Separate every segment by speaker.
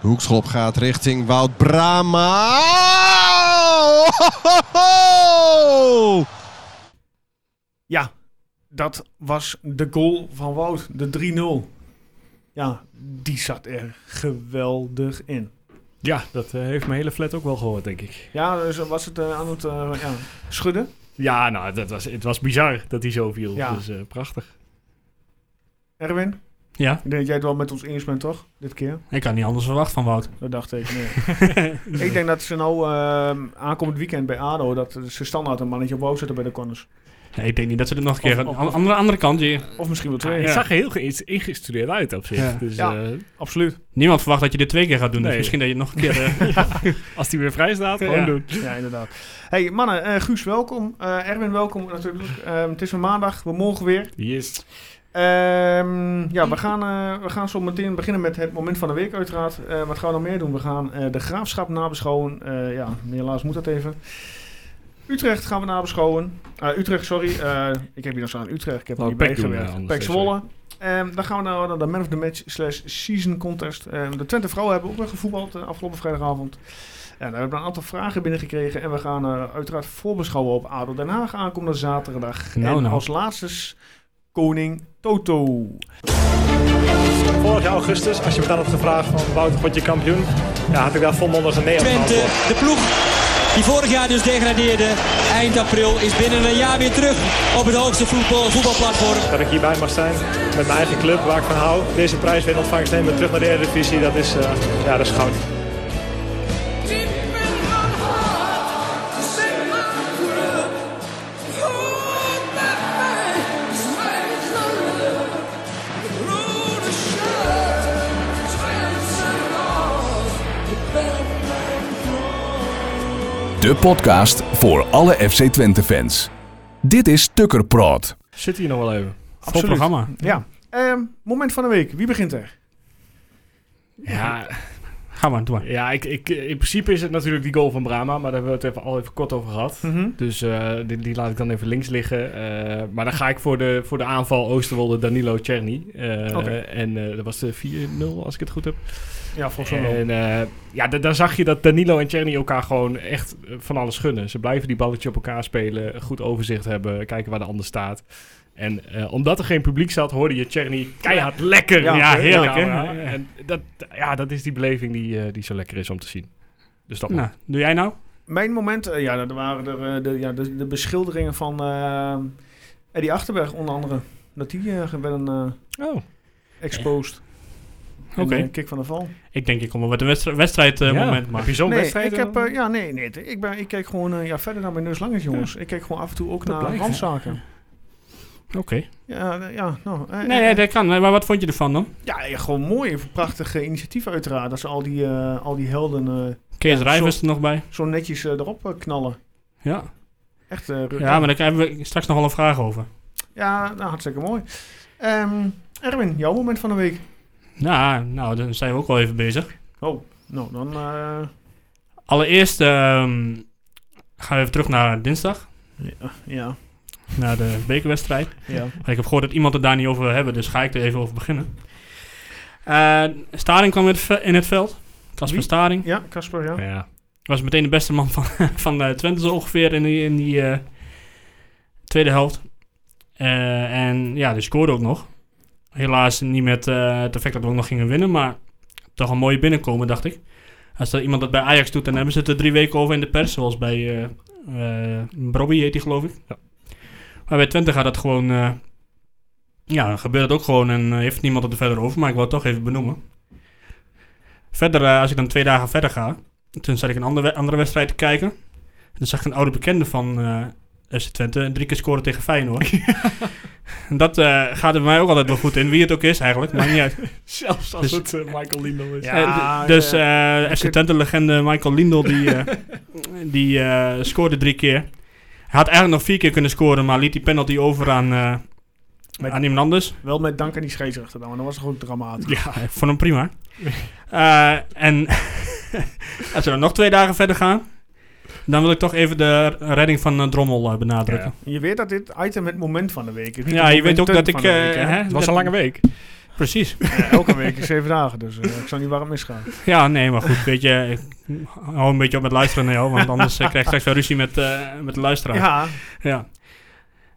Speaker 1: De hoekschop gaat richting Wout Brama. Oh,
Speaker 2: Ja, dat was de goal van Wout, de 3-0. Ja, die zat er geweldig in.
Speaker 3: Ja, dat eh, heeft mijn hele flat ook wel gehoord, denk ik.
Speaker 2: Ja, dus was het eh, aan het eh, ja, schudden?
Speaker 3: Ja, nou, dat was, het was bizar dat hij zo viel.
Speaker 2: Ja.
Speaker 3: Dus eh, prachtig.
Speaker 2: Erwin,
Speaker 4: Ja,
Speaker 2: ik denk dat jij het wel met ons eens bent, toch? Dit keer?
Speaker 4: ik had niet anders verwacht van Wout.
Speaker 2: Dat dacht ik, nee. ik denk dat ze nou ehm, aankomend weekend bij ADO... dat ze standaard een mannetje op wou zetten bij de corners.
Speaker 4: Nee, ik denk niet dat ze er nog een keer...
Speaker 3: Of-
Speaker 4: Aan
Speaker 3: of-
Speaker 4: aan de andere kant, je,
Speaker 2: Of misschien wel
Speaker 3: Ah,
Speaker 2: twee.
Speaker 3: Het
Speaker 2: ja.
Speaker 3: zag er heel ge- ingestudeerd uit op zich.
Speaker 4: Ja.
Speaker 3: Dus,
Speaker 2: Ja.
Speaker 3: eh,
Speaker 2: Absoluut.
Speaker 4: niemand verwacht dat je dit twee keer gaat doen. Dus
Speaker 3: Nee.
Speaker 4: misschien dat je nog een keer... eh,
Speaker 3: als hij weer vrij staat, gewoon
Speaker 4: Ja.
Speaker 3: doen.
Speaker 2: Ja, inderdaad. hey, mannen. eh, Guus, welkom. Eh, Erwin, welkom natuurlijk. Ehm, het is weer maandag. We morgen weer.
Speaker 3: Yes.
Speaker 2: Ehm, ja, we gaan, eh, we gaan zo meteen beginnen met het moment van de week uiteraard. Eh, wat gaan we nog meer doen? We gaan eh, de Graafschap nabeschouwen. Eh, ja, helaas moet dat even. Utrecht gaan we nabeschouwen. Eh, Utrecht, sorry. Eh, ik heb hier nog staan Utrecht. Ik heb er
Speaker 3: Oh,
Speaker 2: niet
Speaker 3: PEC
Speaker 2: bij
Speaker 3: doen we
Speaker 2: gewerkt.
Speaker 3: anders,
Speaker 2: Pek Zwolle. Ehm, dan gaan we naar de Man of the Match slash Season Contest. Ehm, de Twente vrouwen hebben ook weer gevoetbald eh, afgelopen vrijdagavond. En we hebben een aantal vragen binnengekregen. En we gaan eh, uiteraard voorbeschouwen op ADO Den Haag aankomende zaterdag.
Speaker 4: Nou,
Speaker 2: en
Speaker 4: nou.
Speaker 2: als laatste is koning Toto.
Speaker 5: Vorig jaar augustus, als je me dan had gevraagd van Wouter, word je kampioen? Ja, had ik daar volmondig een nee op
Speaker 6: Twente,
Speaker 5: geantwoord.
Speaker 6: de ploeg die vorig jaar dus degradeerde, eind april is binnen een jaar weer terug op het hoogste voetbal, voetbalplatform.
Speaker 5: Dat ik hierbij mag zijn met mijn eigen club, waar ik van hou. Deze prijs weer in ontvangst nemen, terug naar de Eredivisie, dat is, eh, ja, dat is goud.
Speaker 7: De podcast voor alle FC Twente fans. Dit is Tukker Praat.
Speaker 3: Zit hier nog wel even.
Speaker 4: Vol programma.
Speaker 2: Ja. Ehm, moment van de week. Wie begint er?
Speaker 3: Ja,
Speaker 4: Ga maar, doe maar.
Speaker 3: ja ik, ik, in principe is het natuurlijk die goal van Brama, maar daar hebben we het even, al even kort over gehad. Dus eh, die, die laat ik dan even links liggen. Eh, maar dan ga ik voor de, voor de aanval Oosterwolde Danilo Czerny. Eh,
Speaker 2: Oké.
Speaker 3: En eh, dat was de 4-0 als ik het goed heb.
Speaker 2: Ja, volgens mij wel.
Speaker 3: En eh, ja, da- daar zag je dat Danilo en Czerny elkaar gewoon echt eh, van alles gunnen. Ze blijven die balletje op elkaar spelen, goed overzicht hebben, kijken waar de ander staat. En eh, omdat er geen publiek zat, hoorde je Czerny keihard lekker.
Speaker 2: Ja,
Speaker 3: in de
Speaker 4: heerlijk, hè?
Speaker 3: camera.
Speaker 4: Ja.
Speaker 3: En dat, ja, dat is die beleving die, eh, die zo lekker is om te zien. Dus dat
Speaker 4: Nou, doe jij nou?
Speaker 2: Mijn moment, eh, ja, dat waren er, eh, de, ja, de, de beschilderingen van eh, Eddie Achterberg onder andere. Dat die eh, werden eh,
Speaker 3: Oh,
Speaker 2: exposed.
Speaker 4: Oké.
Speaker 2: En, eh, kick van de val.
Speaker 4: Ik denk, ik kom wel met een wedstrijd, wedstrijd eh,
Speaker 3: ja.
Speaker 4: moment
Speaker 3: Heb
Speaker 4: maar.
Speaker 3: je zo'n
Speaker 2: Nee,
Speaker 3: wedstrijd?
Speaker 2: ik heb,
Speaker 3: dan?
Speaker 2: eh, ja, nee, nee. Ik, ben, ik kijk gewoon eh, ja, verder naar mijn neus lang is, jongens. Ik kijk gewoon af en toe ook naar
Speaker 4: blijkt,
Speaker 2: randzaken.
Speaker 4: Oké.
Speaker 2: Ja, eh, ja, nou. eh,
Speaker 4: Nee,
Speaker 2: eh,
Speaker 4: ja, dat kan. Maar wat vond je ervan dan?
Speaker 2: ja, ja, gewoon mooi. Prachtig eh, initiatief uiteraard. Dat ze al die, eh, al die helden eh,
Speaker 4: Kees
Speaker 2: Ja,
Speaker 4: Rijvers
Speaker 2: zo-
Speaker 4: er nog bij.
Speaker 2: zo netjes eh, erop eh, knallen.
Speaker 4: Ja.
Speaker 2: Echt eh, ru-
Speaker 4: ja, maar daar hebben we straks nog wel een vraag over.
Speaker 2: Ja, nou, hartstikke mooi. Ehm, Erwin, jouw moment van de week.
Speaker 4: Nou, nou, dan zijn we ook wel even bezig.
Speaker 2: Oh, nou dan. eh,
Speaker 4: Allereerst ehm, gaan we even terug naar dinsdag.
Speaker 2: ja,
Speaker 4: Naar de bekerwedstrijd.
Speaker 2: ja.
Speaker 4: Maar ik heb gehoord dat iemand het daar niet over wil hebben, dus ga ik er even over beginnen. Eh Staring kwam in het, ve- in het veld. Kasper
Speaker 2: Wie?
Speaker 4: Staring.
Speaker 2: Ja, Casper, ja.
Speaker 3: Ja.
Speaker 4: Was meteen de beste man van, van eh, Twente zo ongeveer in die, in die eh, tweede helft. Eh, en ja, die scoorde ook nog. Helaas niet met eh, het effect dat we ook nog gingen winnen, maar toch een mooie binnenkomen, dacht ik. Als er iemand dat bij Ajax doet, dan hebben ze het er drie weken over in de pers, zoals bij eh eh, Brobby heet die, geloof ik. Maar bij Twente gaat dat gewoon... eh, ja, dan gebeurt het ook gewoon en eh, heeft niemand het er verder over, maar ik wil het toch even benoemen. Verder, eh, als ik dan twee dagen verder ga, toen zat ik een andere, andere wedstrijd te kijken. En toen zag ik een oude bekende van eh FC Twente drie keer scoren tegen Feyenoord. en dat eh, gaat er bij mij ook altijd wel goed in, wie het ook is eigenlijk, maakt niet uit.
Speaker 3: Zelfs als
Speaker 4: Dus-
Speaker 3: het eh, Michael Lindel is.
Speaker 2: Ja.
Speaker 4: Eh, d- dus
Speaker 2: eh,
Speaker 4: eh, FC Twente-legende Michael Lindel, die, eh, die eh, scoorde drie keer. Hij had eigenlijk nog vier keer kunnen scoren, maar liet die penalty over aan, eh,
Speaker 2: Met-
Speaker 4: aan iemand anders.
Speaker 2: Wel met dank aan die scheidsrechter dan, maar dat was toch ook dramatisch.
Speaker 4: Ja, ik vond hem prima. Eh, en als we dan nog twee dagen verder gaan, dan wil ik toch even de redding van eh, Drommel eh, benadrukken.
Speaker 2: Je weet dat dit item het moment van de week is. niet
Speaker 4: Ja,
Speaker 2: het
Speaker 4: je weet ook
Speaker 2: momentum
Speaker 4: dat ik...
Speaker 2: van de week, hè?
Speaker 4: eh, hè,
Speaker 3: Het was
Speaker 4: dat-
Speaker 3: een lange week.
Speaker 4: Precies.
Speaker 2: Ja, elke week is zeven dagen, dus eh, ik zou niet waar het misgaat.
Speaker 4: Ja, nee, maar goed, weet je, ik hou een beetje op met luisteren, Neo, want anders eh, krijg ik straks wel ruzie met, eh, met de luisteraar. Ja.
Speaker 2: Ja,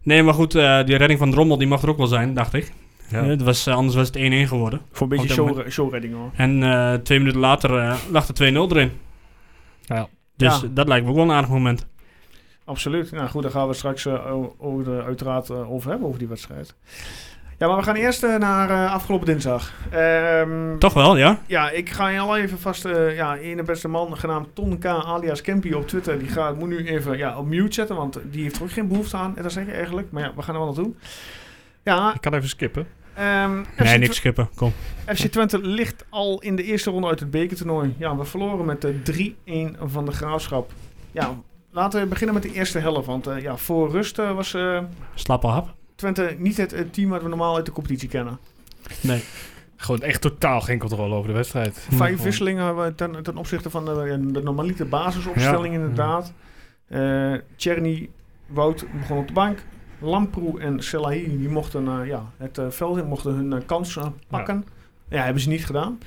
Speaker 4: Nee, maar goed, eh, die redding van Drommel, die mag er ook wel zijn, dacht ik.
Speaker 3: Ja.
Speaker 4: Eh, het was, eh, anders was het 1-1 geworden.
Speaker 2: voor een
Speaker 4: Op
Speaker 2: beetje
Speaker 4: dat
Speaker 2: show, showredding hoor.
Speaker 4: En eh, twee minuten later eh, lag er 2-0 erin.
Speaker 3: Ja.
Speaker 4: Dus
Speaker 2: Ja.
Speaker 4: dat lijkt me ook wel een aardig moment.
Speaker 2: Absoluut. Nou goed, daar gaan we straks eh, o- over, eh, uiteraard eh, over hebben, over die wedstrijd. Ja, maar we gaan eerst eh, naar eh, afgelopen dinsdag. Ehm,
Speaker 4: Toch wel, ja?
Speaker 2: Ja, ik ga je al even vast... eh ja, ene beste man genaamd Ton K. alias Kempi op Twitter. Die gaat, moet nu even ja, op mute zetten, want die heeft er ook geen behoefte aan. En dat zeg ik eigenlijk. Maar ja, we gaan er wel naartoe. Ja,
Speaker 3: Ik kan even skippen.
Speaker 2: ehm
Speaker 4: Nee,
Speaker 2: FC
Speaker 4: niks skippen, kom.
Speaker 2: FC Twente ligt al in de eerste ronde uit het bekertoernooi. Ja, we verloren met de 3-1 van de Graafschap. Ja, laten we beginnen met de eerste helft. Want eh, ja, voor rust eh, was eh,
Speaker 4: Slappe hap.
Speaker 2: Twente niet het, eh, team wat we normaal uit de competitie kennen.
Speaker 4: Nee.
Speaker 3: Gewoon echt totaal geen controle over de wedstrijd.
Speaker 4: Ja,
Speaker 2: Vijf
Speaker 4: gewoon.
Speaker 2: wisselingen hebben we ten, ten opzichte van de, eh, de normaliete basisopstelling
Speaker 3: Ja.
Speaker 2: inderdaad. Eh Tjerni, Wout begon op de bank. Lamproe en Selahi die mochten eh, ja, het eh, veld in, mochten hun eh, kansen pakken. Ja. hebben ze niet gedaan.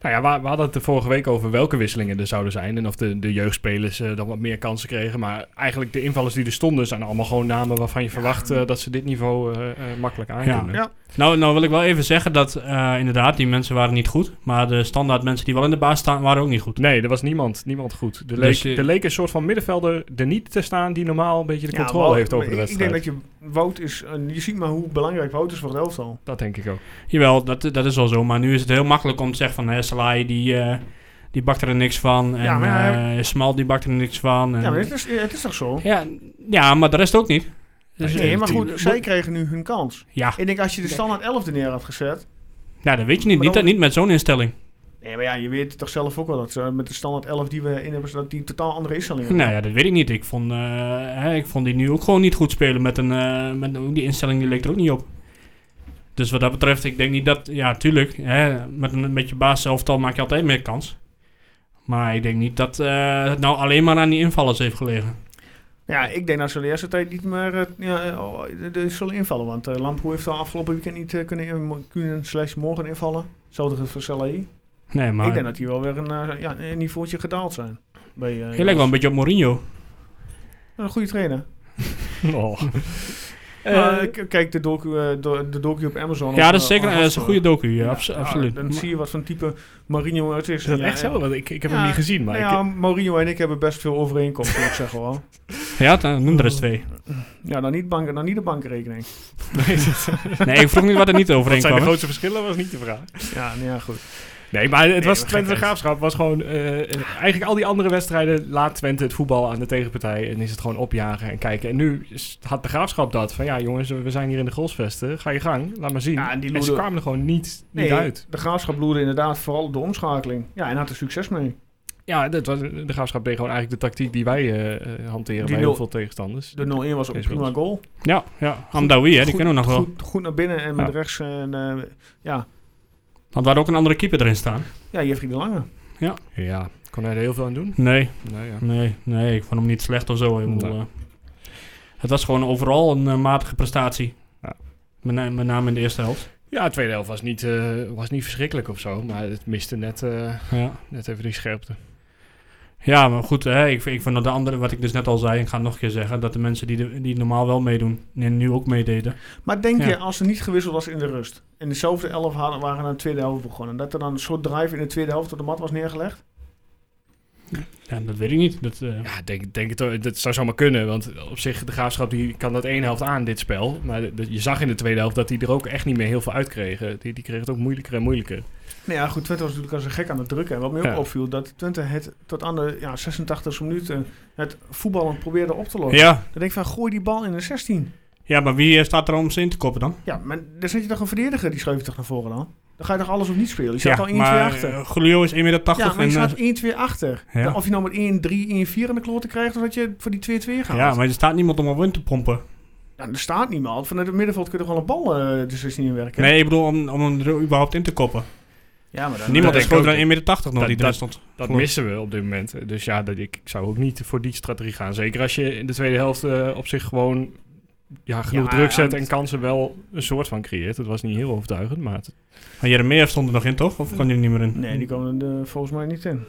Speaker 3: Nou ja, we, we hadden het de vorige week over welke wisselingen er zouden zijn. En of de, de jeugdspelers eh, dan wat meer kansen kregen. Maar eigenlijk de invallers die er stonden zijn allemaal gewoon namen waarvan je verwacht eh, dat ze dit niveau eh, eh, makkelijk aankunnen.
Speaker 2: Ja.
Speaker 4: Nou, nou wil ik wel even zeggen dat eh, inderdaad, die mensen waren niet goed. Maar de standaard mensen die wel in de baas staan, waren ook niet goed.
Speaker 3: Nee, er was niemand, niemand goed. Er leek,
Speaker 4: Dus je-
Speaker 3: er leek een soort van middenvelder er niet te staan die normaal een beetje de
Speaker 2: Ja,
Speaker 3: controle
Speaker 2: Wout-
Speaker 3: heeft over de
Speaker 2: ik-
Speaker 3: wedstrijd.
Speaker 2: Ik denk dat je Wout is. en je ziet maar hoe belangrijk Wout is voor het elftal.
Speaker 3: Dat denk ik ook.
Speaker 4: Jawel, dat, dat is wel zo. Maar nu is het heel makkelijk om te zeggen van... hè, Salai, die, eh, die bakt er niks van. En
Speaker 2: Ja, maar
Speaker 4: eh, Smal, die bakt er niks van. En,
Speaker 2: Ja, maar het is, het is toch zo?
Speaker 4: ja, ja, maar de rest ook niet. Dus,
Speaker 2: Nee, maar goed,
Speaker 4: Bo-
Speaker 2: zij kregen nu hun kans.
Speaker 4: Ja,
Speaker 2: Ik denk als je de standaard 11 neer had gezet.
Speaker 4: nou, dat weet je niet.
Speaker 2: Maar
Speaker 4: Niet,
Speaker 2: dan-
Speaker 4: niet met zo'n instelling.
Speaker 2: Nee, maar ja, je weet toch zelf ook wel dat ze met de standaard 11 die we in hebben, dat die totaal andere instellingen hebben.
Speaker 4: Nou ja, dat weet ik niet. Ik vond, eh, hè, ik vond die nu ook gewoon niet goed spelen. Met een, eh, met een- die instelling die leek er ook niet op. Dus wat dat betreft, ik denk niet dat... Ja, tuurlijk. Hè, met, een, met je baas elftal maak je altijd meer kans. Maar ik denk niet dat eh, het nou alleen maar aan die invallers heeft gelegen.
Speaker 2: Ja, ik denk dat ze de eerste tijd niet meer eh, ja, eh, oh, de- de zullen invallen. Want eh Lamproe heeft al afgelopen weekend niet eh, kunnen, in- mo- kunnen slash morgen invallen. Hetzelfde voor Salahi.
Speaker 4: Nee, maar...
Speaker 2: Ik denk dat die wel weer een, eh, ja, een niveautje gedaald zijn. Bij, eh,
Speaker 4: Hij lijkt wel een beetje op Mourinho.
Speaker 2: Een goede trainer.
Speaker 3: Oh.
Speaker 2: Eh, k- kijk de docu, eh, do- de docu op Amazon.
Speaker 4: Ja,
Speaker 2: op,
Speaker 4: dat is
Speaker 2: eh,
Speaker 4: zeker
Speaker 2: op
Speaker 4: eh, dat is een
Speaker 2: Hotspur.
Speaker 4: goede docu. Ja, abso-
Speaker 2: Ja,
Speaker 4: absoluut.
Speaker 2: Dan zie je wat voor een type Mourinho het is.
Speaker 3: Is dat
Speaker 2: Ja,
Speaker 3: echt
Speaker 2: en-
Speaker 3: zo? Want ik, ik heb
Speaker 2: Ja,
Speaker 3: hem niet gezien, maar
Speaker 2: Nou
Speaker 3: ik-
Speaker 2: ja, Mourinho en ik hebben best veel overeenkomsten, moet ik zeggen wel.
Speaker 4: Ja, dan noem er eens twee.
Speaker 2: Ja, dan niet, banken, dan niet de bankrekening.
Speaker 3: Nee, dat-
Speaker 4: Nee, ik vroeg niet wat er niet
Speaker 3: wat
Speaker 4: overeen
Speaker 3: zijn
Speaker 4: kwam.
Speaker 3: de
Speaker 4: hè.
Speaker 3: grootste verschillen, was niet de vraag.
Speaker 2: Ja, nou ja, goed.
Speaker 3: Nee, maar het was
Speaker 2: maar
Speaker 3: Twente
Speaker 2: gekheid.
Speaker 3: Graafschap was gewoon... eh, eh, eigenlijk al die andere wedstrijden laat Twente het voetbal aan de tegenpartij... en is het gewoon opjagen en kijken. En nu is- had de Graafschap dat van... ja jongens, we zijn hier in de golfsvesten, ga je gang, laat maar zien.
Speaker 2: Ja, en die
Speaker 3: en ze
Speaker 2: loeren-
Speaker 3: kwamen er gewoon niet, niet
Speaker 2: Nee,
Speaker 3: uit.
Speaker 2: de graafschap bloedde inderdaad vooral de omschakeling. Ja, en had er succes mee.
Speaker 3: Ja, dat was, de Graafschap deed gewoon eigenlijk de tactiek die wij eh, eh, hanteren...
Speaker 2: Die
Speaker 3: bij
Speaker 2: nul-
Speaker 3: heel veel tegenstanders.
Speaker 2: De 0-1 was ook een
Speaker 3: Is wel
Speaker 2: prima goal.
Speaker 4: Ja, ja. Hamdawi, hè, die
Speaker 2: Goed-
Speaker 4: kennen we nog wel.
Speaker 2: Goed, goed naar binnen en met
Speaker 3: Ja.
Speaker 2: rechts. En, eh, ja.
Speaker 4: Want we hadden ook een andere keeper erin staan.
Speaker 2: ja, Jeffrey de Lange.
Speaker 3: Ja, kon hij er heel veel aan doen?
Speaker 4: Nee,
Speaker 3: Nou ja.
Speaker 4: Nee, nee, ik vond hem niet slecht of zo. Ik bedoel,
Speaker 3: Nee.
Speaker 4: eh, het was gewoon overal een eh, matige prestatie.
Speaker 3: Ja.
Speaker 4: Met, na- met name in de eerste helft.
Speaker 3: Ja, de tweede helft was niet, eh, was niet verschrikkelijk of zo. Maar het miste net, eh,
Speaker 4: Ja,
Speaker 3: net even die scherpte.
Speaker 4: ja maar goed, hè, ik, vind- ik vond dat de andere, wat ik dus net al zei, ik ga het nog een keer zeggen, dat de mensen die, de- die normaal wel meedoen, en nu ook meededen.
Speaker 2: Maar denk
Speaker 4: Ja.
Speaker 2: je, als er niet gewisseld was in de rust... en dezelfde elf hadden, waren aan de tweede helft begonnen... dat er dan een soort drive in de tweede helft op de mat was neergelegd?
Speaker 4: Ja, dat weet ik niet. Dat, eh,
Speaker 3: Ja, denk, denk het, wel. dat zou zomaar kunnen. Want op zich, de graafschap die kan dat één helft aan, dit spel. Maar de- de- je zag in de tweede helft dat die er ook echt niet meer heel veel uit kregen. Die, die kregen het ook moeilijker en moeilijker.
Speaker 2: Nou ja, goed, Twente was natuurlijk als een gek aan het drukken. En wat mij ook
Speaker 3: Ja.
Speaker 2: opviel, dat Twente het tot aan de ja, 86e minuut... eh, het voetballen probeerde op te
Speaker 3: Oh.
Speaker 2: lossen.
Speaker 4: ja.
Speaker 2: Dan denk ik van, gooi die bal in de 16.
Speaker 4: ja, maar wie eh, staat er om ze in te koppen dan?
Speaker 2: Ja, maar dan zit je toch een verdediger, die schuift je toch naar voren dan? Dan ga je toch alles of niet spelen? Je
Speaker 4: ja,
Speaker 2: staat al 1-2
Speaker 4: maar
Speaker 2: achter.
Speaker 4: eh, Julio is 1,80 meter.
Speaker 2: ja, maar je
Speaker 4: en, eh,
Speaker 2: staat 1-2 achter.
Speaker 4: ja.
Speaker 2: Of je nou met 1-3, 1-4 aan de kloten krijgt, of dat je voor die 2-2 gaat.
Speaker 4: ja, maar er staat niemand om op in te pompen.
Speaker 2: Ja, er staat niemand. Vanuit het middenveld kun je toch wel een bal eh de 16 in werken?
Speaker 4: Nee, ik bedoel om, om hem er überhaupt in te koppen.
Speaker 2: Ja, maar dan,
Speaker 4: Niemand
Speaker 3: denk
Speaker 4: is
Speaker 3: ik
Speaker 4: groter
Speaker 3: ook.
Speaker 4: dan 1,80 meter nog
Speaker 3: Dat-
Speaker 4: die erin
Speaker 3: dat-
Speaker 4: stond.
Speaker 3: Dat
Speaker 4: Voor-
Speaker 3: missen we op dit moment. Dus ja, dat, ik, ik zou ook niet voor die strategie gaan. Zeker als je in de tweede helft eh, op zich gewoon ja, genoeg
Speaker 2: Ja,
Speaker 3: druk zet
Speaker 2: en-
Speaker 3: en kansen wel een soort van creëert. Het was niet heel overtuigend, maar het-
Speaker 4: Maar Jeremia stond er nog in, toch? Of kon hij er niet meer in?
Speaker 2: Nee, die kwam er eh, volgens mij niet in.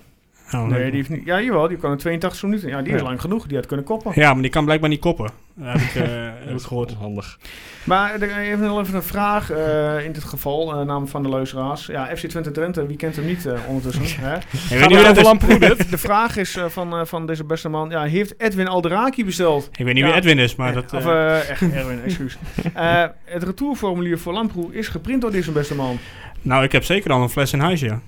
Speaker 4: Oh,
Speaker 2: Nee,
Speaker 4: leuk.
Speaker 2: die heeft niet... Ja, jawel, die kwam er 82 minuten in. Ja, die is
Speaker 3: Ja.
Speaker 2: lang genoeg. Die had kunnen koppen.
Speaker 4: Ja, maar die kan blijkbaar niet koppen. Heb ik, eh, heb
Speaker 3: dat
Speaker 4: ik
Speaker 3: is
Speaker 4: gehoord.
Speaker 3: gewoon handig.
Speaker 2: Maar er- even, nog even een vraag eh, in dit geval, eh namens van de Leuseraars. Ja, FC Twente Drenthe, wie kent hem niet eh, ondertussen? Hè?
Speaker 4: Hey,
Speaker 3: Gaan
Speaker 4: weet
Speaker 3: we
Speaker 4: niet wie
Speaker 3: weer
Speaker 4: dat
Speaker 3: over
Speaker 4: is.
Speaker 3: Lamproe dit?
Speaker 2: De vraag is eh, van, eh, van deze beste man, ja, heeft Edwin Alderaki besteld?
Speaker 4: Ik weet niet
Speaker 2: Ja.
Speaker 4: wie Edwin is, maar dat...
Speaker 2: of,
Speaker 4: eh,
Speaker 2: eh, echt Erwin, excuus. Eh, het retourformulier voor Lamproe is geprint door deze beste man.
Speaker 4: nou, ik heb zeker al een fles in huis, ja.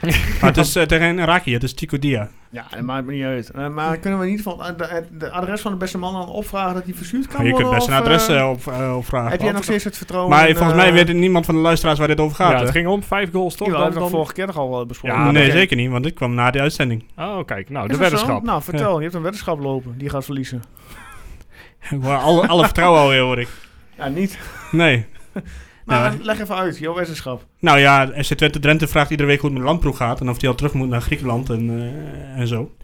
Speaker 4: maar het is eh, tegen Raki, het is Tico Dia.
Speaker 2: Ja, dat maakt me niet uit. Eh, maar kunnen we in ieder geval eh, de, het- de adres van de beste man dan opvragen dat die verstuurd kan
Speaker 4: Maar je
Speaker 2: worden?
Speaker 4: kunt best een
Speaker 2: of,
Speaker 4: adres
Speaker 2: eh,
Speaker 4: eh, op, eh, opvragen.
Speaker 2: heb jij nog steeds het vertrouwen?
Speaker 4: Maar
Speaker 2: in,
Speaker 4: volgens
Speaker 2: eh,
Speaker 4: mij weet niemand van de luisteraars waar dit over gaat.
Speaker 3: Ja,
Speaker 4: hè?
Speaker 3: het ging om vijf goals, toch?
Speaker 2: Jawel, dat hebben we
Speaker 3: Dan, dan...
Speaker 2: vorige keer toch al wel besproken.
Speaker 3: Ja,
Speaker 4: nee,
Speaker 3: oké.
Speaker 4: zeker niet, want dit kwam na de uitzending.
Speaker 3: Oh, kijk, nou,
Speaker 2: Is
Speaker 3: de
Speaker 2: dat zo?
Speaker 3: weddenschap.
Speaker 2: Nou, vertel. Je hebt een weddenschap lopen. Die gaat verliezen.
Speaker 4: alle, alle vertrouwen alweer, hoor ik.
Speaker 2: Ja, niet.
Speaker 4: Nee.
Speaker 2: Maar
Speaker 4: Ja.
Speaker 2: leg even uit, jouw weddenschap.
Speaker 4: Nou ja, FC Twente Drenthe vraagt iedere week hoe het met Lamproe gaat. En of hij al terug moet naar Griekenland en, eh, en zo.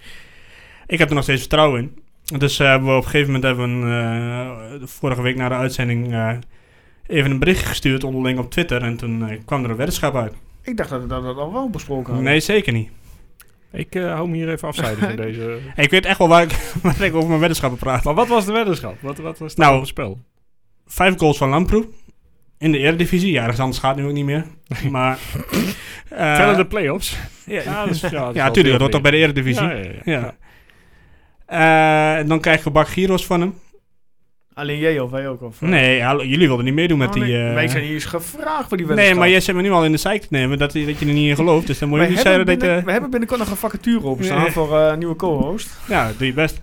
Speaker 4: Ik heb er nog steeds vertrouwen in. Dus eh, hebben we op een gegeven moment hebben we een, eh, vorige week na de uitzending eh, even een bericht gestuurd onderling op Twitter. En toen eh, kwam er een weddenschap uit.
Speaker 2: Ik dacht dat we dat, dat al wel besproken
Speaker 3: Oh.
Speaker 2: hadden.
Speaker 4: Nee, zeker niet.
Speaker 3: Ik eh, hou hem hier even afzijden van deze...
Speaker 4: Ik weet echt wel waar ik, waar ik over mijn weddenschappen praat.
Speaker 3: Maar wat was de weddenschap? Wat, wat was nou
Speaker 4: Nou,
Speaker 3: op het spel?
Speaker 4: Vijf goals van Lamproe. In de Eredivisie. Ja, ergens anders gaat het nu ook niet meer. Maar... eh,
Speaker 3: Verder de play-offs?
Speaker 4: ja,
Speaker 3: dat is- ja, dat is
Speaker 4: ja,
Speaker 3: wel
Speaker 4: tuurlijk. Dat
Speaker 3: deel
Speaker 4: hoort toch bij de Eredivisie.
Speaker 3: Ja, ja, ja.
Speaker 4: Ja. Eh, en dan krijg je bak gyros van hem.
Speaker 2: Alleen jij of wij ook? Of,
Speaker 4: Nee, hallo, jullie wilden niet meedoen met
Speaker 2: Oh,
Speaker 4: die...
Speaker 2: nee.
Speaker 4: eh,
Speaker 2: Wij zijn hier eens gevraagd voor die
Speaker 4: nee,
Speaker 2: weddenschap.
Speaker 4: maar jij zit me nu al in de zeik te nemen dat, dat je er niet in gelooft. Dus dan moet
Speaker 2: we
Speaker 4: je niet
Speaker 2: hebben,
Speaker 4: zeggen dat...
Speaker 2: binnen-
Speaker 4: je
Speaker 2: we hebben binnenkort nog een vacature opstaan
Speaker 4: Nee.
Speaker 2: voor eh, nieuwe co-host.
Speaker 4: ja, doe je best.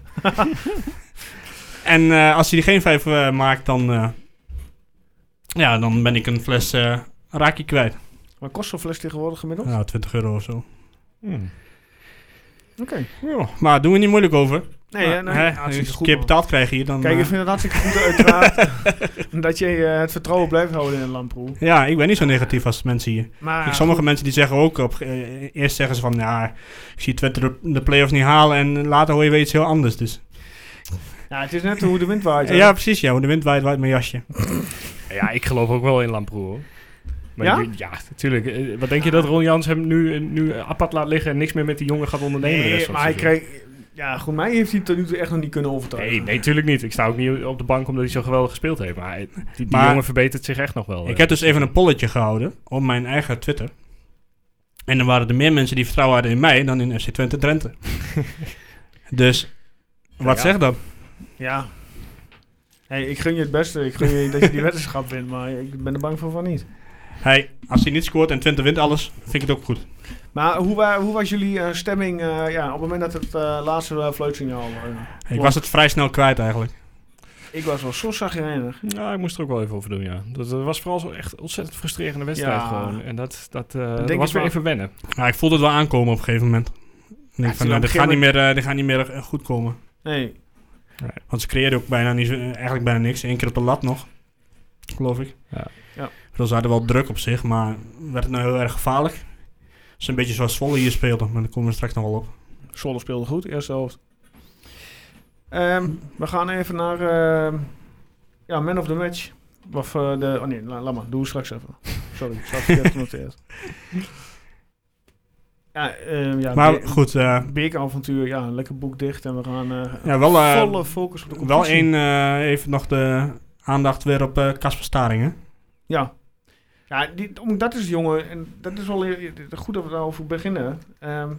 Speaker 4: en eh, als hij er geen vijf eh, maakt, dan... eh, ja, dan ben ik een fles eh Raki kwijt.
Speaker 2: Wat kost zo'n fles tegenwoordig gemiddeld?
Speaker 4: Nou, 20 euro of zo.
Speaker 3: Hmm.
Speaker 2: Oké.
Speaker 4: Ja, maar doen we niet moeilijk over.
Speaker 2: Nee,
Speaker 4: Maar,
Speaker 2: ja, nou,
Speaker 4: hè, als je
Speaker 2: hartstikke
Speaker 4: een
Speaker 2: goed.
Speaker 4: keer
Speaker 2: man.
Speaker 4: betaald krijg je hier, dan...
Speaker 2: Kijk, ik
Speaker 4: eh,
Speaker 2: vind het hartstikke goed uiteraard dat je eh, het vertrouwen blijft houden in een lamproe.
Speaker 4: ja, ik ben niet zo negatief als mensen hier.
Speaker 2: Maar
Speaker 4: Kijk, sommige mensen die zeggen ook, op, eh, eerst zeggen ze van, ja, ik zie Twente de, de play-offs niet halen en later hoor je weer iets heel anders. Dus.
Speaker 2: ja, Nou, het is net hoe de wind waait. hè.
Speaker 4: Ja, precies, ja, hoe de wind waait, waait mijn jasje.
Speaker 2: Oh,
Speaker 3: Ja, ik geloof ook wel in Lamproe. hoor. Maar
Speaker 2: Ja?
Speaker 3: je- ja, natuurlijk. Eh, Wat denk je dat Ron Jans hem nu, nu apart laat liggen en niks meer met die jongen gaat ondernemen? de rest
Speaker 2: nee,
Speaker 3: van
Speaker 2: maar
Speaker 3: het
Speaker 2: hij
Speaker 3: seizoen?
Speaker 2: kreeg... Ja, goed, mij heeft hij tot nu toe echt nog niet kunnen overtuigen.
Speaker 3: Nee, nee, natuurlijk niet. Ik sta ook niet op de bank omdat hij zo geweldig gespeeld heeft. Maar hij- die, die
Speaker 4: Maar-
Speaker 3: jongen verbetert zich echt nog wel.
Speaker 4: Ik
Speaker 3: eh.
Speaker 4: heb dus even een polletje gehouden op mijn eigen Twitter. En dan waren er meer mensen die vertrouwen hadden in mij dan in FC Twente Drenthe. dus, wat
Speaker 2: Ja.
Speaker 4: zegt dat?
Speaker 2: Ja. Hey, ik gun je het beste. Ik gun je dat je die weddenschap wint, maar ik ben er bang voor van niet.
Speaker 4: Hey, als hij niet scoort en Twente wint alles, vind ik het ook goed.
Speaker 2: Maar hoe, wa- hoe was jullie eh, stemming eh, ja, op het moment dat het eh, laatste eh, fluitsignaal... eh,
Speaker 4: Ik was het vrij snel kwijt eigenlijk.
Speaker 2: ik was wel zo zagrijnig.
Speaker 3: Nou, ik moest er ook wel even over doen, ja. Dat eh, was vooral zo echt ontzettend frustrerende wedstrijd
Speaker 2: Ja.
Speaker 3: gewoon. En dat, dat, eh, dat
Speaker 2: ik
Speaker 3: was weer
Speaker 2: wel.
Speaker 3: even wennen.
Speaker 4: Ja, ik voelde het wel aankomen op een gegeven moment. Ik denk
Speaker 2: het
Speaker 4: van,
Speaker 2: is
Speaker 4: nou,
Speaker 2: op een
Speaker 4: dit, gaat niet
Speaker 2: gegeven
Speaker 4: meer, eh, dit gaat niet meer eh, goed komen.
Speaker 2: Nee.
Speaker 4: Want ze creëerden ook bijna niet, zo- eh, eigenlijk bijna niks. Eén keer op de lat nog, geloof ik.
Speaker 3: Ja.
Speaker 2: Ja.
Speaker 4: Dus ze hadden wel druk op zich, maar werd het nou heel erg gevaarlijk. Het is een beetje zoals Zwolle hier speelde, maar daar komen we straks nog wel op.
Speaker 2: Zwolle speelde goed, eerste helft. Ehm, we gaan even naar ehm, ja, Man of the Match. Of eh, de... Oh nee, la- laat maar. Doe het straks even. Sorry, ik had verkeerd genoteerd. Ja, ehm ja,
Speaker 4: maar
Speaker 2: Be-
Speaker 4: goed, eh,
Speaker 2: Beekavontuur, ja, lekker boek dicht en we gaan eh,
Speaker 4: ja, wel, eh,
Speaker 2: volle focus op de
Speaker 4: wel
Speaker 2: competitie.
Speaker 4: één, eh, even nog de aandacht weer op eh, Casper Staringen.
Speaker 2: Ja. Ja, die, om- dat is jongen, en dat is wel e- e- goed dat we daarover beginnen. Ehm,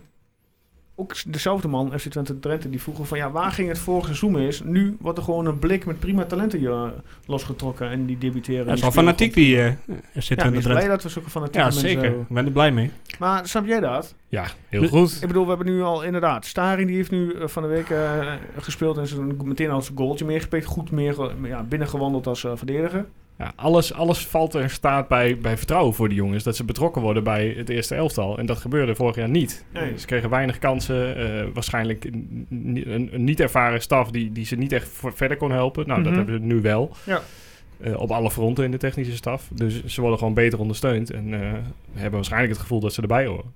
Speaker 2: ook s- dezelfde man, FC Twente Drenthe, die vroegen van ja, waar ging het vorig seizoen mis? Nu wordt er gewoon een blik met prima talenten hier eh, losgetrokken en die debuteren.
Speaker 4: Hij is wel fanatiek, die eh FC
Speaker 2: Ja, ik
Speaker 4: Twente
Speaker 2: ben
Speaker 4: Drenthe.
Speaker 2: blij dat we zulke fanatieke
Speaker 4: Ja,
Speaker 2: mensen
Speaker 4: zeker.
Speaker 2: hebben.
Speaker 4: Ik ben er blij mee.
Speaker 2: Maar snap jij dat?
Speaker 3: Ja, heel goed.
Speaker 2: Ik bedoel, we hebben nu al inderdaad, Staring die heeft nu eh, van de week eh, gespeeld en ze meteen als goaltje meegepikt. Goed meer eh, ja, binnengewandeld als eh, verdediger.
Speaker 3: Ja, alles, alles valt en staat bij, bij vertrouwen voor die jongens. Dat ze betrokken worden bij het eerste elftal. En dat gebeurde vorig jaar niet.
Speaker 2: Nee.
Speaker 3: Eh, Ze kregen weinig kansen. eh, waarschijnlijk een, een, een niet ervaren staf die, die ze niet echt voor- verder kon helpen. Nou,
Speaker 2: Mhm.
Speaker 3: dat hebben ze nu wel.
Speaker 2: Ja.
Speaker 3: Eh, op alle fronten in de technische staf. Dus ze worden gewoon beter ondersteund. En eh, hebben waarschijnlijk het gevoel dat ze erbij horen.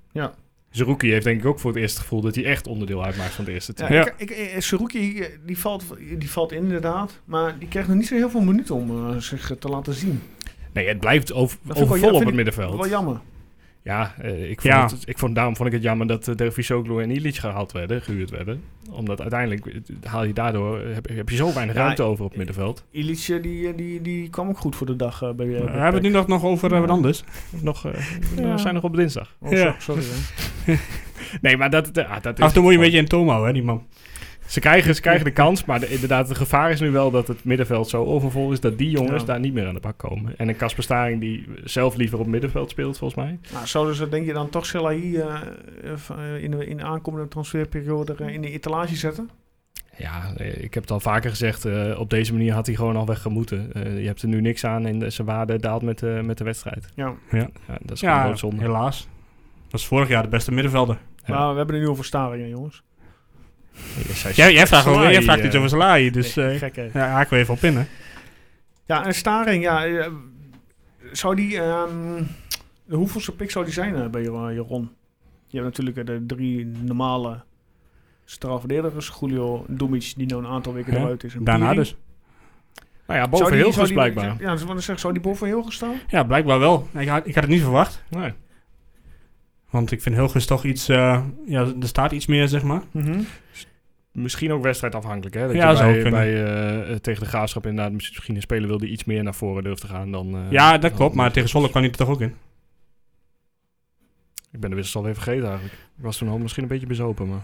Speaker 3: Zerouki heeft denk ik ook voor het eerst het gevoel dat hij echt onderdeel uitmaakt van de eerste team.
Speaker 2: Ja,
Speaker 4: Ja.
Speaker 2: Ik, ik, eh, Saruki, eh, die valt, die valt in, inderdaad. Maar die krijgt nog niet zo heel veel minuten om eh, zich eh, te laten zien.
Speaker 3: Nee, het blijft over,
Speaker 2: Dat vind ik wel
Speaker 3: overvol
Speaker 2: ja-
Speaker 3: op
Speaker 2: vind
Speaker 3: het
Speaker 2: ik
Speaker 3: middenveld.
Speaker 2: Wel jammer.
Speaker 3: Ja, eh, ik, vond
Speaker 4: Ja.
Speaker 3: Het, ik vond, daarom vond ik het jammer dat uh, Dervisoglu en Ilic gehaald werden, gehuurd werden. Omdat uiteindelijk eh, haal je daardoor, eh, heb, heb je zo weinig
Speaker 2: Ja,
Speaker 3: ruimte over op het middenveld.
Speaker 2: Ilitje, die, eh, die, die kwam ook goed voor de dag eh, bij eh, bij
Speaker 4: we hebben het nu nog, nog over eh, wat anders.
Speaker 3: Nog, eh,
Speaker 2: Ja.
Speaker 3: We zijn nog op dinsdag.
Speaker 2: Oh, zo-
Speaker 4: Ja.
Speaker 2: sorry, hè.
Speaker 3: Nee, maar dat, dat, ah, dat is
Speaker 4: Af en toe moet je een
Speaker 3: gewoon-
Speaker 4: beetje in toom houden, hè, die man.
Speaker 3: Ze krijgen, ze krijgen de kans, maar de- inderdaad, het gevaar is nu wel dat het middenveld zo overvol is dat die jongens
Speaker 2: Ja.
Speaker 3: daar niet meer aan de bak komen. En een Kasper Staring die zelf liever op middenveld speelt, volgens mij.
Speaker 2: Nou, zouden ze denk je dan toch Selahi eh, eh, van, eh, in, de, in de aankomende transferperiode er, eh, in de etalage zetten?
Speaker 3: Ja, eh, ik heb het al vaker gezegd, eh, op deze manier had hij gewoon al weggemoeten. Eh, je hebt er nu niks aan en eh, zijn waarde daalt met, de- met de wedstrijd.
Speaker 2: Ja.
Speaker 3: Ja, dat is gewoon
Speaker 4: Ja,
Speaker 3: doodzonde.
Speaker 4: helaas. Dat is vorig jaar de beste middenvelder.
Speaker 3: Ja.
Speaker 2: Maar Nou, we hebben er nu over Staringen, jongens.
Speaker 3: Je zei-
Speaker 4: Jij, jij vraagt,
Speaker 3: Salai,
Speaker 4: over, jij vraagt
Speaker 3: eh,
Speaker 4: iets over Salai, dus eh
Speaker 2: Gek, hè?
Speaker 4: ja, haken we even op in, hè.
Speaker 2: Ja, en Staring, ja. eh, zou die... ehm, de hoeveelste pick zou die zijn eh, bij eh, Jaron? Je hebt natuurlijk eh, de drie normale strafverdedigers. Julio Dumic, die nou een aantal weken
Speaker 4: Ja.
Speaker 2: eruit is. en
Speaker 4: Daarna
Speaker 2: Piering.
Speaker 4: dus.
Speaker 3: Nou ja,
Speaker 2: Zou
Speaker 3: boven
Speaker 2: die-
Speaker 3: heel
Speaker 2: zou
Speaker 3: goed
Speaker 2: die-
Speaker 3: blijkbaar.
Speaker 2: Ja, dus wat ik zeg, zou die boven heel gestaan?
Speaker 4: Ja, blijkbaar wel. Ik had, ik had het niet verwacht.
Speaker 3: Nee.
Speaker 4: Want ik vind Hilgers toch iets... eh, ja, er staat iets meer, zeg
Speaker 2: Eh,
Speaker 4: maar.
Speaker 3: Misschien ook wedstrijdafhankelijk, hè? Dat
Speaker 4: Ja,
Speaker 3: je
Speaker 4: zou
Speaker 3: bij,
Speaker 4: kunnen.
Speaker 3: bij, eh, eh, tegen de graafschap inderdaad misschien een speler wil die iets meer naar voren durft te gaan dan... eh,
Speaker 4: ja, dat
Speaker 3: dan-
Speaker 4: klopt. Maar tegen Zwolle kwam hij er toch ook in.
Speaker 3: Ik ben de wissels alweer vergeten eigenlijk. Ik was toen al misschien een beetje bezopen, maar...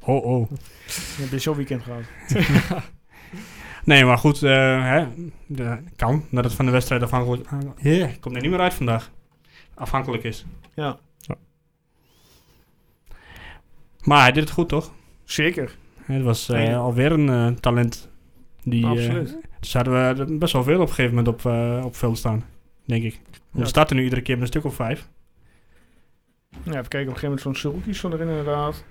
Speaker 4: Oh, oh.
Speaker 2: Dan heb je zo'n weekend gehad.
Speaker 4: Nee, maar goed. eh, hè, de, kan dat het van de wedstrijd afhankelijk... Yeah, ik kom er niet meer uit vandaag. Afhankelijk is.
Speaker 2: Ja,
Speaker 4: Maar hij deed het goed, toch?
Speaker 2: zeker.
Speaker 4: Het was eh,
Speaker 2: Ja.
Speaker 4: alweer een eh, talent. Die, eh,
Speaker 2: Absoluut.
Speaker 4: dus hadden we er best wel veel op een gegeven moment op, eh, op veld staan. Denk ik. We
Speaker 2: Ja.
Speaker 4: starten nu iedere keer met een stuk of vijf.
Speaker 2: Ja, even kijken, op een gegeven moment zo'n Suruki stond er inderdaad.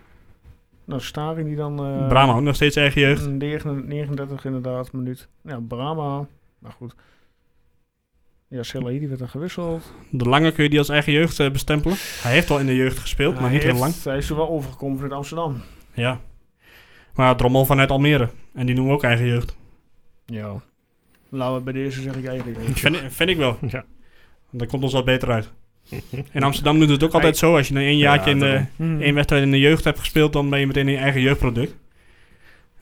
Speaker 2: Nou, Staring die dan... eh,
Speaker 4: Brahma ook nog steeds eigen jeugd.
Speaker 2: 39, 39 inderdaad, minuut. Ja, Brahma. Maar goed. Ja, Selahi die werd dan gewisseld.
Speaker 4: De lange kun je die als eigen jeugd eh, bestempelen. Hij heeft al in de jeugd gespeeld, maar
Speaker 2: Hij
Speaker 4: niet heel
Speaker 2: heeft-
Speaker 4: lang.
Speaker 2: Hij is er wel overgekomen vanuit Amsterdam.
Speaker 4: Ja. Maar Drommel vanuit Almere. En die noemen we ook eigen jeugd.
Speaker 2: Ja. Laten we bij deze zeg ik eigenlijk.
Speaker 4: Vind, vind ik wel.
Speaker 3: Ja.
Speaker 4: Dat komt ons wat beter uit. In Amsterdam doet het ook altijd zo. Als je dan één jaartje in de, één wedstrijd in de jeugd hebt gespeeld, dan ben je meteen in je eigen jeugdproduct.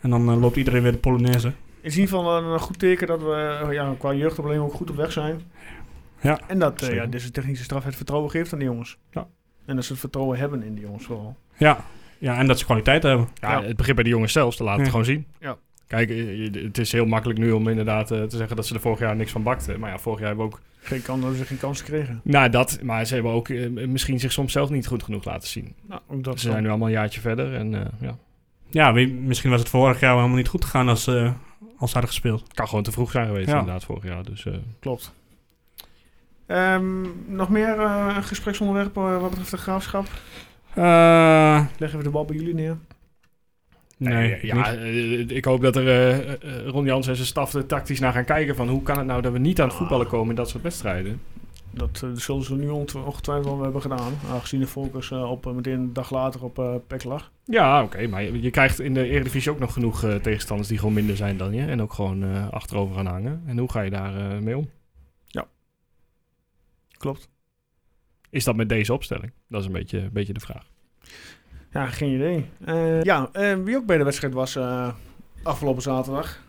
Speaker 4: En dan eh, loopt iedereen weer de Polonaise.
Speaker 2: is in ieder geval een, een goed teken dat we eh, ja, qua jeugdproblemen ook goed op weg zijn.
Speaker 4: Ja.
Speaker 2: En dat eh,
Speaker 3: Zeker.
Speaker 2: ja, deze technische straf het vertrouwen geeft aan de jongens.
Speaker 3: Ja.
Speaker 2: En dat ze het vertrouwen hebben in die jongens vooral.
Speaker 4: Ja. ja, en dat ze kwaliteit hebben.
Speaker 3: Ja,
Speaker 2: Ja.
Speaker 3: het begint bij de jongens zelfs, dan laat
Speaker 4: Ja.
Speaker 3: het gewoon zien.
Speaker 2: Ja.
Speaker 3: Kijk, eh, je- het is heel makkelijk nu om inderdaad eh, te zeggen dat ze er vorig jaar niks van bakten. Maar ja, vorig jaar hebben we ook...
Speaker 2: Geen kans dat ze geen kans kregen.
Speaker 3: Nou, dat, maar ze hebben ook eh, misschien zich soms zelf niet goed genoeg laten zien.
Speaker 2: Nou, ook dat
Speaker 3: Ze zijn nu allemaal een jaartje verder en eh, ja,
Speaker 4: Ja, wie- misschien was het vorig jaar wel helemaal niet goed gegaan als, eh, als ze hadden gespeeld.
Speaker 3: het kan gewoon te vroeg zijn geweest
Speaker 4: Ja.
Speaker 3: inderdaad vorig jaar. Dus eh,
Speaker 2: Klopt. Ehm, nog meer eh, gespreksonderwerpen eh, wat betreft de graafschap?
Speaker 4: Eh,
Speaker 2: Leg even de bal bij jullie neer.
Speaker 4: nee,
Speaker 3: Nee, ja,
Speaker 4: niet.
Speaker 3: eh, ik hoop dat er eh, eh, Ron Jans en zijn staf er tactisch naar gaan kijken van hoe kan het nou dat we niet aan het voetballen komen in dat soort wedstrijden.
Speaker 2: Dat eh, zullen ze nu ont- ongetwijfeld wel hebben gedaan. Aangezien de focus eh, op, eh, meteen een dag later op eh PEC lag.
Speaker 3: Ja, oké, maar je, je krijgt in de Eredivisie ook nog genoeg eh, tegenstanders die gewoon minder zijn dan je en ook gewoon eh, achterover gaan hangen. En hoe ga je daar eh, mee om?
Speaker 2: Klopt.
Speaker 3: Is dat met deze opstelling? Dat is een beetje, een beetje de vraag.
Speaker 2: Ja, geen idee. Eh, ja, eh, wie ook bij de wedstrijd was eh, afgelopen zaterdag.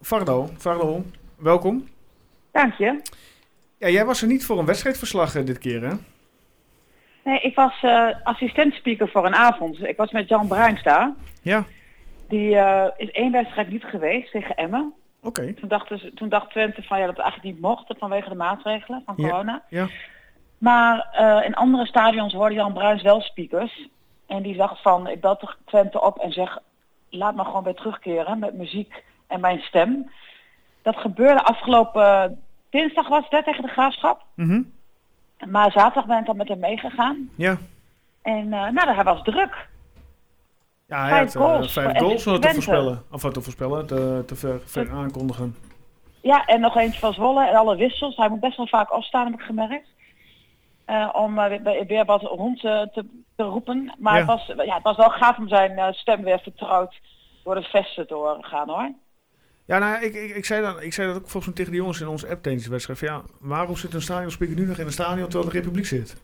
Speaker 2: Vardo. Vardo, welkom.
Speaker 8: Dank je.
Speaker 2: Ja, jij was er niet voor een wedstrijdverslag eh, dit keer, hè?
Speaker 8: Nee, ik was eh assistent speaker voor een avond. Ik was met Jan Bruins daar.
Speaker 2: Ja.
Speaker 8: Die eh, is één wedstrijd niet geweest tegen Emmen.
Speaker 2: Oké.
Speaker 8: Toen dacht, dus, toen dacht Twente van ja dat het eigenlijk niet mocht vanwege de maatregelen van
Speaker 2: Ja,
Speaker 8: corona.
Speaker 2: ja.
Speaker 8: Maar eh, in andere stadions hoorde Jan Bruins wel speakers. En die dacht van ik bel toch Twente op en zeg laat me gewoon weer terugkeren met muziek en mijn stem. Dat gebeurde afgelopen eh, dinsdag was het hè, tegen de graafschap.
Speaker 2: Mhm.
Speaker 8: Maar zaterdag ben ik dan met hem meegegaan.
Speaker 2: Ja.
Speaker 8: En eh nou, hij was druk.
Speaker 2: Ja, hij
Speaker 8: Vijf
Speaker 2: had eh,
Speaker 8: goals voor
Speaker 2: vijf
Speaker 8: FC
Speaker 2: goals eh, te
Speaker 8: Twente.
Speaker 2: voorspellen. Of eh, te voorspellen, te, te ver, ver aankondigen.
Speaker 8: Ja, en nog eentje van Zwolle en alle wissels. Hij moet best wel vaak afstaan, heb ik gemerkt. eh, om eh, weer- weer, weer wat rond eh, te, te roepen. Maar
Speaker 2: Ja.
Speaker 8: het, was, ja, het was wel gaaf om zijn eh, stem weer vertrouwd door de vesten te horen gaan hoor.
Speaker 2: Ja, nou ja, ik, ik, ik, zei dat, ik zei dat ook volgens mij tegen de jongens in onze app tijdens de wedstrijd. Van, ja, waarom zit een stadionspeaker nu nog in een stadion terwijl de Republiek zit?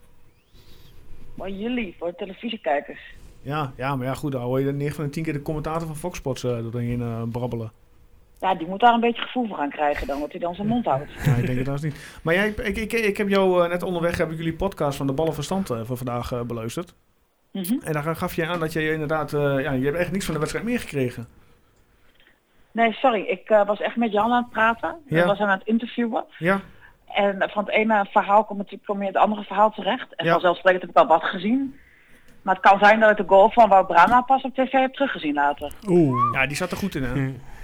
Speaker 8: Maar jullie, voor de televisiekijkers.
Speaker 2: Ja, ja, maar ja, goed, dan hoor je 9 van de 10 keer de commentator van Fox Sports eh doorheen eh, brabbelen.
Speaker 8: Ja, die moet daar een beetje gevoel voor gaan krijgen dan, wat hij dan zijn mond houdt.
Speaker 2: Ja, ik denk het haast niet. Maar jij, ik, ik, ik, ik heb jou eh, net onderweg, heb ik jullie podcast van de Ballenverstand eh, van vandaag eh, beluisterd.
Speaker 8: Mhm.
Speaker 2: En daar gaf je aan dat je inderdaad, eh, ja, je hebt echt niks van de wedstrijd meegekregen.
Speaker 8: Nee, sorry, ik eh, was echt met Jan aan het praten.
Speaker 2: Ja.
Speaker 8: Ik was hem aan het interviewen.
Speaker 2: Ja,
Speaker 8: En van het ene verhaal kom, het, kom je in het andere verhaal terecht. En
Speaker 2: Ja.
Speaker 8: vanzelfsprekend heb ik al wat gezien. Maar het kan zijn dat ik de goal van Wout Brama pas op tv heb teruggezien later.
Speaker 4: Oeh.
Speaker 2: ja die zat er goed in, hè?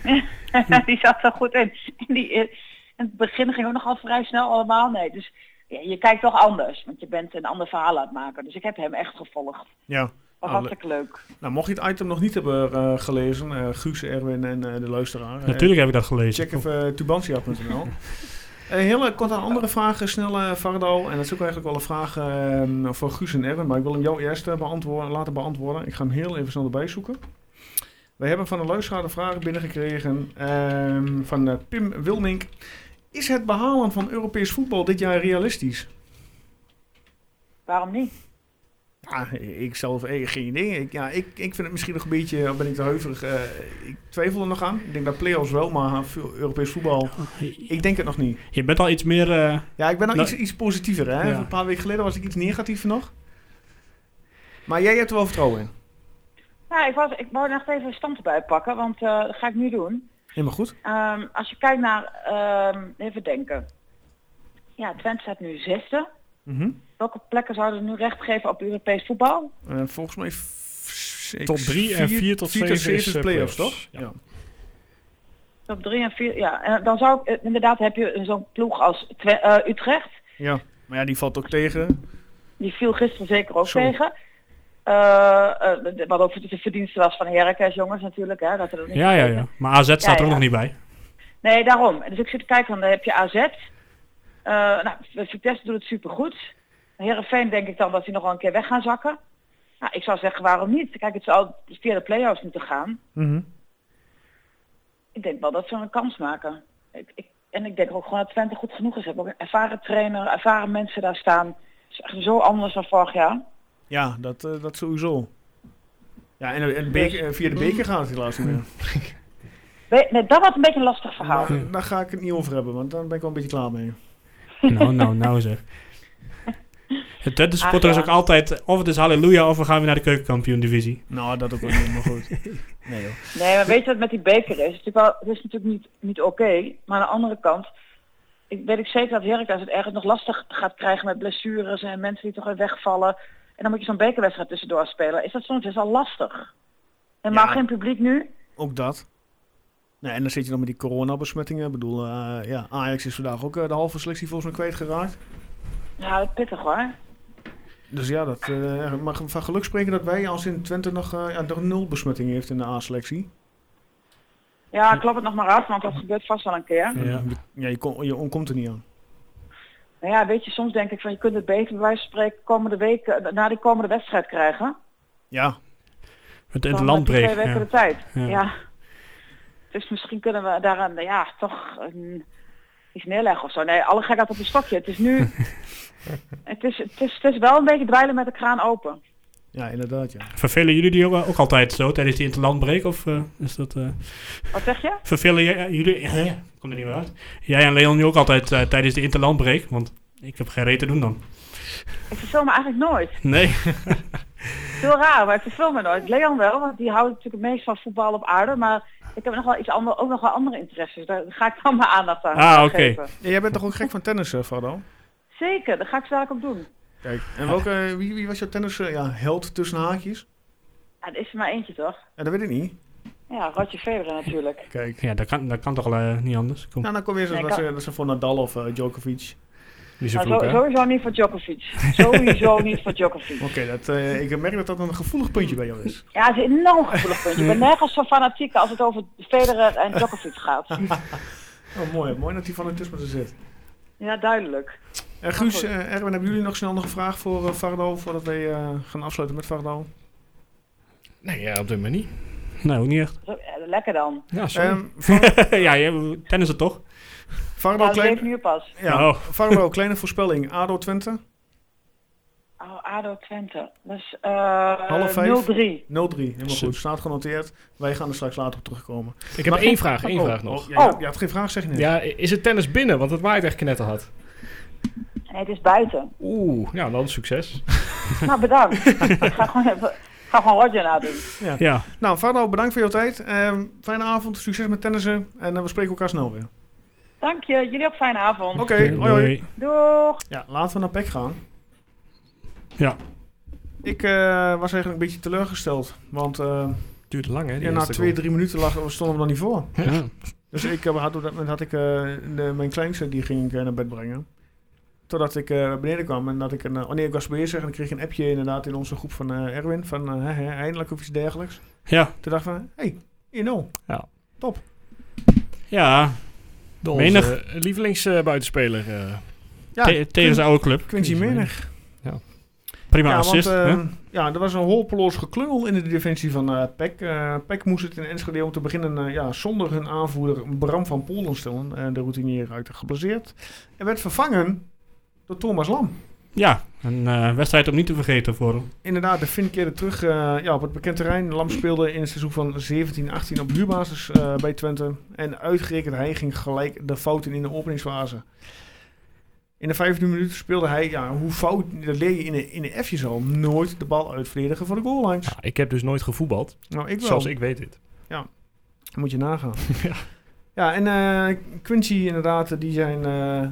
Speaker 2: Hm.
Speaker 8: die zat er goed in. En die, eh, in het begin ging ook nogal vrij snel allemaal. Nee, dus ja, je kijkt toch anders. Want je bent een ander verhaal aan het maken. Dus ik heb hem echt gevolgd.
Speaker 2: Ja.
Speaker 8: Wat
Speaker 2: Ah,
Speaker 8: hartstikke leuk.
Speaker 2: Nou, mocht je het item nog niet hebben eh, gelezen, eh Guus, Erwin en eh, de luisteraar. eh,
Speaker 4: Natuurlijk heb ik dat gelezen.
Speaker 2: Check even eh, tubantia.nl. Eh heel kort een andere vraag, eh, snel eh Vardo. En dat is ook eigenlijk wel een vraag eh, voor Guus en Erwin. Maar ik wil hem jou eerst eh, beantwoorden, laten beantwoorden. Ik ga hem heel even snel erbij zoeken. We hebben van een luisteraar de vraag binnengekregen ehm, van eh, Pim Wilmink. Is het behalen van Europees voetbal dit jaar realistisch?
Speaker 8: Waarom niet?
Speaker 2: Ja, ik zelf eh, geen idee. Ik, ja, ik, ik vind het misschien nog een beetje, ben ik te huiverig. eh, ik twijfel er nog aan. Ik denk dat play-offs wel, maar veel Europees voetbal, ik denk het nog niet.
Speaker 4: Je bent al iets meer... eh,
Speaker 2: Ja, ik ben nou
Speaker 4: Nou,
Speaker 2: iets, iets positiever. Hè?
Speaker 4: ja.
Speaker 2: Een paar weken geleden was ik iets negatiever nog. Maar jij hebt er wel vertrouwen in.
Speaker 8: Nou, ik, was, ik wou nog even een stand erbij pakken. Want eh, dat ga ik nu doen.
Speaker 2: Helemaal goed.
Speaker 8: Ehm, als je kijkt naar, ehm, even denken. Ja, Twente staat nu zesde.
Speaker 2: Mhm.
Speaker 8: Welke plekken zouden nu recht geven op Europees voetbal?
Speaker 2: Eh, volgens mij f- zes-
Speaker 3: Tot drie en vier tot zeven is,
Speaker 2: is
Speaker 3: eh,
Speaker 2: play-offs,
Speaker 3: play-offs.
Speaker 2: toch?
Speaker 3: Ja.
Speaker 8: Op drie en vier, ja. En dan zou ik, eh, inderdaad heb je zo'n ploeg als Twe- eh, Utrecht.
Speaker 2: Ja. Maar ja, die valt ook tegen.
Speaker 8: Die viel gisteren zeker ook
Speaker 2: Zo.
Speaker 8: tegen. Eh, eh, de- wat ook de verdienste was van Heracles jongens natuurlijk. Hè, dat er niet
Speaker 4: ja, ja, ja. Maar AZ staat
Speaker 8: Ja,
Speaker 4: er ook
Speaker 8: ja.
Speaker 4: nog niet bij.
Speaker 8: Nee, daarom. Dus ik zit te kijken, want dan heb je AZ. Eh nou, Vitesse doet het supergoed. Herenveen denk ik dan dat die nog wel een keer weg gaan zakken. Nou, ik zou zeggen, waarom niet? Kijk, het zou via de play-offs moeten gaan.
Speaker 2: Mhm.
Speaker 8: Ik denk wel dat ze een kans maken. Ik, ik, en ik denk ook gewoon dat Twente goed genoeg is. Ze hebben ook een ervaren trainer, ervaren mensen daar staan. Het is echt zo anders dan vorig jaar.
Speaker 2: Ja, dat, eh, dat sowieso. Ja, en, en beker- eh, via de beker gaat het helaas niet meer.
Speaker 8: We- nee, dat was een beetje een lastig verhaal.
Speaker 2: Maar, eh, daar ga ik het niet over hebben, want daar ben ik wel een beetje klaar mee.
Speaker 4: Nou, nou, nou zeg. Het Twente supporter
Speaker 8: Ach, Ah, ja.
Speaker 4: is ook altijd... Of het is halleluja of we gaan weer naar de keukenkampioen-divisie.
Speaker 2: Nou, dat ook wel niet, maar goed. Nee joh.
Speaker 8: Nee, maar weet je wat met die beker is? Het is natuurlijk, wel, het is natuurlijk niet, niet oké. maar aan de andere kant ik, weet ik zeker dat Heracles het ergens nog lastig gaat krijgen met blessures en mensen die toch weer wegvallen. En dan moet je zo'n bekerwedstrijd tussendoor spelen. Is dat soms best wel lastig. En
Speaker 2: Ja.
Speaker 8: maar geen publiek nu.
Speaker 2: Ook dat. Nou, en dan zit je nog met die coronabesmettingen. Ik bedoel, eh, ja, Ajax is vandaag ook eh, de halve selectie volgens mij kwijtgeraakt.
Speaker 8: Ja, dat is pittig hoor.
Speaker 2: Dus ja, dat, eh, maar ge- van geluk spreken dat wij als in Twente nog, eh, ja, nog nul besmettingen heeft in de A-selectie.
Speaker 8: Ja, klap het nog maar af, want dat gebeurt vast wel een keer.
Speaker 4: Ja.
Speaker 2: Ja, je, kon, je ontkomt er niet aan.
Speaker 8: Nou ja, weet je, soms denk ik van je kunt het beter bij wijze van spreken komende week, eh, na die komende wedstrijd krijgen.
Speaker 2: Ja,
Speaker 4: Het, het
Speaker 8: Dan
Speaker 4: land
Speaker 8: heb je
Speaker 4: breekt.
Speaker 8: Twee weken
Speaker 4: ja.
Speaker 8: de tijd.
Speaker 4: Ja.
Speaker 8: Ja. Dus misschien kunnen we daaraan ja, toch een, iets neerleggen of zo. Nee, alle gekheid op een stokje. Het is nu... het, is, het, is, het is wel een beetje dweilen met de kraan open.
Speaker 2: ja inderdaad. Ja.
Speaker 4: Vervelen jullie die ook, ook altijd zo tijdens die interlandbreek? Of eh, is dat... eh,
Speaker 8: Wat zeg je?
Speaker 4: Vervelen jij- eh, jullie... eh, kom er niet meer uit. Jij en Leon nu ook altijd eh, tijdens de interlandbreek? Want ik heb geen reet te doen dan.
Speaker 8: Ik verveel me eigenlijk nooit.
Speaker 4: Nee.
Speaker 8: Het is heel raar, maar ik verveel me nooit. Leon wel, want die houdt natuurlijk het meest van voetbal op aarde. Maar ik heb nog wel iets ander, ook nog wel andere interesses. Daar ga ik dan mijn aandacht aan
Speaker 4: Ah, oké.
Speaker 8: geven.
Speaker 2: Ja, jij bent toch ook gek van tennis, eh, Fado?
Speaker 8: Zeker, dat ga ik zo dadelijk ook doen.
Speaker 2: Kijk, en welke, eh, wie, wie was jouw tennis eh, ja, held tussen haakjes?
Speaker 8: Ja, er is er maar eentje toch?
Speaker 2: Ja, dat weet ik niet.
Speaker 8: Ja, Roger Federer natuurlijk.
Speaker 2: Kijk.
Speaker 4: Ja, dat kan, dat kan toch wel, eh, niet anders. Kom.
Speaker 2: Nou, dan kom je eens
Speaker 8: Nee,
Speaker 2: dat,
Speaker 8: kan-
Speaker 2: ze- dat ze voor Nadal of eh, Djokovic.
Speaker 4: Niet zo
Speaker 2: Ah,
Speaker 8: Maar
Speaker 4: vloeken,
Speaker 8: zo-
Speaker 4: hè?
Speaker 8: sowieso niet voor Djokovic. Sowieso niet voor Djokovic.
Speaker 2: Oké, dat, eh, ik merk dat dat een gevoelig puntje bij jou is.
Speaker 8: Ja, het is een enorm gevoelig puntje. Ik ben nergens zo fanatiek als het over Federer en Djokovic gaat.
Speaker 2: Oh, mooi. Mooi dat hij van het tussen zit.
Speaker 8: Ja, duidelijk.
Speaker 2: Eh, Guus, eh, Erwin, hebben jullie nog snel nog een vraag voor eh, Vardo? Voordat wij eh, gaan afsluiten met Vardo.
Speaker 3: Nee, ja, op dit moment niet.
Speaker 4: Nou, ook niet echt.
Speaker 8: Zo, eh, Lekker dan.
Speaker 4: Ja, sorry.
Speaker 2: Ehm Var-
Speaker 4: ja, je, tennis het toch?
Speaker 2: Vardo,
Speaker 8: Nou, ik
Speaker 2: klein-
Speaker 8: leef nu pas.
Speaker 2: ja,
Speaker 4: Oh.
Speaker 2: Vardo, kleine voorspelling. ADO Twente, 0-3.
Speaker 8: Oh, ADO Twente. Dus eh
Speaker 2: Half vijf.
Speaker 8: 0-3.
Speaker 2: Helemaal goed. Staat genoteerd. Wij gaan er straks later op terugkomen.
Speaker 3: Ik heb
Speaker 2: Maar-
Speaker 3: één vraag, één
Speaker 2: Oh,
Speaker 3: vraag nog.
Speaker 2: oh, ja,
Speaker 8: Oh.
Speaker 2: Je had geen vraag, zeg je net.
Speaker 3: Ja, is het tennis binnen? Want het waait echt knetterhard.
Speaker 8: Nee, het is buiten.
Speaker 3: Oeh, nou dan succes.
Speaker 8: Nou, bedankt. ik ga gewoon even... ik Ga gewoon Roger nadoen.
Speaker 4: Ja.
Speaker 2: Nou, Vardo, bedankt voor jouw tijd. Ehm, fijne avond, succes met tennissen. En eh, we spreken elkaar snel weer.
Speaker 8: Dank je. Jullie ook een fijne avond.
Speaker 2: Oké, hoi hoi.
Speaker 8: Doeg.
Speaker 2: Ja, laten we naar PEC gaan.
Speaker 4: Ja.
Speaker 2: Ik eh, was eigenlijk een beetje teleurgesteld. Want eh,
Speaker 3: Duurt lang, hè?
Speaker 2: ja, na twee, drie minuten lag, stonden we er niet voor. Dus ik eh, had op dat moment had ik, eh, de- mijn kleinste die ging ik eh, naar bed brengen. Totdat ik eh, beneden kwam en dat ik een. eh, oh nee, ik was bezig en ik kreeg een appje inderdaad in onze groep van eh, Erwin. Van eh, hè, hè, eindelijk of iets dergelijks.
Speaker 4: Ja.
Speaker 2: Toen dacht ik van: hé, hey, 1-0.
Speaker 4: Ja. Menig.
Speaker 3: Menig. Lievelingsbuitenspeler.
Speaker 2: Ja,
Speaker 4: Te- tegen zijn oude club.
Speaker 2: Quincy Menig.
Speaker 4: Prima
Speaker 2: Ja, want
Speaker 4: assist. hè?
Speaker 2: eh, ja, er was een hopeloos geklungel in de defensie van eh PEC. Eh, PEC moest het in Enschede om te beginnen eh, ja, zonder hun aanvoerder Bram van Polen stellen. eh, de routinier uit geblesseerd. En werd vervangen door Thomas Lam.
Speaker 4: Ja, een eh, wedstrijd om niet te vergeten voor hem.
Speaker 2: Inderdaad, de Finn keerde terug eh, ja, op het bekend terrein. Lam speelde in het seizoen van 17-18 op huurbasis eh, bij Twente. En uitgerekend hij ging gelijk de fouten in de openingsfase. In de vijfde minuut speelde hij, ja, hoe fout, dat leer je in de, in de F'jes al, nooit de bal uitverdedigen voor de goallines.
Speaker 3: ik heb dus nooit gevoetbald,
Speaker 2: Nou, ik wel.
Speaker 3: zoals ik weet dit.
Speaker 2: Dat Moet je nagaan. ja. ja, en eh, Quincy inderdaad, die zijn, eh,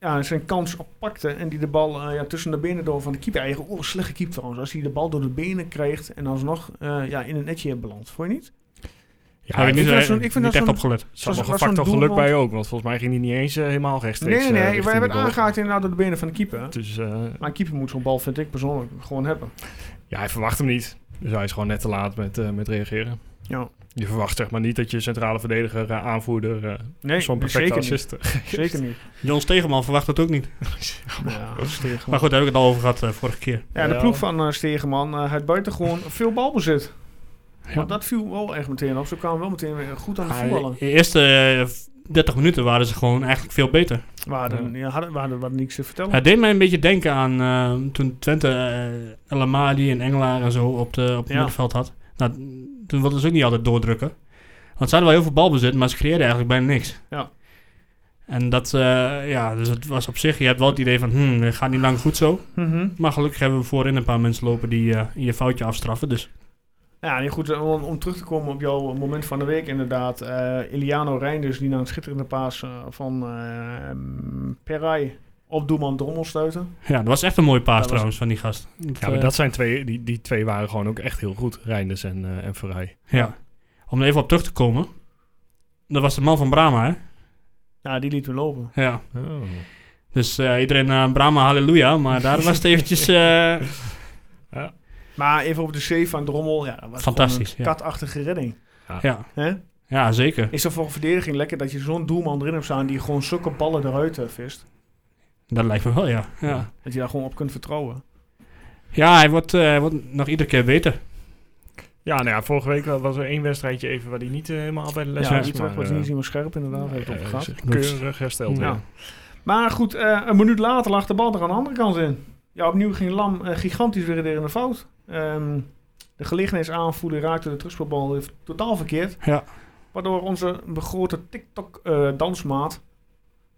Speaker 2: ja, zijn kans oppakte. En die de bal eh, ja, tussen de benen door van de keeper. Eigen, oh, slecht gekiept trouwens. Als hij de bal door de benen krijgt en alsnog eh, ja, in het netje belandt. Vond je niet?
Speaker 3: Ja,
Speaker 4: Heb ik
Speaker 2: ik
Speaker 4: niet,
Speaker 2: vind
Speaker 4: eh,
Speaker 2: zo'n- ik
Speaker 4: niet
Speaker 2: vind dat
Speaker 4: echt
Speaker 2: zo'n-
Speaker 4: opgelet.
Speaker 3: zat
Speaker 2: was-
Speaker 3: nog een
Speaker 2: was zo'n
Speaker 3: factor geluk
Speaker 2: doelwand.
Speaker 3: bij ook, want volgens mij ging hij niet eens eh, helemaal
Speaker 2: Nee,
Speaker 3: rechtstreeks.
Speaker 2: nee,
Speaker 3: eh,
Speaker 2: nee.
Speaker 3: richting
Speaker 2: wij hebben
Speaker 3: de
Speaker 2: het
Speaker 3: goal.
Speaker 2: aangehaakt inderdaad door de benen van de keeper.
Speaker 3: Dus eh,
Speaker 2: Maar een keeper moet zo'n bal, vind ik persoonlijk, gewoon hebben.
Speaker 3: ja, hij verwacht hem niet. Dus hij is gewoon net te laat met, eh, met reageren.
Speaker 2: Ja.
Speaker 3: Je verwacht zeg maar niet dat je centrale verdediger, eh, aanvoerder, eh,
Speaker 2: Nee,
Speaker 3: zo'n perfecte
Speaker 2: zeker niet.
Speaker 3: assist eh,
Speaker 2: Zeker niet.
Speaker 4: Jons Stegeman verwacht dat ook niet.
Speaker 2: Ja, Stegeman.
Speaker 4: Maar goed, daar heb ik het al over gehad eh, vorige keer.
Speaker 2: Ja, de ploeg van eh, Stegeman eh had buitengewoon veel balbezit.
Speaker 3: Ja.
Speaker 2: Maar dat viel wel echt meteen op. Ze kwamen wel meteen weer goed aan het voetballen.
Speaker 4: De eerste eh, v- 30 minuten waren ze gewoon eigenlijk veel beter.
Speaker 2: We hadden, ja. hadden, we hadden wat niks te vertellen.
Speaker 4: Het deed mij een beetje denken aan eh, toen Twente eh El Amadi en Engelaar en zo op, de, op het
Speaker 2: Ja.
Speaker 4: middenveld had. Nou, toen wilden ze ook niet altijd doordrukken. Want ze hadden wel heel veel balbezit, maar ze creëerden eigenlijk bijna niks.
Speaker 2: Ja.
Speaker 4: En dat, eh, ja, dus het was op zich, je hebt wel het idee van, hmm, het gaat niet lang goed zo.
Speaker 2: Mhm.
Speaker 4: Maar gelukkig hebben we voorin een paar mensen lopen die eh, je foutje afstraffen. Dus
Speaker 2: Ja, nee, goed, eh, om, om terug te komen op jouw moment van de week inderdaad. eh Iliano Reinders die na een schitterende paas eh, van Perai Perray op doelman Drommel stuitte.
Speaker 4: ja, dat was echt een mooie paas
Speaker 2: was-
Speaker 4: trouwens van die gast.
Speaker 3: Ja, maar dat zijn twee, die, die twee waren gewoon ook echt heel goed. Reinders en, eh en Verheij.
Speaker 4: Ja. Om er even op terug te komen. Dat was de man van Brahma, hè?
Speaker 2: Ja, die liet hem lopen.
Speaker 4: Ja.
Speaker 3: Oh.
Speaker 4: Dus eh, iedereen eh Brahma, halleluja. Maar daar was het eventjes... eh,
Speaker 2: Maar even over de C van Drommel. Ja, dat was
Speaker 4: Fantastisch,
Speaker 2: gewoon een katachtige redding.
Speaker 4: ja.
Speaker 2: Hè?
Speaker 4: ja, zeker.
Speaker 2: Is er voor een verdediging lekker dat je zo'n doelman erin hebt staan die gewoon zulke ballen eruit eh, vist?
Speaker 4: Dat lijkt me wel, ja. Ja,
Speaker 2: Dat je daar gewoon op kunt vertrouwen.
Speaker 4: ja hij, wordt, eh, hij wordt nog iedere keer beter.
Speaker 3: Ja, nou ja, vorige week was er één wedstrijdje even waar hij niet eh, helemaal bij de les
Speaker 2: Ja,
Speaker 3: was.
Speaker 2: Utrecht
Speaker 3: maar,
Speaker 2: was
Speaker 3: eh,
Speaker 2: niet eens meer scherp inderdaad, heeft
Speaker 3: eh,
Speaker 2: het opgegaan.
Speaker 3: is keurig hersteld
Speaker 2: Ja.
Speaker 3: weer.
Speaker 2: Maar goed, eh, een minuut later lag de bal er aan de andere kant in. Ja, opnieuw ging Lam eh, gigantisch weer in de fout. Ehm, de gelegenheidsaanvoerder raakte de terugspelbal weer totaal verkeerd.
Speaker 4: Ja.
Speaker 2: Waardoor onze begrote TikTok-dansmaat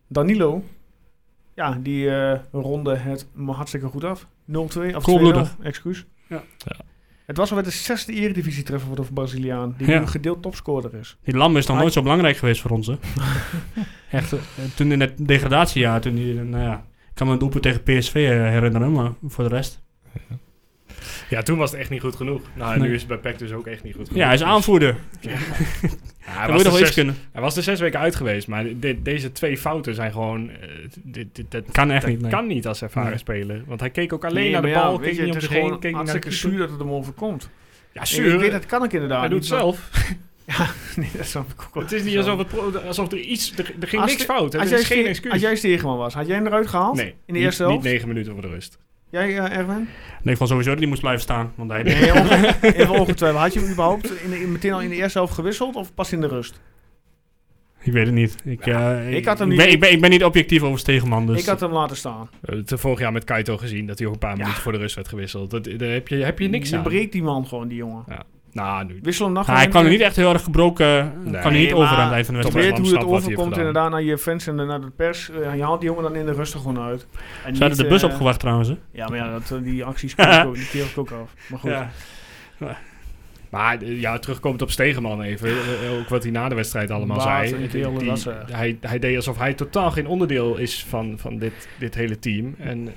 Speaker 2: Danilo... Ja, die eh, ronde het maar hartstikke goed af. 0-2, of 2-0,
Speaker 4: Koelbloedig.
Speaker 2: excuus.
Speaker 4: Ja.
Speaker 3: Ja.
Speaker 2: Het was alweer de zesde eredivisie-treffer voor de Braziliaan... die
Speaker 4: Ja.
Speaker 2: nu gedeeld topscorer is.
Speaker 4: Die Lam is nog
Speaker 2: Hij-
Speaker 4: nooit zo belangrijk geweest voor ons, hè. Echt, eh, toen in het degradatiejaar, toen die, eh, nou ja... Ik kan me een doelpunt tegen PSV eh, herinneren, maar voor de rest...
Speaker 3: Ja, toen was het echt niet goed genoeg. Nou, en
Speaker 4: Nee.
Speaker 3: nu is het bij PEC dus ook echt niet goed genoeg.
Speaker 4: Ja, hij is
Speaker 3: Dus-
Speaker 4: aanvoerder.
Speaker 3: Ja,
Speaker 4: Hij
Speaker 3: hij,
Speaker 4: moet
Speaker 3: was
Speaker 4: nog wel
Speaker 3: er
Speaker 4: iets
Speaker 3: zes,
Speaker 4: kunnen.
Speaker 3: hij was er zes weken uit geweest, maar dit- deze twee fouten zijn gewoon... eh, dit, dit, dat
Speaker 4: Kan echt
Speaker 3: dat
Speaker 4: niet, nee.
Speaker 3: kan niet als ervaren
Speaker 4: Nee.
Speaker 3: speler. Want hij keek ook alleen
Speaker 2: Nee,
Speaker 3: naar de
Speaker 2: maar ja,
Speaker 3: bal,
Speaker 2: weet
Speaker 3: keek
Speaker 2: je,
Speaker 3: niet om
Speaker 2: Het
Speaker 3: zich
Speaker 2: is
Speaker 3: heen,
Speaker 2: gewoon
Speaker 3: keek niet naar de
Speaker 2: hartstikke
Speaker 3: keeper.
Speaker 2: zuur dat het hem overkomt.
Speaker 3: Ja,
Speaker 2: Ik weet,
Speaker 3: zuur.
Speaker 2: dat kan ik inderdaad
Speaker 3: Hij doet het
Speaker 2: niet, maar-
Speaker 3: zelf.
Speaker 2: Nee, dat snap ik ook wel.
Speaker 3: Het is niet
Speaker 2: Zo.
Speaker 3: alsof, het pro- alsof er iets... Er, er ging
Speaker 2: Als
Speaker 3: niks
Speaker 2: de-
Speaker 3: fout. hè.
Speaker 2: Als
Speaker 3: Er
Speaker 2: jij,
Speaker 3: is geen
Speaker 2: ste-
Speaker 3: excuus.
Speaker 2: als jij stegenman was, had jij hem eruit gehaald?
Speaker 3: nee,
Speaker 2: In de
Speaker 3: niet-
Speaker 2: eerste
Speaker 3: niet,
Speaker 2: helft?
Speaker 3: negen minuten voor de rust.
Speaker 2: Jij, eh, Erwin?
Speaker 4: Nee, ik vond sowieso dat die moest blijven staan. Want hij
Speaker 2: Nee, onge- even ongetwijfeld. Had je hem überhaupt in de- in- meteen al in de eerste helft gewisseld of pas in de rust?
Speaker 4: Ik weet het niet. Ik, eh,
Speaker 2: ik had hem niet-
Speaker 4: Ben, ik, ben, ik ben niet objectief over Stegeman, dus...
Speaker 2: Ik had hem laten staan.
Speaker 3: We hebben Eh, het vorig jaar met Kaito gezien dat hij ook een paar minuten voor de rust werd gewisseld. Dat, daar heb je, heb je niks
Speaker 2: Je
Speaker 3: aan.
Speaker 2: breekt die man gewoon, die jongen.
Speaker 3: Nou, nu.
Speaker 2: Wissel hem nog
Speaker 4: Nou, hij kwam er niet echt heel erg gebroken.
Speaker 3: Nee.
Speaker 4: kwam er
Speaker 2: Nee,
Speaker 4: niet over
Speaker 2: maar
Speaker 4: aan het eind van de
Speaker 3: Thomas
Speaker 4: wedstrijd.
Speaker 2: weet
Speaker 3: Lam
Speaker 2: hoe het
Speaker 3: snapt wat hij heeft
Speaker 2: overkomt
Speaker 3: gedaan.
Speaker 2: inderdaad naar je fans en naar de pers. Eh, je haalt die jongen dan in de rust er gewoon uit. En
Speaker 4: Ze hadden
Speaker 2: niet,
Speaker 4: de bus
Speaker 2: eh,
Speaker 4: opgewacht trouwens. hè.
Speaker 2: Ja, maar ja, dat, eh, die acties keer ik ook- die keer ik ook af. Maar goed.
Speaker 4: Ja.
Speaker 3: Maar eh, ja, terugkomend op Stegeman even. eh, Ook wat hij na de wedstrijd allemaal
Speaker 2: Wat
Speaker 3: zei.
Speaker 2: een
Speaker 3: Die-
Speaker 2: kerel
Speaker 3: die-
Speaker 2: was hij.
Speaker 3: hij, hij deed alsof hij totaal geen onderdeel is van, van dit, dit hele team. En, eh,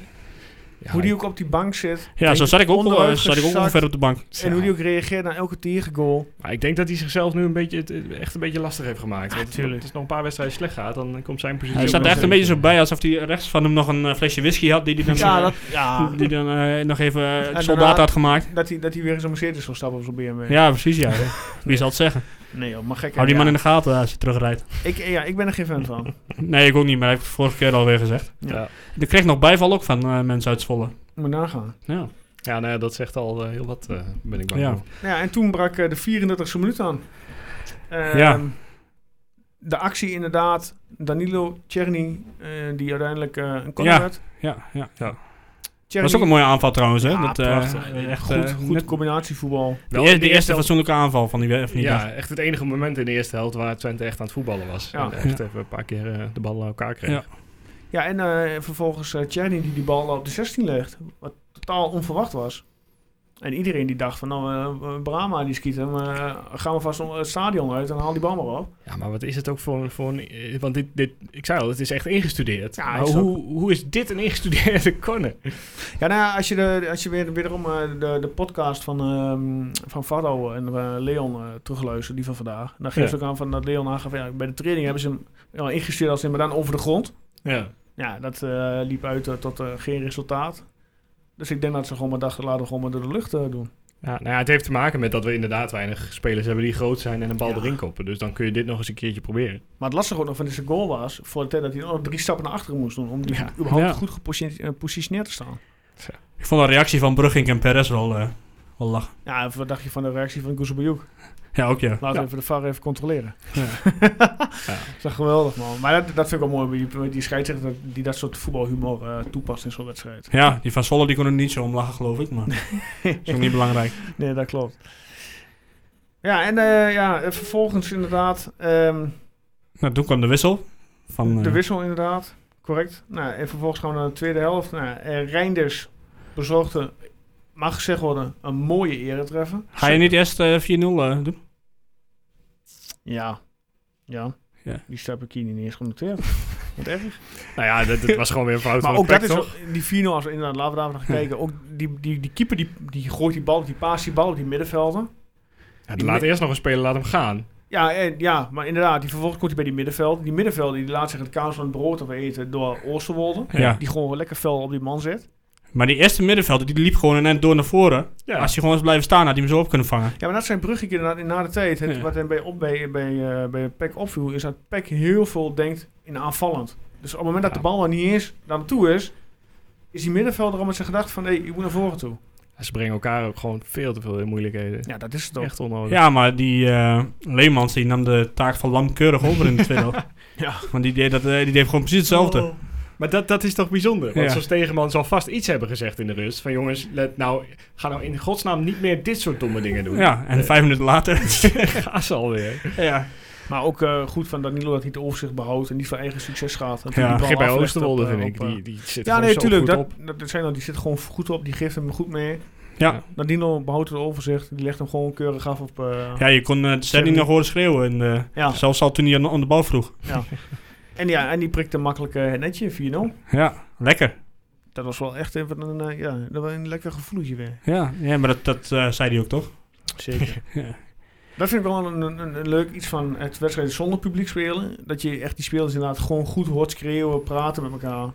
Speaker 3: ja,
Speaker 2: Hoe die ook op die bank zit.
Speaker 4: ja, zo
Speaker 2: denk-
Speaker 4: zat ik ook, wel-
Speaker 2: onderuit
Speaker 4: zat ik ook
Speaker 2: gezakt.
Speaker 4: ongeveer op de bank.
Speaker 2: En hoe die ook reageert naar elke tegengoal.
Speaker 3: maar ik denk dat hij zichzelf nu een beetje, het- het echt een beetje lastig heeft gemaakt. Want
Speaker 2: tuurlijk.
Speaker 3: als het nog een paar wedstrijden slecht gaat, dan komt zijn positie...
Speaker 4: Hij
Speaker 3: ook
Speaker 4: zat er
Speaker 3: nog
Speaker 4: echt een beetje zo
Speaker 3: zeker.
Speaker 4: bij alsof hij rechts van hem nog een eh, flesje whisky had. Die hij dan,
Speaker 2: Ja,
Speaker 4: eh,
Speaker 2: dat, ja,
Speaker 4: die dan eh, nog even eh, het
Speaker 2: daarna-
Speaker 4: soldaat had gemaakt.
Speaker 2: dat, hij, dat hij weer eens een Mercedes zal stappen op zo'n BMW.
Speaker 4: Ja, precies ja. Wie zal het zeggen?
Speaker 2: Nee joh, maar gek. hè.
Speaker 4: Hou die man
Speaker 2: Ja.
Speaker 4: in de gaten als je terugrijdt.
Speaker 2: Ik, ja, ik ben er geen fan van.
Speaker 4: Nee, ik ook niet, maar dat heb ik vorige keer alweer gezegd.
Speaker 2: Ja.
Speaker 4: Er kreeg nog bijval ook van eh, mensen uit Zwolle.
Speaker 2: Moet nagaan.
Speaker 4: Ja.
Speaker 3: Ja, nou ja, dat zegt al eh, heel wat, eh, ben ik bang
Speaker 4: Ja.
Speaker 3: voor.
Speaker 2: Nou Ja, en toen brak eh, de 34e minuut aan. Ehm,
Speaker 4: Ja.
Speaker 2: De actie inderdaad. Danilo Czerny, eh, die uiteindelijk eh, een corner
Speaker 4: Ja,
Speaker 2: werd.
Speaker 4: Ja, ja, ja. Dat
Speaker 2: Czerny,
Speaker 4: was ook een mooie aanval trouwens. Hè?
Speaker 2: Ja,
Speaker 4: dat, eh,
Speaker 2: Ah, prachtig.
Speaker 4: echt,
Speaker 2: goed,
Speaker 4: eh,
Speaker 2: goed
Speaker 4: net-
Speaker 2: combinatievoetbal.
Speaker 4: de, eerste, de eerste fatsoenlijke aanval van die, we- van die dag.
Speaker 3: Ja, echt het enige moment in de eerste helft waar Twente echt aan het voetballen was.
Speaker 2: Ja.
Speaker 3: En echt even een paar keer eh, de bal aan elkaar kreeg.
Speaker 4: Ja.
Speaker 2: Ja, en eh, vervolgens eh Czerny die die bal op de 16 legt. Wat totaal onverwacht was. En iedereen die dacht van, nou, eh, eh, Brahma die schiet hem. eh, gaan we vast nog het stadion uit en haal die bal maar op.
Speaker 3: Ja, maar wat is het ook voor... voor een, eh, want dit, dit, ik zei al, het is echt ingestudeerd.
Speaker 2: Ja,
Speaker 3: maar
Speaker 2: is
Speaker 3: hoe, hoe is dit een ingestudeerde corner?
Speaker 2: Ja, nou ja, als je, de, als je weer, wederom eh, de, de podcast van, ehm van Fado en eh, Leon eh, terugluistert, die van vandaag. Dan geeft
Speaker 3: Ja.
Speaker 2: ook aan van dat Leon aangaf, ja, bij de training hebben ze hem ja, ingestuurd als in, maar dan over de grond.
Speaker 3: Ja.
Speaker 2: Ja, dat eh, liep uit eh, tot eh, geen resultaat. Dus ik denk dat ze gewoon maar dachten, laten we gewoon maar door de lucht eh, doen.
Speaker 3: nou ja, het heeft te maken met dat we inderdaad weinig spelers hebben die groot zijn en een bal
Speaker 2: Ja.
Speaker 3: erin koppen. Dus dan kun je dit nog eens een keertje proberen.
Speaker 2: Maar het lastige ook nog van deze goal was, voor de tijd dat hij nog drie stappen naar achteren moest doen, om die überhaupt
Speaker 4: Ja.
Speaker 2: goed eh, gepositioneerd te staan.
Speaker 4: Ik vond de reactie van Brugging en Perez wel, eh, wel lachen.
Speaker 2: Ja, en wat dacht je van de reactie van Goezebejoek?
Speaker 4: Ja, ook ja.
Speaker 2: Laten
Speaker 3: Ja.
Speaker 2: we even de VAR even controleren.
Speaker 4: Ja.
Speaker 2: Dat is echt geweldig, man. Maar dat, dat vind ik wel mooi, bij die, bij die scheidsrechter dat- die dat soort voetbalhumor eh, toepast in zo'n wedstrijd.
Speaker 4: Ja, die van Zwolle die kon er niet zo om lachen, geloof ik. Maar is ook niet belangrijk.
Speaker 2: Nee, dat klopt. Ja, en eh, ja, eh, vervolgens inderdaad ehm,
Speaker 4: Nou, toen kwam de wissel. Van,
Speaker 2: de
Speaker 4: eh,
Speaker 2: wissel inderdaad, correct. Nou, en vervolgens gaan we naar de tweede helft. Nou, eh, Reinders bezorgde, mag gezegd worden, een mooie eretreffer.
Speaker 4: Ga je niet eerst eh, 4-0 eh, doen?
Speaker 2: Ja. Ja.
Speaker 4: Ja.
Speaker 2: Die stap ik hier niet eens genoteerd. Wat erg.
Speaker 3: Nou ja, dat, dat was gewoon weer een fout
Speaker 2: Maar
Speaker 3: van
Speaker 2: ook
Speaker 3: Peck,
Speaker 2: dat is,
Speaker 3: toch?
Speaker 2: die 4-0 als we inderdaad, laten we daar nog kijken. Ook die, die, die keeper die, die gooit die bal, die paast die bal op die middenvelden.
Speaker 3: Ja, laat eerst nog een speler, laat hem gaan.
Speaker 2: Ja, en, ja, maar inderdaad, die vervolgens komt hij bij die middenvelden. Die middenvelden die laat zich het kaas van het brood af eten door Oosterwolde.
Speaker 4: Ja.
Speaker 2: Die gewoon lekker fel op die man zet.
Speaker 4: Maar die eerste middenvelder die liep gewoon een end door naar voren.
Speaker 3: Ja.
Speaker 4: Als hij gewoon is blijven staan, had hij hem zo op kunnen vangen.
Speaker 2: Ja, maar dat zijn bruggetjes inderdaad na de tijd. Het,
Speaker 4: Ja.
Speaker 2: Wat hem bij, op, bij, bij, eh, bij Peck opviel, is dat Peck heel veel denkt in aanvallend. Dus op het moment dat de bal er niet is, naar hem toe is, is die middenvelder al met zijn gedachten van, hé, ik moet naar voren toe.
Speaker 3: Ze brengen elkaar ook gewoon veel te veel in moeilijkheden.
Speaker 2: Ja, dat is het ook.
Speaker 3: Echt onnodig.
Speaker 4: Ja, maar die eh, Leemans die nam de taak van Lam keurig over in de tweede helft.
Speaker 2: Ja.
Speaker 4: Want die deed, dat, eh, die deed gewoon precies hetzelfde.
Speaker 3: Maar dat, dat is toch bijzonder? Want
Speaker 4: Ja.
Speaker 3: zo'n tegenman zal vast iets hebben gezegd in de rust. Van jongens, let nou, ga nou in godsnaam niet meer dit soort domme dingen
Speaker 2: Oh.
Speaker 3: doen.
Speaker 4: Ja, en vijf minuten later.
Speaker 3: Ga ze alweer.
Speaker 4: ja.
Speaker 2: Maar ook eh, goed van Danilo dat hij het overzicht behoudt en niet voor eigen succes gaat. En
Speaker 4: Ja,
Speaker 2: die bal
Speaker 3: Begin bij
Speaker 2: aflegt
Speaker 3: Oosterwolde,
Speaker 2: op, eh,
Speaker 3: vind ik.
Speaker 2: op, eh,
Speaker 3: Die, die zit
Speaker 2: ja,
Speaker 3: gewoon
Speaker 2: nee,
Speaker 3: zo
Speaker 2: tuurlijk.
Speaker 3: goed
Speaker 2: Dat,
Speaker 3: op.
Speaker 2: dat, dat zijn al, die zit gewoon goed op, die geeft hem goed mee.
Speaker 4: Ja.
Speaker 2: Danilo behoudt het overzicht, die legt hem gewoon keurig af op... eh,
Speaker 4: ja, je kon eh Sandy nog horen schreeuwen. En, eh,
Speaker 2: Ja.
Speaker 4: Zelfs al toen hij aan- aan de bal vroeg.
Speaker 2: En ja, en die prikte makkelijk eh, het netje, 4-0.
Speaker 4: Ja, lekker.
Speaker 2: Dat was wel echt even een, eh, ja, dat was een lekker gevoeletje weer.
Speaker 4: Ja, ja maar dat, dat eh, zei hij ook toch?
Speaker 2: Zeker.
Speaker 4: Ja.
Speaker 2: Dat vind ik wel een, een, een- een leuk iets van het wedstrijden zonder publiek spelen. Dat je echt die spelers inderdaad gewoon goed hoort schreeuwen, praten met elkaar.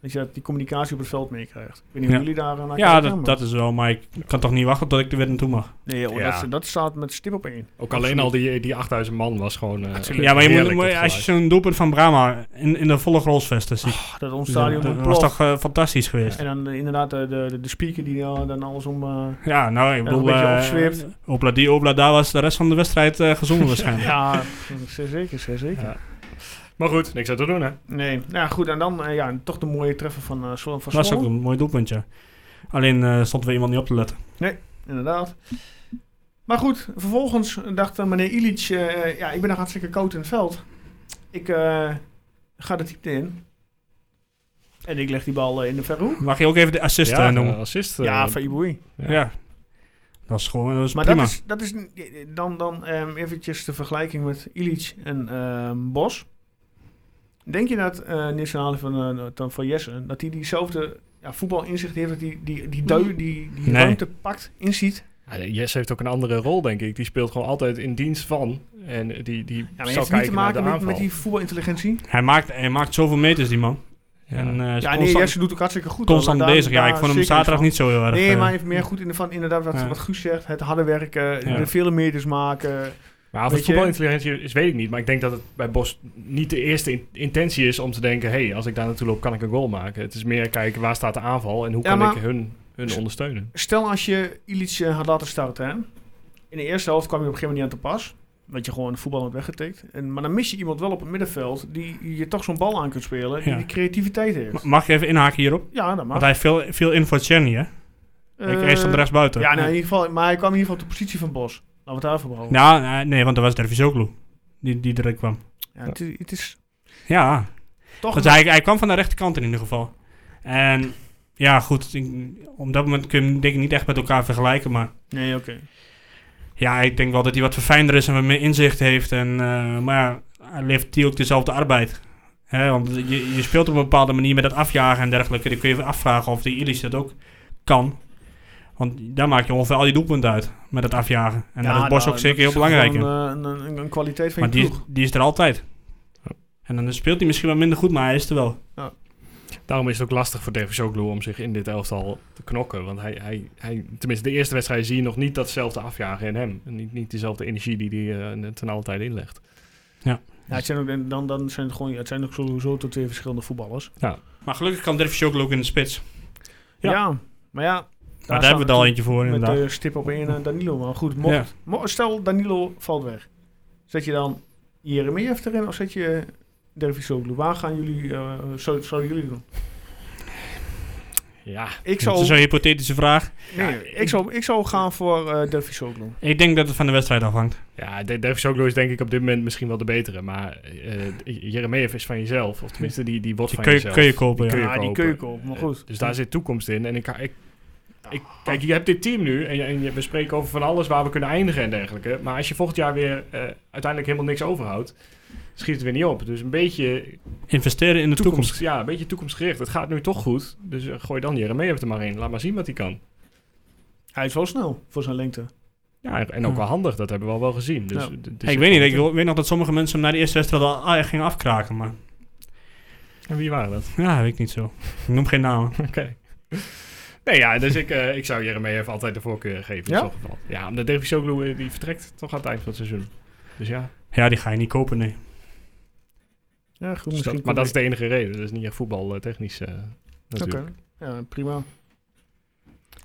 Speaker 2: Dat je die communicatie op het veld meekrijgt. Ik weet niet
Speaker 4: Ja.
Speaker 2: hoe jullie daar eh, naar
Speaker 4: Ja,
Speaker 2: kijken, maar-
Speaker 4: dat, dat is wel, maar ik kan toch niet wachten tot ik er weer naartoe mag.
Speaker 2: Nee, joh,
Speaker 3: Ja.
Speaker 2: Dat, dat staat met stip op één.
Speaker 3: Ook alleen al die, die 8000 man was gewoon. eh,
Speaker 4: ja, maar je moet,
Speaker 3: heerlijk,
Speaker 4: moet-
Speaker 3: dat
Speaker 4: als je
Speaker 3: geluid.
Speaker 4: zo'n doelpunt van Brahma in, in de volle rolsvesten ziet,
Speaker 2: Dat ons stadion
Speaker 4: dat, dat was
Speaker 2: ontploft.
Speaker 4: toch eh, fantastisch geweest.
Speaker 2: En dan eh, inderdaad de, de, de- de speaker die eh, dan alles om... eh,
Speaker 4: Ja, nou, ik
Speaker 2: een
Speaker 4: bedoel,
Speaker 2: beetje
Speaker 4: eh,
Speaker 2: opzweept.
Speaker 4: Obla die, obla daar was de rest van de wedstrijd eh, gezongen waarschijnlijk.
Speaker 2: ja, zeer zeker, zeer zeker.
Speaker 3: Ja. Maar goed, niks aan te doen, hè?
Speaker 2: Nee, nou ja, goed. En dan eh, ja, toch de mooie treffer van, eh Zwo- van
Speaker 4: Dat was ook
Speaker 2: Zwolle.
Speaker 4: een mooi doelpuntje. Alleen eh, stond weer iemand niet op te letten.
Speaker 2: Inderdaad. Maar goed, vervolgens dacht eh, meneer Ilic... eh, ja, ik ben nog hartstikke koud in het veld. Ik eh, ga de diepte in. En ik leg die bal eh, in de verre hoek.
Speaker 4: Mag je ook even de assist eh,
Speaker 3: een
Speaker 4: noemen?
Speaker 3: assist. eh,
Speaker 2: Ja, van Iboui.
Speaker 3: ja.
Speaker 4: Ja. Dat is gewoon dat is
Speaker 2: Maar
Speaker 4: prima.
Speaker 2: dat is, dat is n- dan, dan ehm, eventjes de vergelijking met Ilic en ehm, Bos. Denk je dat eh Nissan van, eh, dan van Jesse, dat hij diezelfde ja, voetbalinzicht heeft, dat hij die, die, dui, die, die
Speaker 4: Nee.
Speaker 2: ruimte pakt, inziet?
Speaker 3: Ja, Jesse heeft ook een andere rol, denk ik. Die speelt gewoon altijd in dienst van. En die, die
Speaker 2: Ja, maar
Speaker 3: zal
Speaker 2: heeft het
Speaker 3: kijken
Speaker 2: niet te
Speaker 3: naar
Speaker 2: maken
Speaker 3: de
Speaker 2: met,
Speaker 3: aanval.
Speaker 2: met die voetbalintelligentie?
Speaker 4: Hij, maakt, hij maakt zoveel meters, die man.
Speaker 3: Ja.
Speaker 4: En, eh, is
Speaker 2: Ja, nee,
Speaker 4: constant,
Speaker 2: Jesse doet ook hartstikke goed. hoor,
Speaker 4: constant
Speaker 2: maar daar-
Speaker 4: bezig. Ja, ik
Speaker 2: daar
Speaker 4: vond hem
Speaker 2: zeker
Speaker 4: zaterdag
Speaker 2: van.
Speaker 4: niet zo heel erg.
Speaker 2: Nee,
Speaker 4: eh,
Speaker 2: maar even meer goed in de van inderdaad wat,
Speaker 4: Ja.
Speaker 2: wat Guus zegt, het harde werken, eh,
Speaker 4: Ja.
Speaker 2: de vele meters maken.
Speaker 3: Maar of
Speaker 2: Weet
Speaker 3: het
Speaker 2: je-
Speaker 3: voetbalintelligentie is, weet ik niet. Maar ik denk dat het bij Bos niet de eerste in- intentie is om te denken... hé, hey, als ik daar naartoe loop, kan ik een goal maken. Het is meer kijken, waar staat de aanval en hoe
Speaker 2: Ja,
Speaker 3: kan
Speaker 2: maar-
Speaker 3: ik hun, hun ondersteunen?
Speaker 2: Stel als je Illich eh, had laten starten. Hè? In de eerste helft kwam je op een gegeven moment niet aan te pas. Dat je gewoon de voetbal had weggetikt. En, maar dan mis je iemand wel op het middenveld die je toch zo'n bal aan kunt spelen. Die
Speaker 4: Ja.
Speaker 2: die creativiteit heeft.
Speaker 4: Ma- Mag je even inhaken hierop?
Speaker 2: ja, dat mag.
Speaker 4: Want hij viel, viel in voor Tjerni, hè?
Speaker 2: Eh,
Speaker 4: ik hij stond rechts buiten.
Speaker 2: Ja, nou, in ieder geval, maar hij kwam in ieder geval op de positie van Bos. Laten we het daarvoor behouden.
Speaker 4: Nou, nee, nee, want er was Dervisoglu die, die direct kwam.
Speaker 2: Ja, het, is- het is
Speaker 4: Ja,
Speaker 2: toch...
Speaker 4: want hij, hij kwam van de rechterkant in ieder geval. En ja, goed, ik- op dat moment kun je hem denk ik niet echt met elkaar vergelijken, maar
Speaker 2: Nee, oké.
Speaker 4: ja, ik denk wel dat hij wat verfijnder is en wat meer inzicht heeft. En, eh, maar ja, hij levert die ook dezelfde arbeid. Hè, want je, je speelt op een bepaalde manier met het afjagen en dergelijke. Dan kun je even afvragen of die Ilis dat ook kan. Want daar maak je ongeveer al je doelpunten uit met het afjagen. En dat is
Speaker 2: nou,
Speaker 4: Bos ook zeker heel belangrijk. in.
Speaker 2: Een, een, een, een kwaliteit van
Speaker 4: Maar
Speaker 2: je
Speaker 4: die,
Speaker 2: ploeg.
Speaker 4: die is er altijd. En dan speelt hij misschien wel minder goed, maar hij is er wel.
Speaker 3: Daarom is het ook lastig voor Davis Oglu om zich in dit elftal te knokken. Want hij, hij, hij, tenminste, de eerste wedstrijd zie je nog niet datzelfde afjagen in hem. En Niet, niet dezelfde energie die hij eh, ten alle tijde inlegt.
Speaker 2: Ja, het zijn ook, dan, dan zijn het gewoon... ja, Het zijn ook sowieso tot twee verschillende voetballers.
Speaker 4: Maar gelukkig kan Dervis ook in de spits.
Speaker 2: Ja,
Speaker 4: Ja.
Speaker 2: maar ja...
Speaker 4: Maar daar hebben we er al eentje voor
Speaker 2: Met
Speaker 4: inderdaad.
Speaker 2: de stip op één eh, Danilo. Maar goed, mocht,
Speaker 4: Ja.
Speaker 2: mo- stel Danilo valt weg. Zet je dan Jeremejeff erin of zet je eh, Dervisoglu? Waar gaan jullie, eh, zou, zouden jullie doen?
Speaker 3: Ja,
Speaker 2: Ik
Speaker 4: Dat is
Speaker 2: zou,
Speaker 4: een hypothetische vraag.
Speaker 2: nee, ik zou, ik zou gaan voor eh Dervisoglu.
Speaker 4: Ik denk dat het van de wedstrijd afhangt.
Speaker 3: Ja, De- Davis Oglu is denk ik op dit moment misschien wel de betere. Maar eh Jeremejeff is van jezelf. Of tenminste, die, die wordt
Speaker 4: Die
Speaker 3: van
Speaker 4: kun je,
Speaker 3: jezelf.
Speaker 4: kun je kopen, ja.
Speaker 3: kun je
Speaker 2: Ja, die
Speaker 3: kopen.
Speaker 2: keuken op, maar goed.
Speaker 3: Dus daar zit toekomst in. En ik, ik, ik, kijk, je hebt dit team nu. En, je- en je- we spreken over van alles waar we kunnen eindigen en dergelijke. Maar als je volgend jaar weer eh, uiteindelijk helemaal niks overhoudt... schiet het weer niet op. Dus een beetje
Speaker 4: Investeren in de toekomst.
Speaker 3: toekomst, ja, een beetje toekomstgericht. Het gaat nu toch goed. Dus eh, gooi dan Jeremejeff er maar in. Laat maar zien wat hij kan.
Speaker 2: Hij is wel snel voor zijn lengte.
Speaker 3: Ja, en ook wel handig. Dat hebben we al wel gezien. Dus,
Speaker 2: Ja.
Speaker 3: d- d-
Speaker 4: Hey, ik weet niet, ik wil- weet nog dat sommige mensen hem na de eerste wedstrijd al ah, echt gingen afkraken. Maar
Speaker 3: En wie waren dat?
Speaker 4: ja, weet ik niet zo. Ik noem geen namen.
Speaker 3: Oké. Nee, ja, dus ik, eh, ik zou Jeremie even altijd de voorkeur geven
Speaker 2: Ja?
Speaker 3: in zo'n geval. Ja, omdat Davis Oglu eh, die vertrekt toch aan het eind van het seizoen. Dus ja,
Speaker 4: Ja, die ga je niet kopen, nee.
Speaker 2: Ja, goed,
Speaker 3: dus dat-
Speaker 2: misschien
Speaker 3: maar dat is
Speaker 2: komt
Speaker 3: de enige reden. Dat is niet echt voetbaltechnisch eh
Speaker 2: hij-
Speaker 3: natuurlijk.
Speaker 2: Oké. Ja, prima.
Speaker 3: Ik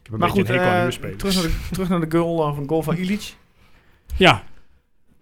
Speaker 3: heb
Speaker 2: Maar
Speaker 3: een beetje
Speaker 2: goed,
Speaker 3: een hekel aan
Speaker 2: eh,
Speaker 3: nieuwe spelers.
Speaker 2: terug, naar de, terug naar de goal eh, van goal van Ilic.
Speaker 4: Ja.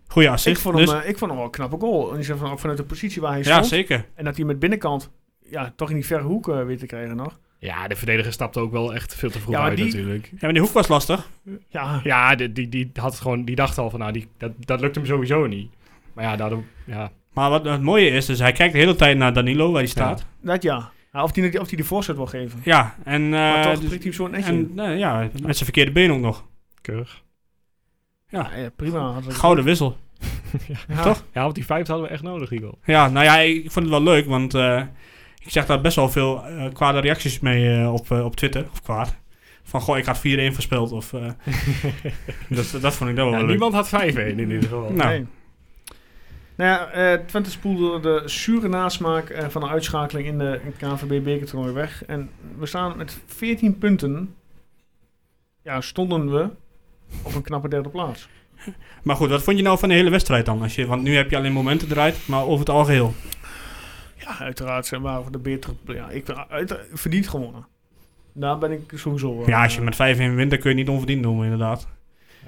Speaker 4: Goeie assist.
Speaker 2: Ik vond, hem,
Speaker 4: dus.
Speaker 2: eh, ik vond hem wel een knappe goal. En die zijn van- vanuit de positie waar hij
Speaker 4: ja,
Speaker 2: stond.
Speaker 4: zeker.
Speaker 2: En dat hij met binnenkant ja, toch in die verre hoek eh, weer te krijgen nog.
Speaker 3: Ja, de verdediger stapte ook wel echt veel te vroeg
Speaker 2: Ja, maar
Speaker 3: uit
Speaker 2: die-
Speaker 3: natuurlijk.
Speaker 4: Ja, maar die hoek was lastig.
Speaker 2: Ja,
Speaker 3: Ja, die, die, die, had het gewoon, die dacht al van, nou, die, dat, dat lukt hem sowieso niet. Maar ja, daardoor, ja.
Speaker 4: Maar wat het mooie is, dus hij kijkt de hele tijd naar Danilo, waar hij staat.
Speaker 2: dat ja. Ja, Of hij die, of die de voorzet wil geven.
Speaker 4: Ja, en... eh,
Speaker 2: maar toch
Speaker 4: dus-
Speaker 2: prikt hij hem zo netje in.
Speaker 4: En nou ja, met zijn verkeerde been ook nog.
Speaker 3: Keurig.
Speaker 2: Ja, ja, prima. Had ik-
Speaker 4: Gouden wissel.
Speaker 2: Ja.
Speaker 4: toch?
Speaker 3: Ja, want die vijfde hadden we echt nodig, Igel.
Speaker 4: Ja, nou ja, ik vond het wel leuk, want eh, ik zag daar best wel veel eh, kwade reacties mee eh, op, eh, op Twitter. Of kwaad. Van, goh, ik had 4-1 verspeeld. Of, eh, dat, dat vond ik dan wel
Speaker 3: Ja,
Speaker 4: leuk.
Speaker 3: niemand had 5-1 in ieder geval.
Speaker 4: Nou,
Speaker 2: Nee. Nou ja, eh, Twente spoelde de zure nasmaak eh, van de uitschakeling in de KNVB-bekertoernooi weg. En we staan met 14 punten. Ja, stonden we op een knappe derde plaats.
Speaker 4: Maar goed, wat vond je nou van de hele wedstrijd dan? Als je, want nu heb je alleen momenten eruit, maar over het algeheel.
Speaker 2: Ja, uiteraard zijn we de betere... Ja, ik uit, verdiend gewonnen. Daar ben ik sowieso... wel,
Speaker 4: Ja, als je
Speaker 2: eh,
Speaker 4: met 5 in wint, dan kun je niet onverdiend noemen, inderdaad.
Speaker 2: ja,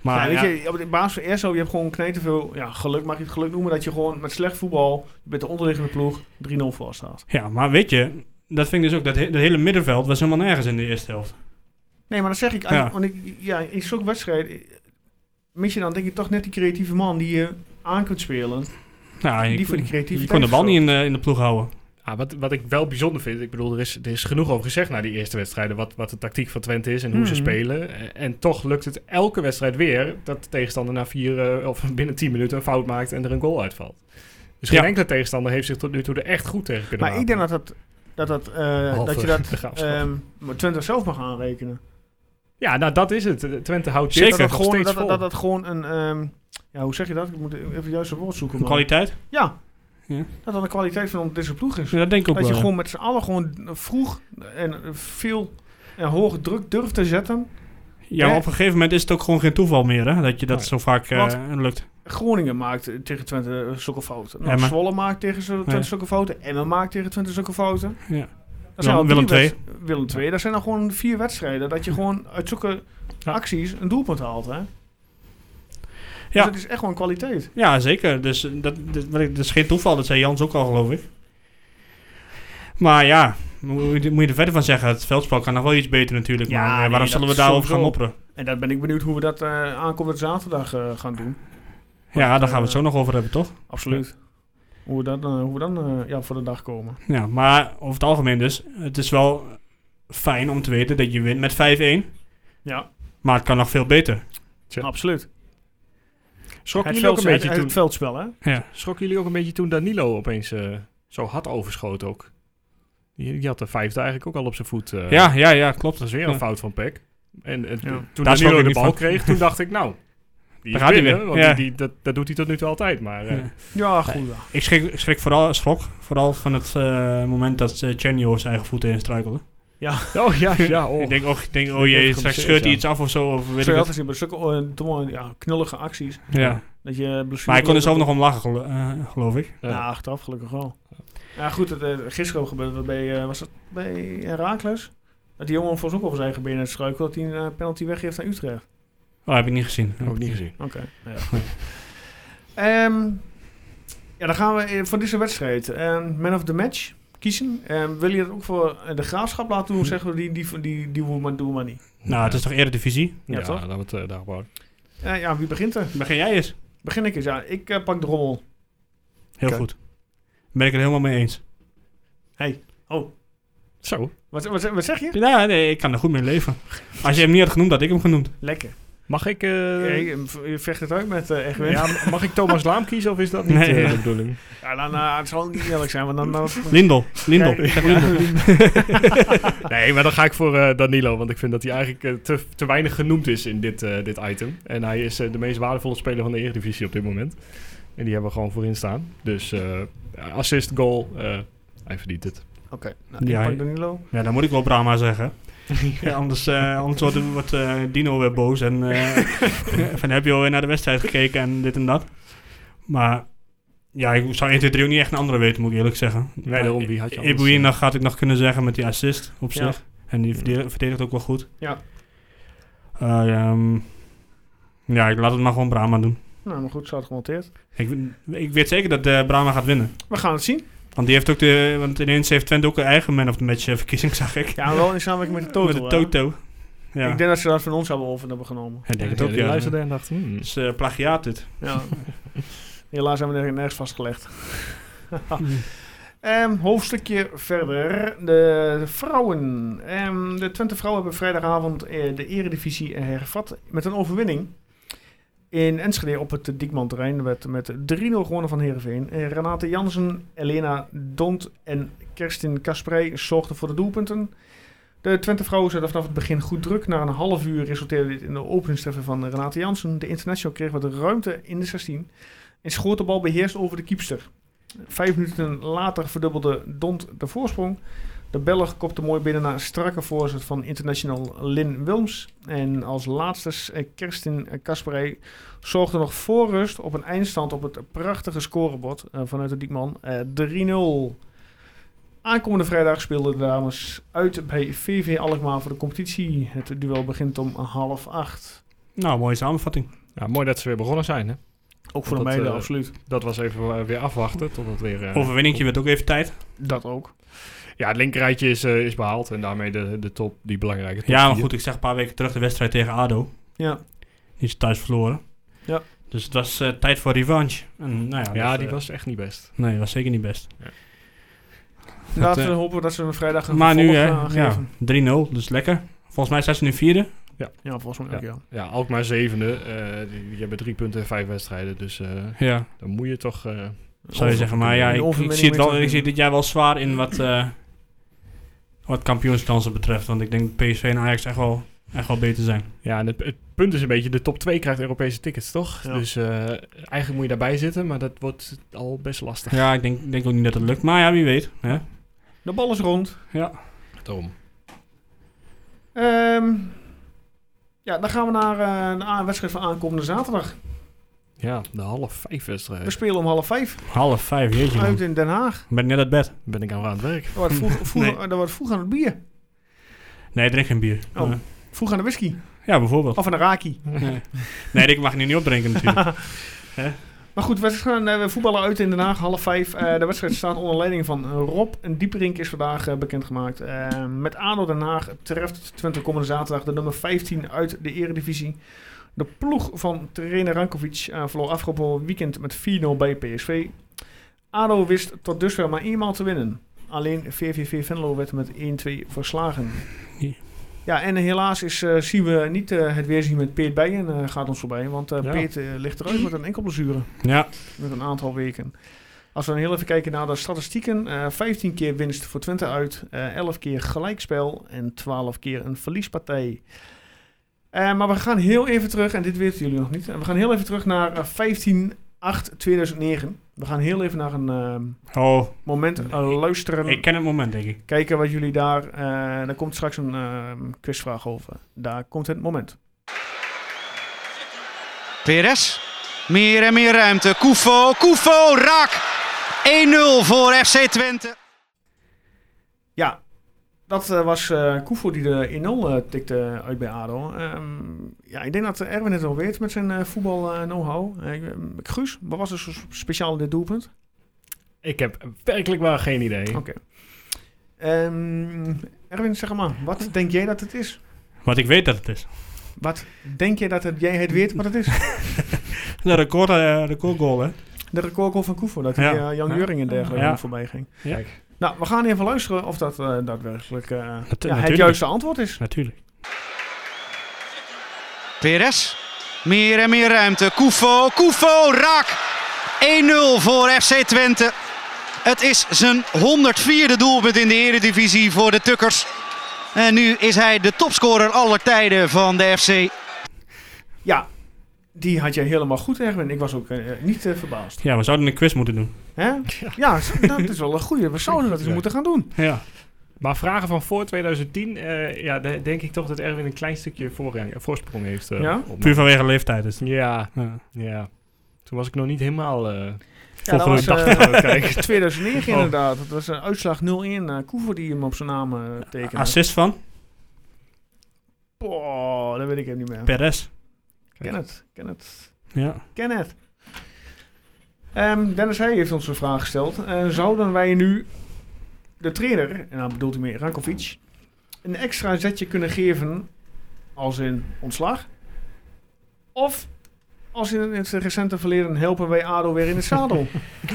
Speaker 4: Maar ja,
Speaker 2: weet je, op de basis van Erso, je hebt gewoon veel ja, geluk, mag je het geluk noemen, dat je gewoon met slecht voetbal, je bent de onderliggende ploeg, 3-0 voor staat.
Speaker 4: ja, maar weet je, dat vind ik dus ook, dat, he- dat hele middenveld was helemaal nergens in de eerste helft.
Speaker 2: Nee, maar dat zeg ik,
Speaker 4: Ja.
Speaker 2: want ik, ja, in zo'n wedstrijd eh, mis je dan denk ik toch net die creatieve man die je aan kunt spelen.
Speaker 4: Nou, je,
Speaker 2: Die voor die creativiteit
Speaker 4: je kon de bal
Speaker 2: of zo.
Speaker 4: niet in de, in de ploeg houden.
Speaker 3: Ah, wat, wat ik wel bijzonder vind, ik bedoel, er is, er is genoeg over gezegd na die eerste wedstrijden. Wat, wat de tactiek van Twente is en hoe ze
Speaker 2: Mhm.
Speaker 3: spelen. En, en toch lukt het elke wedstrijd weer dat de tegenstander na vier eh, of binnen tien minuten een fout maakt en er een goal uitvalt. Dus geen
Speaker 4: Ja.
Speaker 3: enkele tegenstander heeft zich tot nu toe er echt goed tegen kunnen
Speaker 2: Maar ik denk dat dat, dat, dat, eh,
Speaker 3: Behalve
Speaker 2: dat je dat
Speaker 3: de Graafschap.
Speaker 2: ehm, maar Twente zelf mag aanrekenen.
Speaker 3: Ja, nou dat is het. Twente houdt
Speaker 4: Zeker,
Speaker 3: dit
Speaker 2: dat,
Speaker 3: nog
Speaker 2: dat, gewoon, dat,
Speaker 3: steeds vol.
Speaker 2: dat dat gewoon een, ehm, ja hoe zeg je dat? Ik moet even het juiste woord zoeken.
Speaker 4: De
Speaker 2: man.
Speaker 4: kwaliteit?
Speaker 2: Ja.
Speaker 4: Ja.
Speaker 2: Dat dat de kwaliteit van deze ploeg is.
Speaker 4: Ja, dat denk ik ook
Speaker 2: Dat
Speaker 4: wel.
Speaker 2: je
Speaker 4: ja.
Speaker 2: gewoon met z'n allen gewoon vroeg en veel en hoge druk durft te zetten.
Speaker 4: Ja, maar
Speaker 2: Hè?
Speaker 4: op een gegeven moment is het ook gewoon geen toeval meer, hè? Dat je dat
Speaker 3: Nee.
Speaker 4: zo vaak eh,
Speaker 2: Want-
Speaker 4: lukt.
Speaker 2: Groningen maakt eh, tegen Twente eh, zulke fouten. Nou,
Speaker 4: Emmen.
Speaker 2: Zwolle maakt tegen zo- Twente
Speaker 4: Ja.
Speaker 2: zulke fouten. Emmen maakt tegen Twente zulke fouten.
Speaker 4: Ja.
Speaker 2: Dat zijn
Speaker 4: Willem-
Speaker 2: al drie
Speaker 4: Willem twee.
Speaker 2: wedst- Willem 2. Dat zijn dan gewoon vier wedstrijden. Dat je gewoon uit zulke
Speaker 4: Ja.
Speaker 2: acties een doelpunt haalt. Hè? Dus
Speaker 4: Ja.
Speaker 2: dat is echt gewoon kwaliteit.
Speaker 4: Ja, zeker. Dus eh, dat, dat, wat ik- dat is geen toeval. Dat zei Jans ook al, geloof ik. Maar ja, moet je, moet je er verder van zeggen. Het veldspel kan nog wel iets beter natuurlijk.
Speaker 2: Ja,
Speaker 4: maar eh,
Speaker 2: nee,
Speaker 4: waarom
Speaker 2: dat
Speaker 4: zullen we
Speaker 2: is
Speaker 4: daarover gaan
Speaker 2: sowieso.
Speaker 4: mopperen?
Speaker 2: En daar ben ik benieuwd hoe we dat eh aankomende zaterdag eh, gaan doen.
Speaker 4: Ja, daar gaan we
Speaker 2: eh,
Speaker 4: het zo nog over hebben, toch?
Speaker 2: Absoluut. Hoe we, dat, eh, hoe we dan eh, ja, voor de dag komen.
Speaker 4: Ja, maar over het algemeen dus. Het is wel fijn om te weten dat je wint met 5-1.
Speaker 2: Ja,
Speaker 4: Maar het kan nog veel beter.
Speaker 3: Ja.
Speaker 2: absoluut.
Speaker 3: Schrokken
Speaker 2: Het,
Speaker 3: jullie ook
Speaker 2: veldspel,
Speaker 3: een
Speaker 2: het,
Speaker 3: beetje
Speaker 2: het
Speaker 3: toen?
Speaker 2: veldspel, hè?
Speaker 4: Ja.
Speaker 3: Schrokken jullie ook een beetje toen Danilo opeens eh, zo hard overschoot ook? Die, die had de vijfde eigenlijk ook al op zijn voet. eh,
Speaker 4: ja, ja, ja, klopt.
Speaker 3: Dat is weer een fout van Peck. En, en
Speaker 2: Ja.
Speaker 3: toen
Speaker 4: Daar
Speaker 3: Danilo
Speaker 4: schrok ik
Speaker 3: de
Speaker 4: niet
Speaker 3: bal
Speaker 4: van.
Speaker 3: kreeg, toen dacht ik, nou, die
Speaker 4: Daar
Speaker 3: is
Speaker 4: gaat hij
Speaker 3: binnen,
Speaker 4: weer.
Speaker 3: want
Speaker 4: Ja.
Speaker 3: die, die- dat, dat doet hij tot nu toe altijd. Maar eh,
Speaker 4: Ja.
Speaker 2: Ja, goed. ja.
Speaker 4: Ik schrik, ik schrik vooral, schrok vooral van het eh, moment dat eh Chenio over zijn eigen voeten instruikelde.
Speaker 3: oh ja, ja, oh.
Speaker 4: Ik denk, oh, ik denk, oh jee,
Speaker 3: Even
Speaker 4: straks
Speaker 3: geblesseerd,
Speaker 4: scheurt hij
Speaker 3: ja.
Speaker 4: iets af of zo. Of weet
Speaker 2: Zo
Speaker 4: ik
Speaker 2: had
Speaker 4: wat.
Speaker 2: het bij zulke eh, domme, ja, knullige acties.
Speaker 4: Ja.
Speaker 2: Dat je blessure
Speaker 4: Maar hij kon er zelf nog om lachen, gelo- eh, geloof ik.
Speaker 2: Ja, achteraf gelukkig wel. Ja, goed, het, eh, gisteren ook gebeurde dat bij, eh, was dat bij Herakles? Dat die jongen volgens ook over zijn eigen benen struikelde dat hij een eh, penalty weggeeft aan Utrecht.
Speaker 4: Oh, heb ik niet gezien.
Speaker 3: Ook niet gezien.
Speaker 2: Oké. Ja. Ehm, ja, dan gaan we eh, voor deze wedstrijd. ehm, man of the match kiezen. Ehm, wil je dat ook voor eh, de graafschap laten
Speaker 4: Hm.
Speaker 2: doen? Zeggen we die, die, die, die, doen we maar, doen we maar niet.
Speaker 4: Nou, het is toch Eredivisie?
Speaker 3: Ja,
Speaker 2: Ja, toch?
Speaker 3: laten we het eh, daarop houden.
Speaker 2: Eh, ja, wie begint er?
Speaker 4: Begin jij eens.
Speaker 2: Begin ik eens. Ja, ik eh, pak de rommel.
Speaker 4: Heel
Speaker 2: Oké.
Speaker 4: goed. Ben ik het helemaal mee eens.
Speaker 3: Oh. Zo,
Speaker 2: Wat, wat, wat zeg je?
Speaker 4: Ja, nee, ik kan er goed mee leven. Als je hem niet had genoemd, had ik hem genoemd.
Speaker 2: Lekker.
Speaker 3: mag ik, eh,
Speaker 2: Hey, je vecht het uit met eh Egwin.
Speaker 3: ja, mag ik Thomas Laam kiezen of is dat niet
Speaker 4: Nee,
Speaker 3: eh,
Speaker 4: ja.
Speaker 3: de bedoeling?
Speaker 2: Ja, dan eh, het zal niet eerlijk zijn, want dan... dan
Speaker 4: Lindel. Lindel.
Speaker 2: Nee.
Speaker 4: Ik zeg Lindel.
Speaker 3: Nee, maar dan ga ik voor eh, Danilo, want ik vind dat hij eigenlijk eh, te, te weinig genoemd is in dit, eh, dit item. En hij is eh, de meest waardevolle speler van de Eredivisie op dit moment. En die hebben we gewoon voorin staan. Dus eh, assist, goal, eh, hij verdient het.
Speaker 2: Oké, nou, ik
Speaker 4: Ja,
Speaker 2: pak
Speaker 4: hij-
Speaker 2: Danilo.
Speaker 4: Ja, dan moet ik wel Brahma zeggen. Ja, anders eh, anders wordt, wordt eh, Dino weer boos. En eh, van heb je alweer naar de wedstrijd gekeken en dit en dat. Maar ja, ik zou 1, 2, 3 ook niet echt een andere weten, moet ik eerlijk zeggen.
Speaker 3: Nee, daarom, wie had je anders,
Speaker 4: Ibuin,
Speaker 3: eh?
Speaker 4: dat had ik nog kunnen zeggen met die assist op
Speaker 2: Ja.
Speaker 4: zich. En die verde- verdedigt ook wel goed.
Speaker 2: Ja.
Speaker 4: Eh, ja, ehm, ja, ik laat het maar gewoon Brahma doen.
Speaker 2: Nou, maar goed, staat gemonteerd.
Speaker 4: Ik, ik weet zeker dat eh Brahma gaat winnen.
Speaker 2: We gaan het zien.
Speaker 4: Want die heeft ook de. Want ineens heeft Twente ook een eigen man of the match eh, verkiezing, zag ik.
Speaker 2: Ja, wel in samenwerking met de Toto.
Speaker 4: Met de
Speaker 2: hè?
Speaker 4: Toto. Ja.
Speaker 2: Ik denk dat ze dat van ons hebben over hebben genomen.
Speaker 4: Ik denk het ook,
Speaker 3: Die
Speaker 4: ja.
Speaker 3: luisterde en dacht, hmm.
Speaker 4: Het is eh, plagiaat dit.
Speaker 2: Ja. Helaas hebben we er nergens vastgelegd. Ehm, hoofdstukje verder. De vrouwen. Ehm, de Twente vrouwen hebben vrijdagavond eh, de eredivisie eh, hervat met een overwinning. In Enschede op het Diekman-terrein werd met 3-0 gewonnen van Heerenveen. Eh, Renate Jansen, Elena Dont en Kerstin Kasprij zorgden voor de doelpunten. De Twente vrouwen zetten vanaf het begin goed druk. Na een half uur resulteerde dit in de openingstreffer van Renate Jansen. De international kreeg wat ruimte in de 16. en schoot de bal beheerst over de kiepster. Vijf minuten later verdubbelde Dont de voorsprong. De Belg kopte mooi binnen na een strakke voorzet van international Lin Wilms. En als laatste eh, Kerstin Kasperij zorgde nog voor rust op een eindstand op het prachtige scorebord eh, vanuit de Diekman. eh, 3-0. Aankomende vrijdag speelden de dames uit bij VV Alkmaar voor de competitie. Het duel begint om half acht.
Speaker 4: Nou, mooie samenvatting.
Speaker 3: Ja, mooi dat ze weer begonnen zijn, hè?
Speaker 2: Ook voor
Speaker 3: Dat,
Speaker 2: de meiden,
Speaker 3: eh,
Speaker 2: absoluut.
Speaker 3: Dat was even eh, weer afwachten tot het weer... eh,
Speaker 4: Overwinningje werd ook even tijd.
Speaker 2: Dat ook.
Speaker 3: Ja, het linkerrijtje is, eh, is behaald en daarmee de, de top, die belangrijke top.
Speaker 4: Ja, maar
Speaker 3: vier.
Speaker 4: goed, ik zag een paar weken terug de wedstrijd tegen ADO.
Speaker 2: Ja.
Speaker 4: Die ze thuis verloren.
Speaker 2: Ja.
Speaker 4: Dus het was eh, tijd voor revanche. En, nou ja,
Speaker 3: Ja,
Speaker 2: dus,
Speaker 4: dat,
Speaker 3: die
Speaker 4: eh,
Speaker 3: was echt niet best.
Speaker 4: Nee, was zeker niet best.
Speaker 2: Laten we
Speaker 4: eh,
Speaker 2: hopen dat ze een vrijdag een
Speaker 4: maar nu,
Speaker 2: vervolg,
Speaker 4: hè,
Speaker 2: eh,
Speaker 4: ja,
Speaker 2: geven.
Speaker 4: 3-0, dus lekker. Volgens mij zijn ze nu vierde.
Speaker 2: Ja, volgens mij ook, ja.
Speaker 3: Ja, Alkmaar zevende. eh die, die hebben drie punten en vijf wedstrijden. Dus eh,
Speaker 4: Ja.
Speaker 3: dan moet je toch... eh,
Speaker 4: Zou je zeggen, maar ja,
Speaker 2: Een
Speaker 4: ik, ik
Speaker 2: overwinning
Speaker 4: zie het wel,
Speaker 2: moet je
Speaker 4: ik zie
Speaker 2: toch
Speaker 4: het dit jaar wel zwaar in wat, eh wat kampioenskansen betreft. Want ik denk dat PSV en Ajax echt wel, echt wel beter zijn.
Speaker 3: Ja, en het, het punt is een beetje, de top 2 krijgt Europese tickets, toch?
Speaker 2: Ja.
Speaker 3: Dus eh, eigenlijk moet je daarbij zitten, maar dat wordt al best lastig.
Speaker 4: Ja, ik denk, denk ook niet dat het lukt. Maar ja, wie weet. Hè?
Speaker 2: De bal is rond.
Speaker 4: Ja.
Speaker 3: Daarom.
Speaker 2: Ehm, ja, dan gaan we naar eh, de a- wedstrijd van aankomende zaterdag.
Speaker 3: Ja, de half vijf
Speaker 2: We
Speaker 3: wedstrijd.
Speaker 2: spelen om half vijf
Speaker 4: Half vijf, jeetje man.
Speaker 2: uit in Den Haag.
Speaker 4: Ben ik net uit bed.
Speaker 3: Ben ik aan het werk.
Speaker 2: Er wordt vroeg, vroeg,
Speaker 4: Nee.
Speaker 2: er wordt vroeg aan het bier.
Speaker 4: Nee, ik drink geen bier.
Speaker 2: Oh.
Speaker 4: Eh,
Speaker 2: Vroeg aan de whisky.
Speaker 4: ja, bijvoorbeeld.
Speaker 2: Of aan de raki.
Speaker 4: nee. nee, ik mag nu niet opdrinken natuurlijk.
Speaker 2: Maar goed, we gaan eh, we voetballen uit in Den Haag, half vijf. Eh, de wedstrijd staat onder leiding van Rob. En Dieperink is vandaag eh, bekendgemaakt. Eh, met ADO Den Haag treft Twente komende zaterdag de nummer 15 uit de eredivisie. De ploeg van trainer Rankovic eh, verloor afgelopen weekend met 4-0 bij PSV. ADO wist tot dusver maar eenmaal te winnen. Alleen VVV Venlo werd met 1-2 verslagen.
Speaker 4: Ja.
Speaker 2: Ja, en helaas is, eh, zien we niet eh, het weerzien met Peert Bijen. eh, gaat ons voorbij, want eh
Speaker 3: Ja.
Speaker 2: Peert eh, ligt eruit met een enkel blessure
Speaker 4: ja,
Speaker 2: met een aantal weken. Als we dan heel even kijken naar de statistieken. eh, 15 keer winst voor Twente uit, eh 11 keer gelijkspel en 12 keer een verliespartij. Eh, maar we gaan heel even terug, en dit weten jullie nog niet. eh, We gaan heel even terug naar eh, 15-8-2009. We gaan heel even naar een ehm,
Speaker 4: oh,
Speaker 2: moment eh, luisteren.
Speaker 4: ik ken het moment denk ik.
Speaker 2: Kijken wat jullie daar... eh daar komt straks een ehm, quizvraag over. Daar komt het moment.
Speaker 9: Perez. Meer en meer ruimte. Koufo, Koufo, raak. 1-0 voor FC Twente.
Speaker 2: Ja, dat eh, was eh Koevo die de 1-0 eh, tikte uit bij ADO. Ehm, ja, ik denk dat eh, Erwin het al weet met zijn eh, voetbal eh, know-how. Eh, ik- eh, Guus, wat was er zo speciaal in dit doelpunt?
Speaker 3: Ik heb werkelijk wel geen idee.
Speaker 2: Oké. Ehm, Erwin, zeg maar, wat denk jij dat het is?
Speaker 4: Want ik weet dat het is.
Speaker 2: Wat denk jij dat het, jij het weet wat het is?
Speaker 4: De record, eh, recordgoal hè.
Speaker 2: De recordgoal van Koevo, dat
Speaker 4: Ja.
Speaker 2: hij eh, Jan
Speaker 4: Ja.
Speaker 2: Juring en dergelijke
Speaker 4: Ja.
Speaker 2: voorbij ging.
Speaker 4: Ja.
Speaker 3: Kijk.
Speaker 2: Nou, we gaan even luisteren of dat eh, daadwerkelijk eh, ja, het
Speaker 4: natuurlijk.
Speaker 2: juiste antwoord is.
Speaker 4: Natuurlijk.
Speaker 9: Perez. Meer en meer ruimte. Koufo, Koufo, raak. 1-0 voor FC Twente. Het is zijn 104e doelpunt in de Eredivisie voor de Tukkers. En nu is hij de topscorer aller tijden van de FC.
Speaker 2: Ja, die had jij helemaal goed, Erwin. Ik was ook eh, niet eh, verbaasd.
Speaker 4: Ja, we zouden een quiz moeten doen.
Speaker 2: Hè? Ja, zo- dat is wel een goede. We zouden dat eens
Speaker 3: Ja.
Speaker 2: moeten gaan doen.
Speaker 4: Ja.
Speaker 3: Maar vragen van voor 2010, eh, ja, de- denk ik toch dat Erwin een klein stukje voorrang- voorsprong heeft. eh,
Speaker 2: Ja?
Speaker 3: op-
Speaker 4: Puur vanwege leeftijd is het.
Speaker 3: ja,
Speaker 4: Ja.
Speaker 3: ja. Toen was ik nog niet helemaal... eh,
Speaker 2: Ja, dat was
Speaker 3: Volgende dag
Speaker 2: eh,
Speaker 3: gaan we kijken.
Speaker 2: 2009
Speaker 3: Oh.
Speaker 2: inderdaad. Dat was een uitslag 0-1. eh Koevo die hem op zijn naam eh, tekende.
Speaker 4: Assist van
Speaker 2: Boah, dat weet ik even niet meer.
Speaker 4: Perez.
Speaker 2: Ken het, ken het,
Speaker 4: Ja.
Speaker 2: ken het. Ehm, Dennis Heij heeft ons een vraag gesteld. Eh, zouden wij nu de trainer, en dan bedoelt hij meer Rankovic, een extra zetje kunnen geven als in ontslag? Of als in het recente verleden helpen wij ADO weer in het zadel?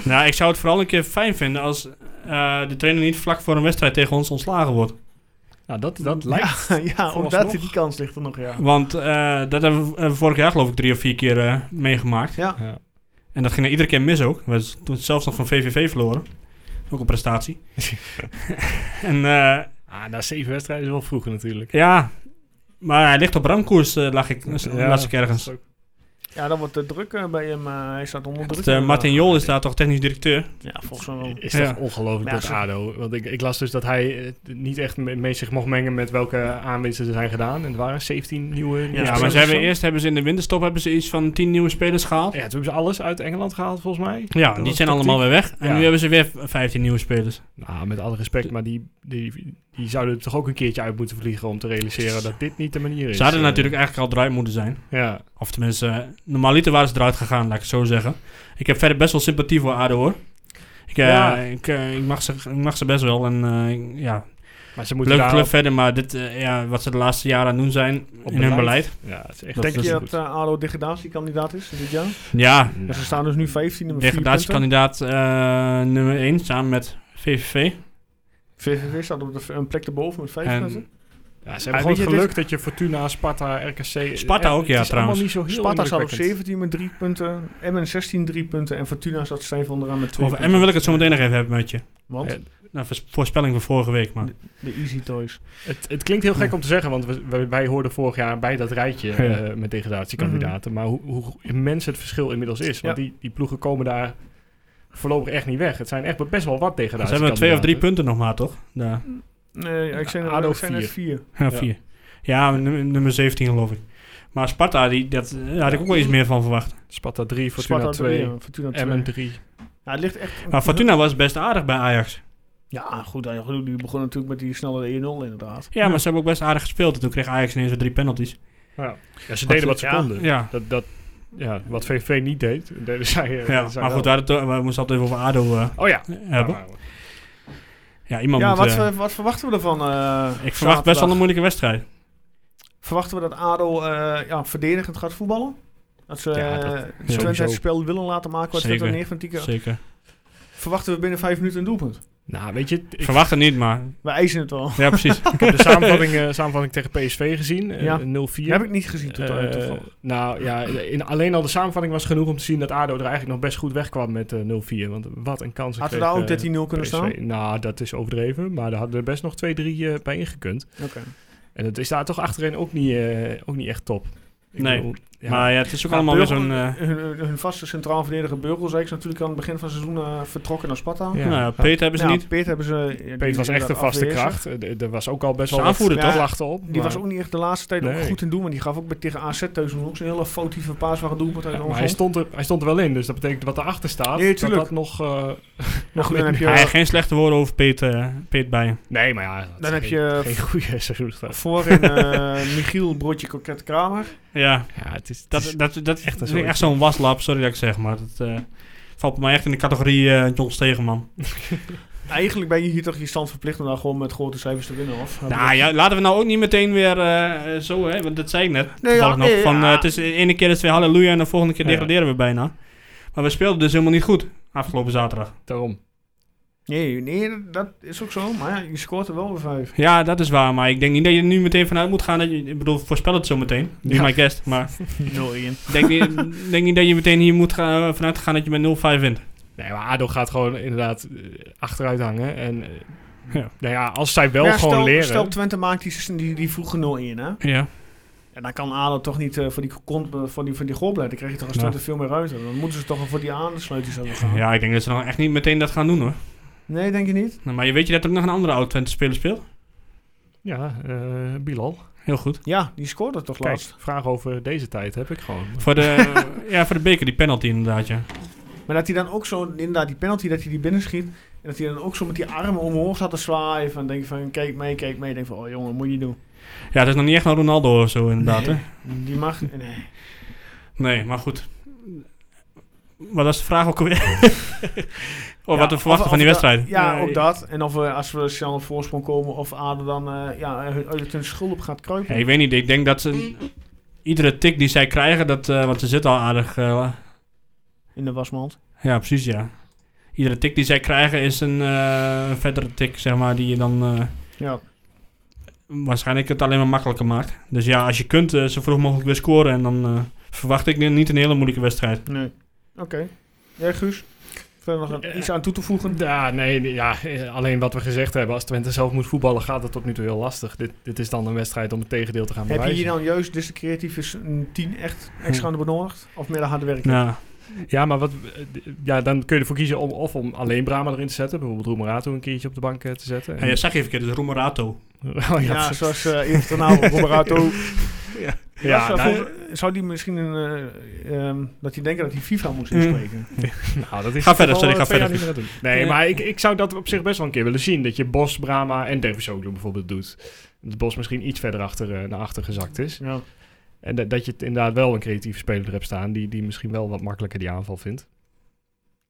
Speaker 4: Nou, ik zou het vooral een keer fijn vinden als eh, de trainer niet vlak voor een wedstrijd tegen ons ontslagen wordt.
Speaker 3: nou, dat, dat lijkt...
Speaker 2: Ja, ja omdat
Speaker 3: vooralsnog.
Speaker 2: die kans ligt er nog, ja.
Speaker 4: Want eh, dat hebben we eh, vorig jaar geloof ik drie of vier keer eh, meegemaakt.
Speaker 2: Ja.
Speaker 3: Ja.
Speaker 4: En dat ging er iedere keer mis ook. We hebben toen zelfs nog van VVV verloren. Ook een prestatie. en eh,
Speaker 3: Ah, na zeven wedstrijden is wel vroeger natuurlijk.
Speaker 4: ja, maar hij ligt op ramkoers, eh lag ik, las ik ergens.
Speaker 3: dat is ook-
Speaker 2: Ja, dan wordt de druk eh, bij hem. eh, hij staat onder druk.
Speaker 4: Want, eh, Martin
Speaker 2: inderdaad.
Speaker 4: Jol is daar toch technisch directeur?
Speaker 2: Ja, volgens mij wel.
Speaker 3: Is
Speaker 4: Ja.
Speaker 3: toch ongelooflijk
Speaker 2: Ja,
Speaker 3: dat
Speaker 2: zo-
Speaker 3: ADO. Want ik, ik las dus dat hij eh, niet echt mee, mee zich mocht mengen met welke aanwinsten er zijn gedaan. En het waren 17 nieuwe... nieuwe
Speaker 4: Ja, maar
Speaker 3: spelers
Speaker 4: ze hebben
Speaker 3: of zo.
Speaker 4: eerst hebben ze in de winterstop hebben ze iets van 10 nieuwe spelers gehaald.
Speaker 3: Ja, toen hebben ze alles uit Engeland gehaald volgens mij.
Speaker 4: Ja,
Speaker 3: Dat
Speaker 4: die
Speaker 3: was tactiek.
Speaker 4: zijn allemaal weer weg. En
Speaker 3: Ja.
Speaker 4: nu hebben ze weer 15 nieuwe spelers.
Speaker 3: Nou, met alle respect, maar die, die, die zouden er toch ook een keertje uit moeten vliegen om te realiseren dat dit niet de manier is.
Speaker 4: Ze hadden
Speaker 3: Eh,
Speaker 4: natuurlijk eigenlijk al eruit moeten zijn.
Speaker 3: Ja,
Speaker 4: Of tenminste, eh, normaliter waren ze eruit gegaan, laat ik het zo zeggen. Ik heb verder best wel sympathie voor ADO hoor. Ik, eh,
Speaker 3: Ja.
Speaker 4: ik, eh, ik, mag, ze, ik mag ze best wel. En eh, ik- ja,
Speaker 3: maar ze moeten
Speaker 4: leuke
Speaker 3: daar...
Speaker 4: club verder, maar dit, eh, ja, wat ze de laatste jaren aan het doen zijn in hun beleid.
Speaker 3: Ja, het is echt...
Speaker 4: Dat eh,
Speaker 2: Denk
Speaker 4: is
Speaker 2: je
Speaker 3: goed. Mm.
Speaker 2: dat eh ADO degradatiekandidaat is dit jaar?
Speaker 4: Ja,
Speaker 2: Ja, ze staan dus nu 15 nummer 4 punten.
Speaker 4: degradatiekandidaat eh, nummer 1 samen met VVV.
Speaker 2: VVV staat op de, v- een plek erboven met 5
Speaker 4: En-
Speaker 2: punten.
Speaker 3: Ja, ze
Speaker 2: Ah,
Speaker 3: hebben
Speaker 2: weet je,
Speaker 3: gewoon geluk dat je Fortuna, Sparta, RKC...
Speaker 4: Sparta
Speaker 3: eh,
Speaker 4: ook, ja,
Speaker 3: Het is allemaal
Speaker 4: trouwens.
Speaker 3: niet zo heel
Speaker 2: Sparta staat op
Speaker 3: indrukwekkend.
Speaker 2: 17 met 3 punten. Emmen 16 3 punten. En Fortuna staat stijf onderaan met 2
Speaker 4: Over
Speaker 2: punten.
Speaker 4: Emmen wil ik het zo meteen nog even hebben met je.
Speaker 2: Want
Speaker 3: Eh,
Speaker 4: Nou, vers- voorspelling van vorige week, maar...
Speaker 2: de Easy Toys.
Speaker 3: Het, het klinkt heel gek om te zeggen, want we- we- wij hoorden vorig jaar bij dat rijtje
Speaker 4: Ja. Mhm.
Speaker 3: eh, met degradatiekandidaten. Maar hoe, hoe immens het verschil inmiddels is. Want
Speaker 2: Ja.
Speaker 3: die, die ploegen komen daar voorlopig echt niet weg. Het zijn echt best wel wat
Speaker 4: Ze
Speaker 3: degradatiekandidaten.
Speaker 4: hebben twee of drie punten nog maar, toch? Daar.
Speaker 2: Nee, ik zei
Speaker 3: ADO
Speaker 2: net- ik zei net 4.
Speaker 4: Ja, vier. Ja, nummer, nummer 17 geloof ik. Maar Sparta, die, dat, eh, daar had ik ook wel iets meer van verwacht.
Speaker 3: Sparta 3, Fortuna
Speaker 2: Sparta
Speaker 3: 2,
Speaker 2: 2. Fortuna 2.
Speaker 3: Emmen 3.
Speaker 2: Ja, het ligt echt...
Speaker 4: Maar Fortuna was best aardig bij Ajax.
Speaker 2: Ja, goed. hij- goed, Die begon natuurlijk met die snelle 1-0 inderdaad.
Speaker 4: Ja, maar ze hebben ook best aardig gespeeld. En toen kreeg Ajax ineens weer drie penalties.
Speaker 3: Ja. Ja, ze deden wat ze
Speaker 2: Ja.
Speaker 3: konden.
Speaker 4: Ja,
Speaker 3: Dat, dat, ja, wat VVV niet deed, deden zij, eh,
Speaker 4: ja.
Speaker 3: deden zij
Speaker 4: maar goed, we,
Speaker 3: wel.
Speaker 4: hadden het- we moesten altijd even over ADO eh,
Speaker 3: Oh ja.
Speaker 4: hebben.
Speaker 3: Ja, maar-
Speaker 4: Ja, iemand
Speaker 2: ja,
Speaker 4: moet...
Speaker 2: wat,
Speaker 4: eh,
Speaker 2: ver- wat verwachten we ervan? eh,
Speaker 4: ik verwacht best
Speaker 2: zaterdag?
Speaker 4: wel een moeilijke wedstrijd.
Speaker 2: Verwachten we dat ADO eh, ja, verdedigend gaat voetballen? Dat ze
Speaker 3: Ja, dat
Speaker 2: eh, Twente
Speaker 3: sowieso.
Speaker 2: het spel willen laten maken wat
Speaker 4: Zeker.
Speaker 2: Twente neer van Tieke.
Speaker 4: Zeker.
Speaker 2: Verwachten we binnen vijf minuten een doelpunt?
Speaker 3: Nou, weet je, ik
Speaker 4: Verwacht het niet, maar...
Speaker 2: Wij eisen het wel.
Speaker 4: Ja, precies.
Speaker 3: ik heb de samenvatting, eh, samenvatting tegen PSV gezien. eh,
Speaker 2: Ja.
Speaker 3: 0-4.
Speaker 2: Heb ik niet gezien tot
Speaker 3: Eh,
Speaker 4: dus
Speaker 2: toevallig.
Speaker 3: nou ja, in, alleen al de samenvatting was genoeg om te zien dat ADO er eigenlijk nog best goed wegkwam met eh, 0-4. Want wat een eh, kans
Speaker 2: Hadden we daar
Speaker 4: eh,
Speaker 2: ook 13-0 kunnen staan?
Speaker 3: Nou, dat is overdreven. Maar daar hadden er best nog 2-3 eh, bij ingekund.
Speaker 2: Oké.
Speaker 3: En dat is daar toch achterin ook niet, eh, ook niet echt top. Ik
Speaker 4: Nee,
Speaker 3: bedoel, ja,
Speaker 4: Maar ja, het is ook allemaal weer
Speaker 2: Beugel-
Speaker 4: zo'n... eh,
Speaker 2: hun, hun- hun vaste centraal verdediger Burgels is natuurlijk aan het begin van het seizoen eh, vertrokken naar Sparta.
Speaker 3: Ja.
Speaker 4: nou, Peter hebben ze
Speaker 2: Ja,
Speaker 4: niet.
Speaker 2: Peet hebben ze... ja, die
Speaker 3: Peet was
Speaker 2: is
Speaker 3: echt een vaste
Speaker 2: afwezig.
Speaker 3: kracht. Eh, d- Er was ook al best
Speaker 4: Ze
Speaker 3: wel wat
Speaker 4: aanvoerder,
Speaker 2: toch?
Speaker 3: klachten op.
Speaker 2: Die
Speaker 3: maar-
Speaker 2: was ook niet echt de laatste tijd ook
Speaker 3: Nee.
Speaker 2: goed in doen. Want die gaf ook bij- tegen AZ thuis nog een hele foutieve paas waar het doelpunt uit
Speaker 3: Ja,
Speaker 2: ja,
Speaker 3: maar hij stond, er, hij stond er wel in, dus dat betekent wat erachter staat,
Speaker 2: Nee,
Speaker 3: dat
Speaker 2: tuurlijk.
Speaker 3: dat nog... eh,
Speaker 2: Maar goed, dan heb je,
Speaker 4: Hij heeft geen slechte woorden over Peet, eh, Peet Bijen.
Speaker 3: nee, maar ja, dat
Speaker 2: Dan
Speaker 3: is
Speaker 2: heb
Speaker 3: geen-
Speaker 2: je-
Speaker 3: Geen goede seizoensstart.
Speaker 2: voorin eh, Michiel Broodje Koket Kramer.
Speaker 4: Ja,
Speaker 3: Ja, het is...
Speaker 4: dat, dat, dat echt,
Speaker 3: een
Speaker 4: is echt zo'n waslap, sorry dat ik zeg, maar dat eh, valt bij mij echt in de categorie eh John Stegeman.
Speaker 2: Eigenlijk ben je hier toch je stand verplicht om daar gewoon met grote cijfers te winnen, of?
Speaker 4: Nou ja, laten we nou ook niet meteen weer eh, eh, zo, hè, want dat zei ik net.
Speaker 2: Nee,
Speaker 4: toevallig
Speaker 2: ja,
Speaker 4: nog,
Speaker 2: nee,
Speaker 4: van,
Speaker 2: ja.
Speaker 4: eh, het is de ene keer is weer halleluja en de volgende keer
Speaker 3: Ja.
Speaker 4: degraderen we bijna. Maar we speelden dus helemaal niet goed afgelopen zaterdag.
Speaker 3: Daarom.
Speaker 2: Nee, nee, dat- dat is ook zo. Maar ja, je scoort er wel weer vijf.
Speaker 4: Ja, dat is waar, maar ik denk niet dat je er nu meteen vanuit moet gaan. Dat je, ik bedoel, voorspel het zo meteen. Be
Speaker 3: Ja.
Speaker 4: my guest, maar
Speaker 2: 0-1.
Speaker 4: ik denk, niet- ik denk niet dat je meteen hier moet gaan, eh, vanuit gaan dat je met 0-5 wint.
Speaker 3: Nee, maar ADO gaat gewoon inderdaad eh, achteruit hangen. En eh,
Speaker 4: Ja.
Speaker 3: nou ja, als zij wel
Speaker 2: Ja,
Speaker 3: gewoon
Speaker 2: stel,
Speaker 3: leren...
Speaker 2: Stel Twente maakt die, die, die vroege 0-1, hè?
Speaker 4: Ja.
Speaker 2: En dan kan ADO toch niet eh, voor die, kont, eh, voor die, voor die goal blijven. Dan krijg je toch als
Speaker 4: Nou.
Speaker 2: Twente veel meer uit. hebben. Dan moeten ze toch wel voor die aansluiting hebben gaan.
Speaker 4: ja, ik denk dat ze nog echt niet meteen dat gaan doen hoor.
Speaker 2: Nee, denk je niet?
Speaker 4: Nou, maar je weet je dat er ook nog een andere oud Twente speler speelt?
Speaker 3: Ja, eh, Bilal.
Speaker 4: Heel goed.
Speaker 2: Ja, die scoorde toch
Speaker 3: Kijk,
Speaker 2: laatst.
Speaker 3: vraag over deze tijd heb ik gewoon.
Speaker 4: Voor de, ja, voor de beker, die penalty inderdaad, ja.
Speaker 2: Maar dat hij dan ook zo, inderdaad, die penalty, dat hij die binnenschiet. En dat hij dan ook zo met die armen omhoog zat te zwaaien. Van denk van, kijk mee, kijk mee. Denk van, oh jongen, moet je niet doen.
Speaker 4: Ja, het is nog niet echt een Ronaldo of zo inderdaad, hè?
Speaker 2: Die mag, nee.
Speaker 4: Nee, maar goed. Wat was de vraag ook alweer? of
Speaker 2: Ja,
Speaker 4: wat we verwachten
Speaker 2: of-
Speaker 4: van die
Speaker 2: of dat-
Speaker 4: wedstrijd.
Speaker 2: Ja,
Speaker 4: Eh,
Speaker 2: ook dat. En of we, als we snel op voorsprong komen, of Aden dan eh, ja, eh, uit hun schuld op gaat kruipen.
Speaker 4: ja, ik weet niet, ik denk dat ze... Iedere tik die zij krijgen, dat, eh, want ze zitten al aardig... eh,
Speaker 2: In de wasmand.
Speaker 4: ja, precies, ja. Iedere tik die zij krijgen is een eh, een verdere tik, zeg maar, die je dan... eh,
Speaker 2: Ja.
Speaker 4: waarschijnlijk het alleen maar makkelijker maakt. Dus ja, als je kunt, eh, zo vroeg mogelijk weer scoren. En dan eh, verwacht ik nu niet een hele moeilijke wedstrijd.
Speaker 2: Nee. Oké. Jij, Guus? Verder nog een- iets aan toe te voegen?
Speaker 5: Ja, nee, nee, ja, eh, alleen wat we gezegd hebben. Als Twente zelf moet voetballen, gaat dat tot nu toe heel lastig. Dit, dit is dan een wedstrijd om het tegendeel te gaan
Speaker 2: Heb je
Speaker 5: bewijzen.
Speaker 2: hier dan juist dus de creatieve s- een 10 echt
Speaker 4: Hm.
Speaker 2: extra benodigd? Of meer de harde werken?
Speaker 4: Nou,
Speaker 5: Ja, maar wat, eh, d- ja, dan kun je ervoor kiezen om of om alleen Brahma erin te zetten. Bijvoorbeeld Roemerato een keertje op de bank eh, te zetten.
Speaker 4: ja, zag je even, dus Romerato.
Speaker 5: Oh,
Speaker 2: Ja,
Speaker 5: ja,
Speaker 2: zoals eh internaal Roberto.
Speaker 5: Ja,
Speaker 2: zou,
Speaker 5: nou,
Speaker 2: zou die misschien een, eh, ehm, dat die denken dat hij FIFA moest inspreken?
Speaker 5: nou, Mm. dat is
Speaker 4: Ga verder,
Speaker 5: al,
Speaker 4: sorry,
Speaker 5: eh,
Speaker 4: ga
Speaker 5: twee jaar
Speaker 4: verder.
Speaker 5: niet meer aan het doen. Nee,
Speaker 4: Ja.
Speaker 5: maar ik, ik zou dat op zich best wel een keer willen zien. Dat je Bos, Brahma en Dervisoglu bijvoorbeeld doet. Dat Bos misschien iets verder achter, eh, naar achter gezakt is.
Speaker 2: Ja.
Speaker 5: En dat, dat je het inderdaad wel een creatieve speler hebt staan die, die misschien wel wat makkelijker die aanval vindt.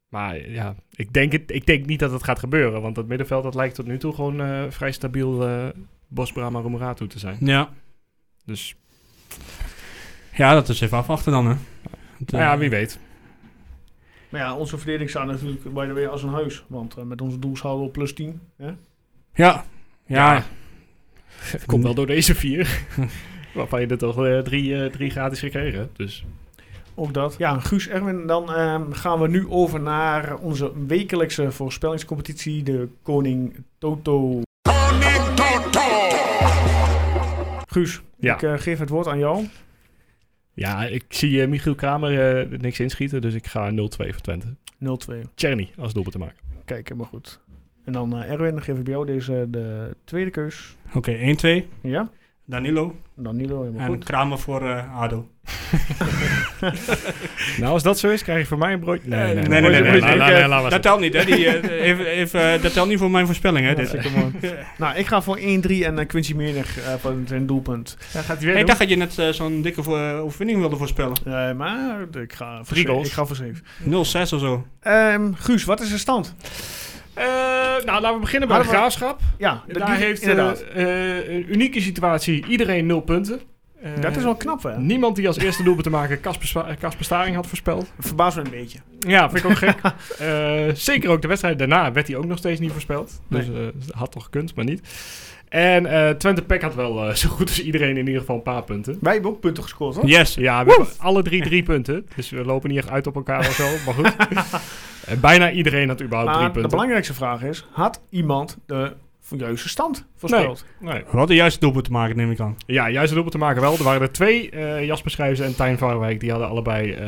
Speaker 5: Maar eh, ja, ik denk, het, ik denk niet dat het gaat gebeuren. Want dat middenveld dat lijkt tot nu toe gewoon eh, vrij stabiel eh Bos, Brahma, Roemerato te zijn.
Speaker 4: Ja.
Speaker 5: Dus
Speaker 4: ja, dat is even afwachten dan, hè. Het, eh,
Speaker 5: nou ja, wie weet.
Speaker 2: Maar ja, onze verdediging staat natuurlijk by the way als een huis. Want eh, met onze doels houden we op plus 10. Hè?
Speaker 4: Ja. Ja.
Speaker 5: Ja. Het komt wel door deze vier. Waarvan je er toch eh, drie, eh, drie gratis gekregen hebt. Dus
Speaker 2: Ook dat. Ja, Guus, Erwin, dan ehm, gaan we nu over naar onze wekelijkse voorspellingscompetitie. De Koning Toto. Koning Toto! Guus,
Speaker 5: Ja.
Speaker 2: ik eh, geef het woord aan jou.
Speaker 5: ja, ik zie eh, Michiel Kramer eh, niks inschieten. Dus ik ga 0-2 voor Twente.
Speaker 2: 0-2.
Speaker 5: Czerny als doelpunt te maken.
Speaker 2: Kijk, helemaal goed. En dan eh, Erwin, dan geef ik bij jou deze de tweede keus.
Speaker 4: Oké, 1-2.
Speaker 2: Ja?
Speaker 4: Danilo.
Speaker 2: En dan Nilo, helemaal
Speaker 4: En
Speaker 2: goed.
Speaker 4: Kramer voor eh, Ado.
Speaker 5: Nou, als dat zo is, krijg je van mij een broodje.
Speaker 4: Nee, nee, nee, nee, nee, nee, nee,
Speaker 5: nee, laat maar
Speaker 4: Dat
Speaker 5: zitten.
Speaker 4: telt niet, hè. Die, eh, even, even, eh, dat telt niet voor mijn voorspelling, hè.
Speaker 2: Ja,
Speaker 4: dit.
Speaker 2: zeker, man. nou, ik ga voor 1-3 en eh, Quincy Meernig eh, van zijn doelpunt.
Speaker 5: Ja, gaat hij weer
Speaker 4: Ik
Speaker 5: doen?
Speaker 4: dacht dat je net eh, zo'n dikke voor, overwinning wilde voorspellen. 0-6
Speaker 2: Eh, maar ik ga voor
Speaker 5: Drie
Speaker 2: zeven.
Speaker 5: goals.
Speaker 2: Ik ga voor zeven.
Speaker 4: of zo.
Speaker 2: Ehm, Guus, wat is de stand?
Speaker 5: Eh, nou, laten we beginnen bij de
Speaker 2: Hadden we-
Speaker 5: graafschap.
Speaker 2: Ja, de-
Speaker 5: Daar
Speaker 2: die-
Speaker 5: heeft eh,
Speaker 2: inderdaad.
Speaker 5: eh, een unieke situatie. Iedereen nul punten. Eh,
Speaker 2: dat is wel knap, hè?
Speaker 5: Niemand die als eerste doelpunt te maken Casper Spa- eh, Casper Staring had voorspeld.
Speaker 2: Verbaas me een beetje.
Speaker 5: Ja, vind ik ook gek. Eh, zeker ook de wedstrijd daarna werd hij ook nog steeds niet voorspeld. Dus eh, had toch gekund, maar niet. En eh, Twente Peck had wel eh, zo goed als iedereen in ieder geval een paar punten.
Speaker 2: Wij hebben ook punten gescoord, hoor.
Speaker 4: Yes.
Speaker 5: Ja, we hebben alle drie drie punten. Dus we lopen niet echt uit op elkaar of zo. Maar goed. Eh, bijna iedereen had überhaupt
Speaker 2: maar
Speaker 5: drie
Speaker 2: de
Speaker 5: punten.
Speaker 2: belangrijkste vraag is, had iemand de juiste stand voorspeld?
Speaker 5: Nee.
Speaker 4: Wat de juiste doelpunt te maken, neem ik aan.
Speaker 5: Ja, juist het doelpunt te maken wel. Er waren er twee, eh, Jasper Schrijvers en Tijn Varwijk. Die hadden allebei eh,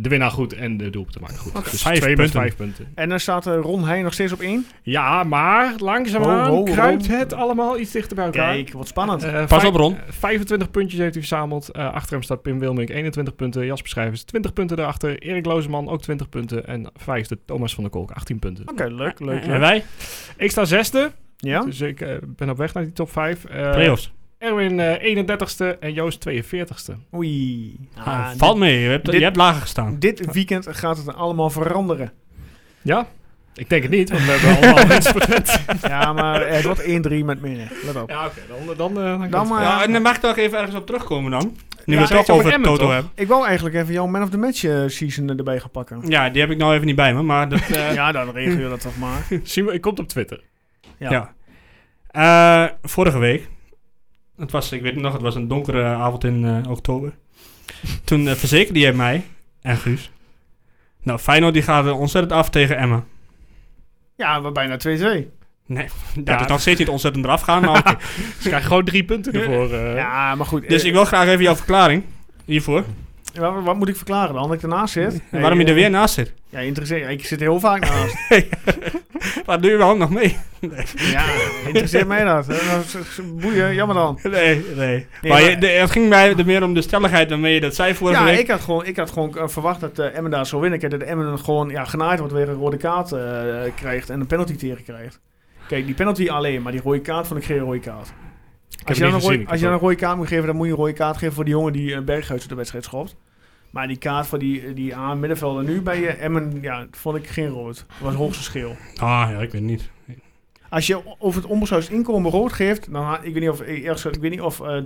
Speaker 5: de winnaar goed en de doelpunt te maken goed. Dus
Speaker 4: Vijf
Speaker 5: twee
Speaker 4: punten.
Speaker 5: met vijf punten.
Speaker 2: En dan staat eh, Ron Heijn nog steeds op één.
Speaker 5: Ja, maar langzaamaan
Speaker 2: Ho, ho, ho.
Speaker 5: kruipt het allemaal iets dichter bij elkaar.
Speaker 2: Kijk, wat spannend.
Speaker 5: Eh,
Speaker 4: Pas
Speaker 5: vijf-
Speaker 4: op, Ron.
Speaker 5: eh, 25 puntjes heeft hij verzameld. Eh, achter hem staat Pim Wilmink, 21 punten. Jasper Schrijvers, 20 punten daarachter. Erik Lozeman, ook 20 punten. En vijfde, Thomas van der Kolk, 18 punten.
Speaker 2: Oké, leuk, leuk,
Speaker 5: eh,
Speaker 4: En
Speaker 2: leuk.
Speaker 4: wij?
Speaker 5: Ik sta zesde,
Speaker 2: Ja?
Speaker 5: dus ik eh, ben op weg naar die top 5.
Speaker 4: Playoffs.
Speaker 5: Erwin eh 31ste en Joost 42ste.
Speaker 2: Oei.
Speaker 4: Ah,
Speaker 2: Ah, dit-
Speaker 4: valt mee, je hebt,
Speaker 2: dit-
Speaker 4: je hebt lager gestaan.
Speaker 2: Dit weekend gaat het allemaal veranderen.
Speaker 5: Ja? Ik denk het niet, want eh, we hebben allemaal mensen voor Twente.
Speaker 2: Ja, maar het wordt 1-3 met meer. Let op.
Speaker 5: Ja, oké. Dan, dan, eh, dan,
Speaker 2: Dan maar,
Speaker 4: Ah, Ja, en dan mag ik toch even ergens op terugkomen dan? Nu
Speaker 5: Ja,
Speaker 4: we
Speaker 5: zei
Speaker 4: het
Speaker 5: je
Speaker 4: toch
Speaker 5: over
Speaker 4: over
Speaker 5: Emmen,
Speaker 4: Toto
Speaker 5: toch?
Speaker 4: hebben.
Speaker 2: Ik wou eigenlijk even jouw Man of the Match eh, season erbij gaan pakken.
Speaker 4: Ja, die heb ik nou even niet bij me, maar dat... eh, ja.
Speaker 2: Ja, dan regel je dat toch maar.
Speaker 5: Zien we, ik kom op Twitter.
Speaker 2: Ja.
Speaker 4: Eh, vorige week, het was, ik weet het nog, het was een donkere avond in eh, oktober. Toen eh, verzekerde jij mij en Guus. Nou, Feyenoord die gaat eh, ontzettend af tegen Emmen.
Speaker 2: Ja, we bijna 2-2.
Speaker 4: Nee, dat is nog steeds niet ontzettend eraf gaan, maar oké.
Speaker 5: Dus ik krijg gewoon drie punten ervoor. eh.
Speaker 2: Ja, maar goed.
Speaker 4: Dus
Speaker 2: eh,
Speaker 4: ik wil graag even jouw verklaring hiervoor.
Speaker 2: wa- wa- wat moet ik verklaren dan? Dat ik ernaast zit?
Speaker 4: waarom
Speaker 2: Hey,
Speaker 4: je er
Speaker 2: eh,
Speaker 4: weer naast zit.
Speaker 2: Ja, interesseert. Ik zit heel vaak naast.
Speaker 4: Waar doe je überhaupt nog mee?
Speaker 2: ja, interesseert mij dat. Eh, nou, z- z- Boeien, jammer dan.
Speaker 4: Nee, nee.
Speaker 2: Nee,
Speaker 4: maar je-
Speaker 2: maar-
Speaker 4: de- het ging mij er meer om de stelligheid waarmee je dat zei vorige
Speaker 2: Ja,
Speaker 4: week.
Speaker 2: ik had gewoon, ik had gewoon eh, verwacht dat eh Emmen daar zou winnen. Kijk, dat Emmen gewoon ja, genaaid wordt weer een rode kaart eh, krijgt en een penalty tegen krijgt. Kijk, die penalty alleen, maar die rode kaart vond ik geen rode kaart. Als je,
Speaker 5: hem
Speaker 2: dan een
Speaker 5: niet gezien,
Speaker 2: rode,
Speaker 5: ik
Speaker 2: als je
Speaker 5: heb
Speaker 2: dan een rode kaart moet geven, dan moet je een rode kaart geven voor die jongen die eh, Berghuis uit de wedstrijd schopt. Maar die kaart voor die, die aan middenvelder nu bij eh, Emmen, ja, vond ik geen rood. Dat was hoogste schil.
Speaker 4: Ah, ja, ik weet het niet.
Speaker 2: Als je over het onbezuinigd inkomen rood geeft, dan ha- ik weet niet of, eh, eerlijk gezegd, ik weet niet of eh,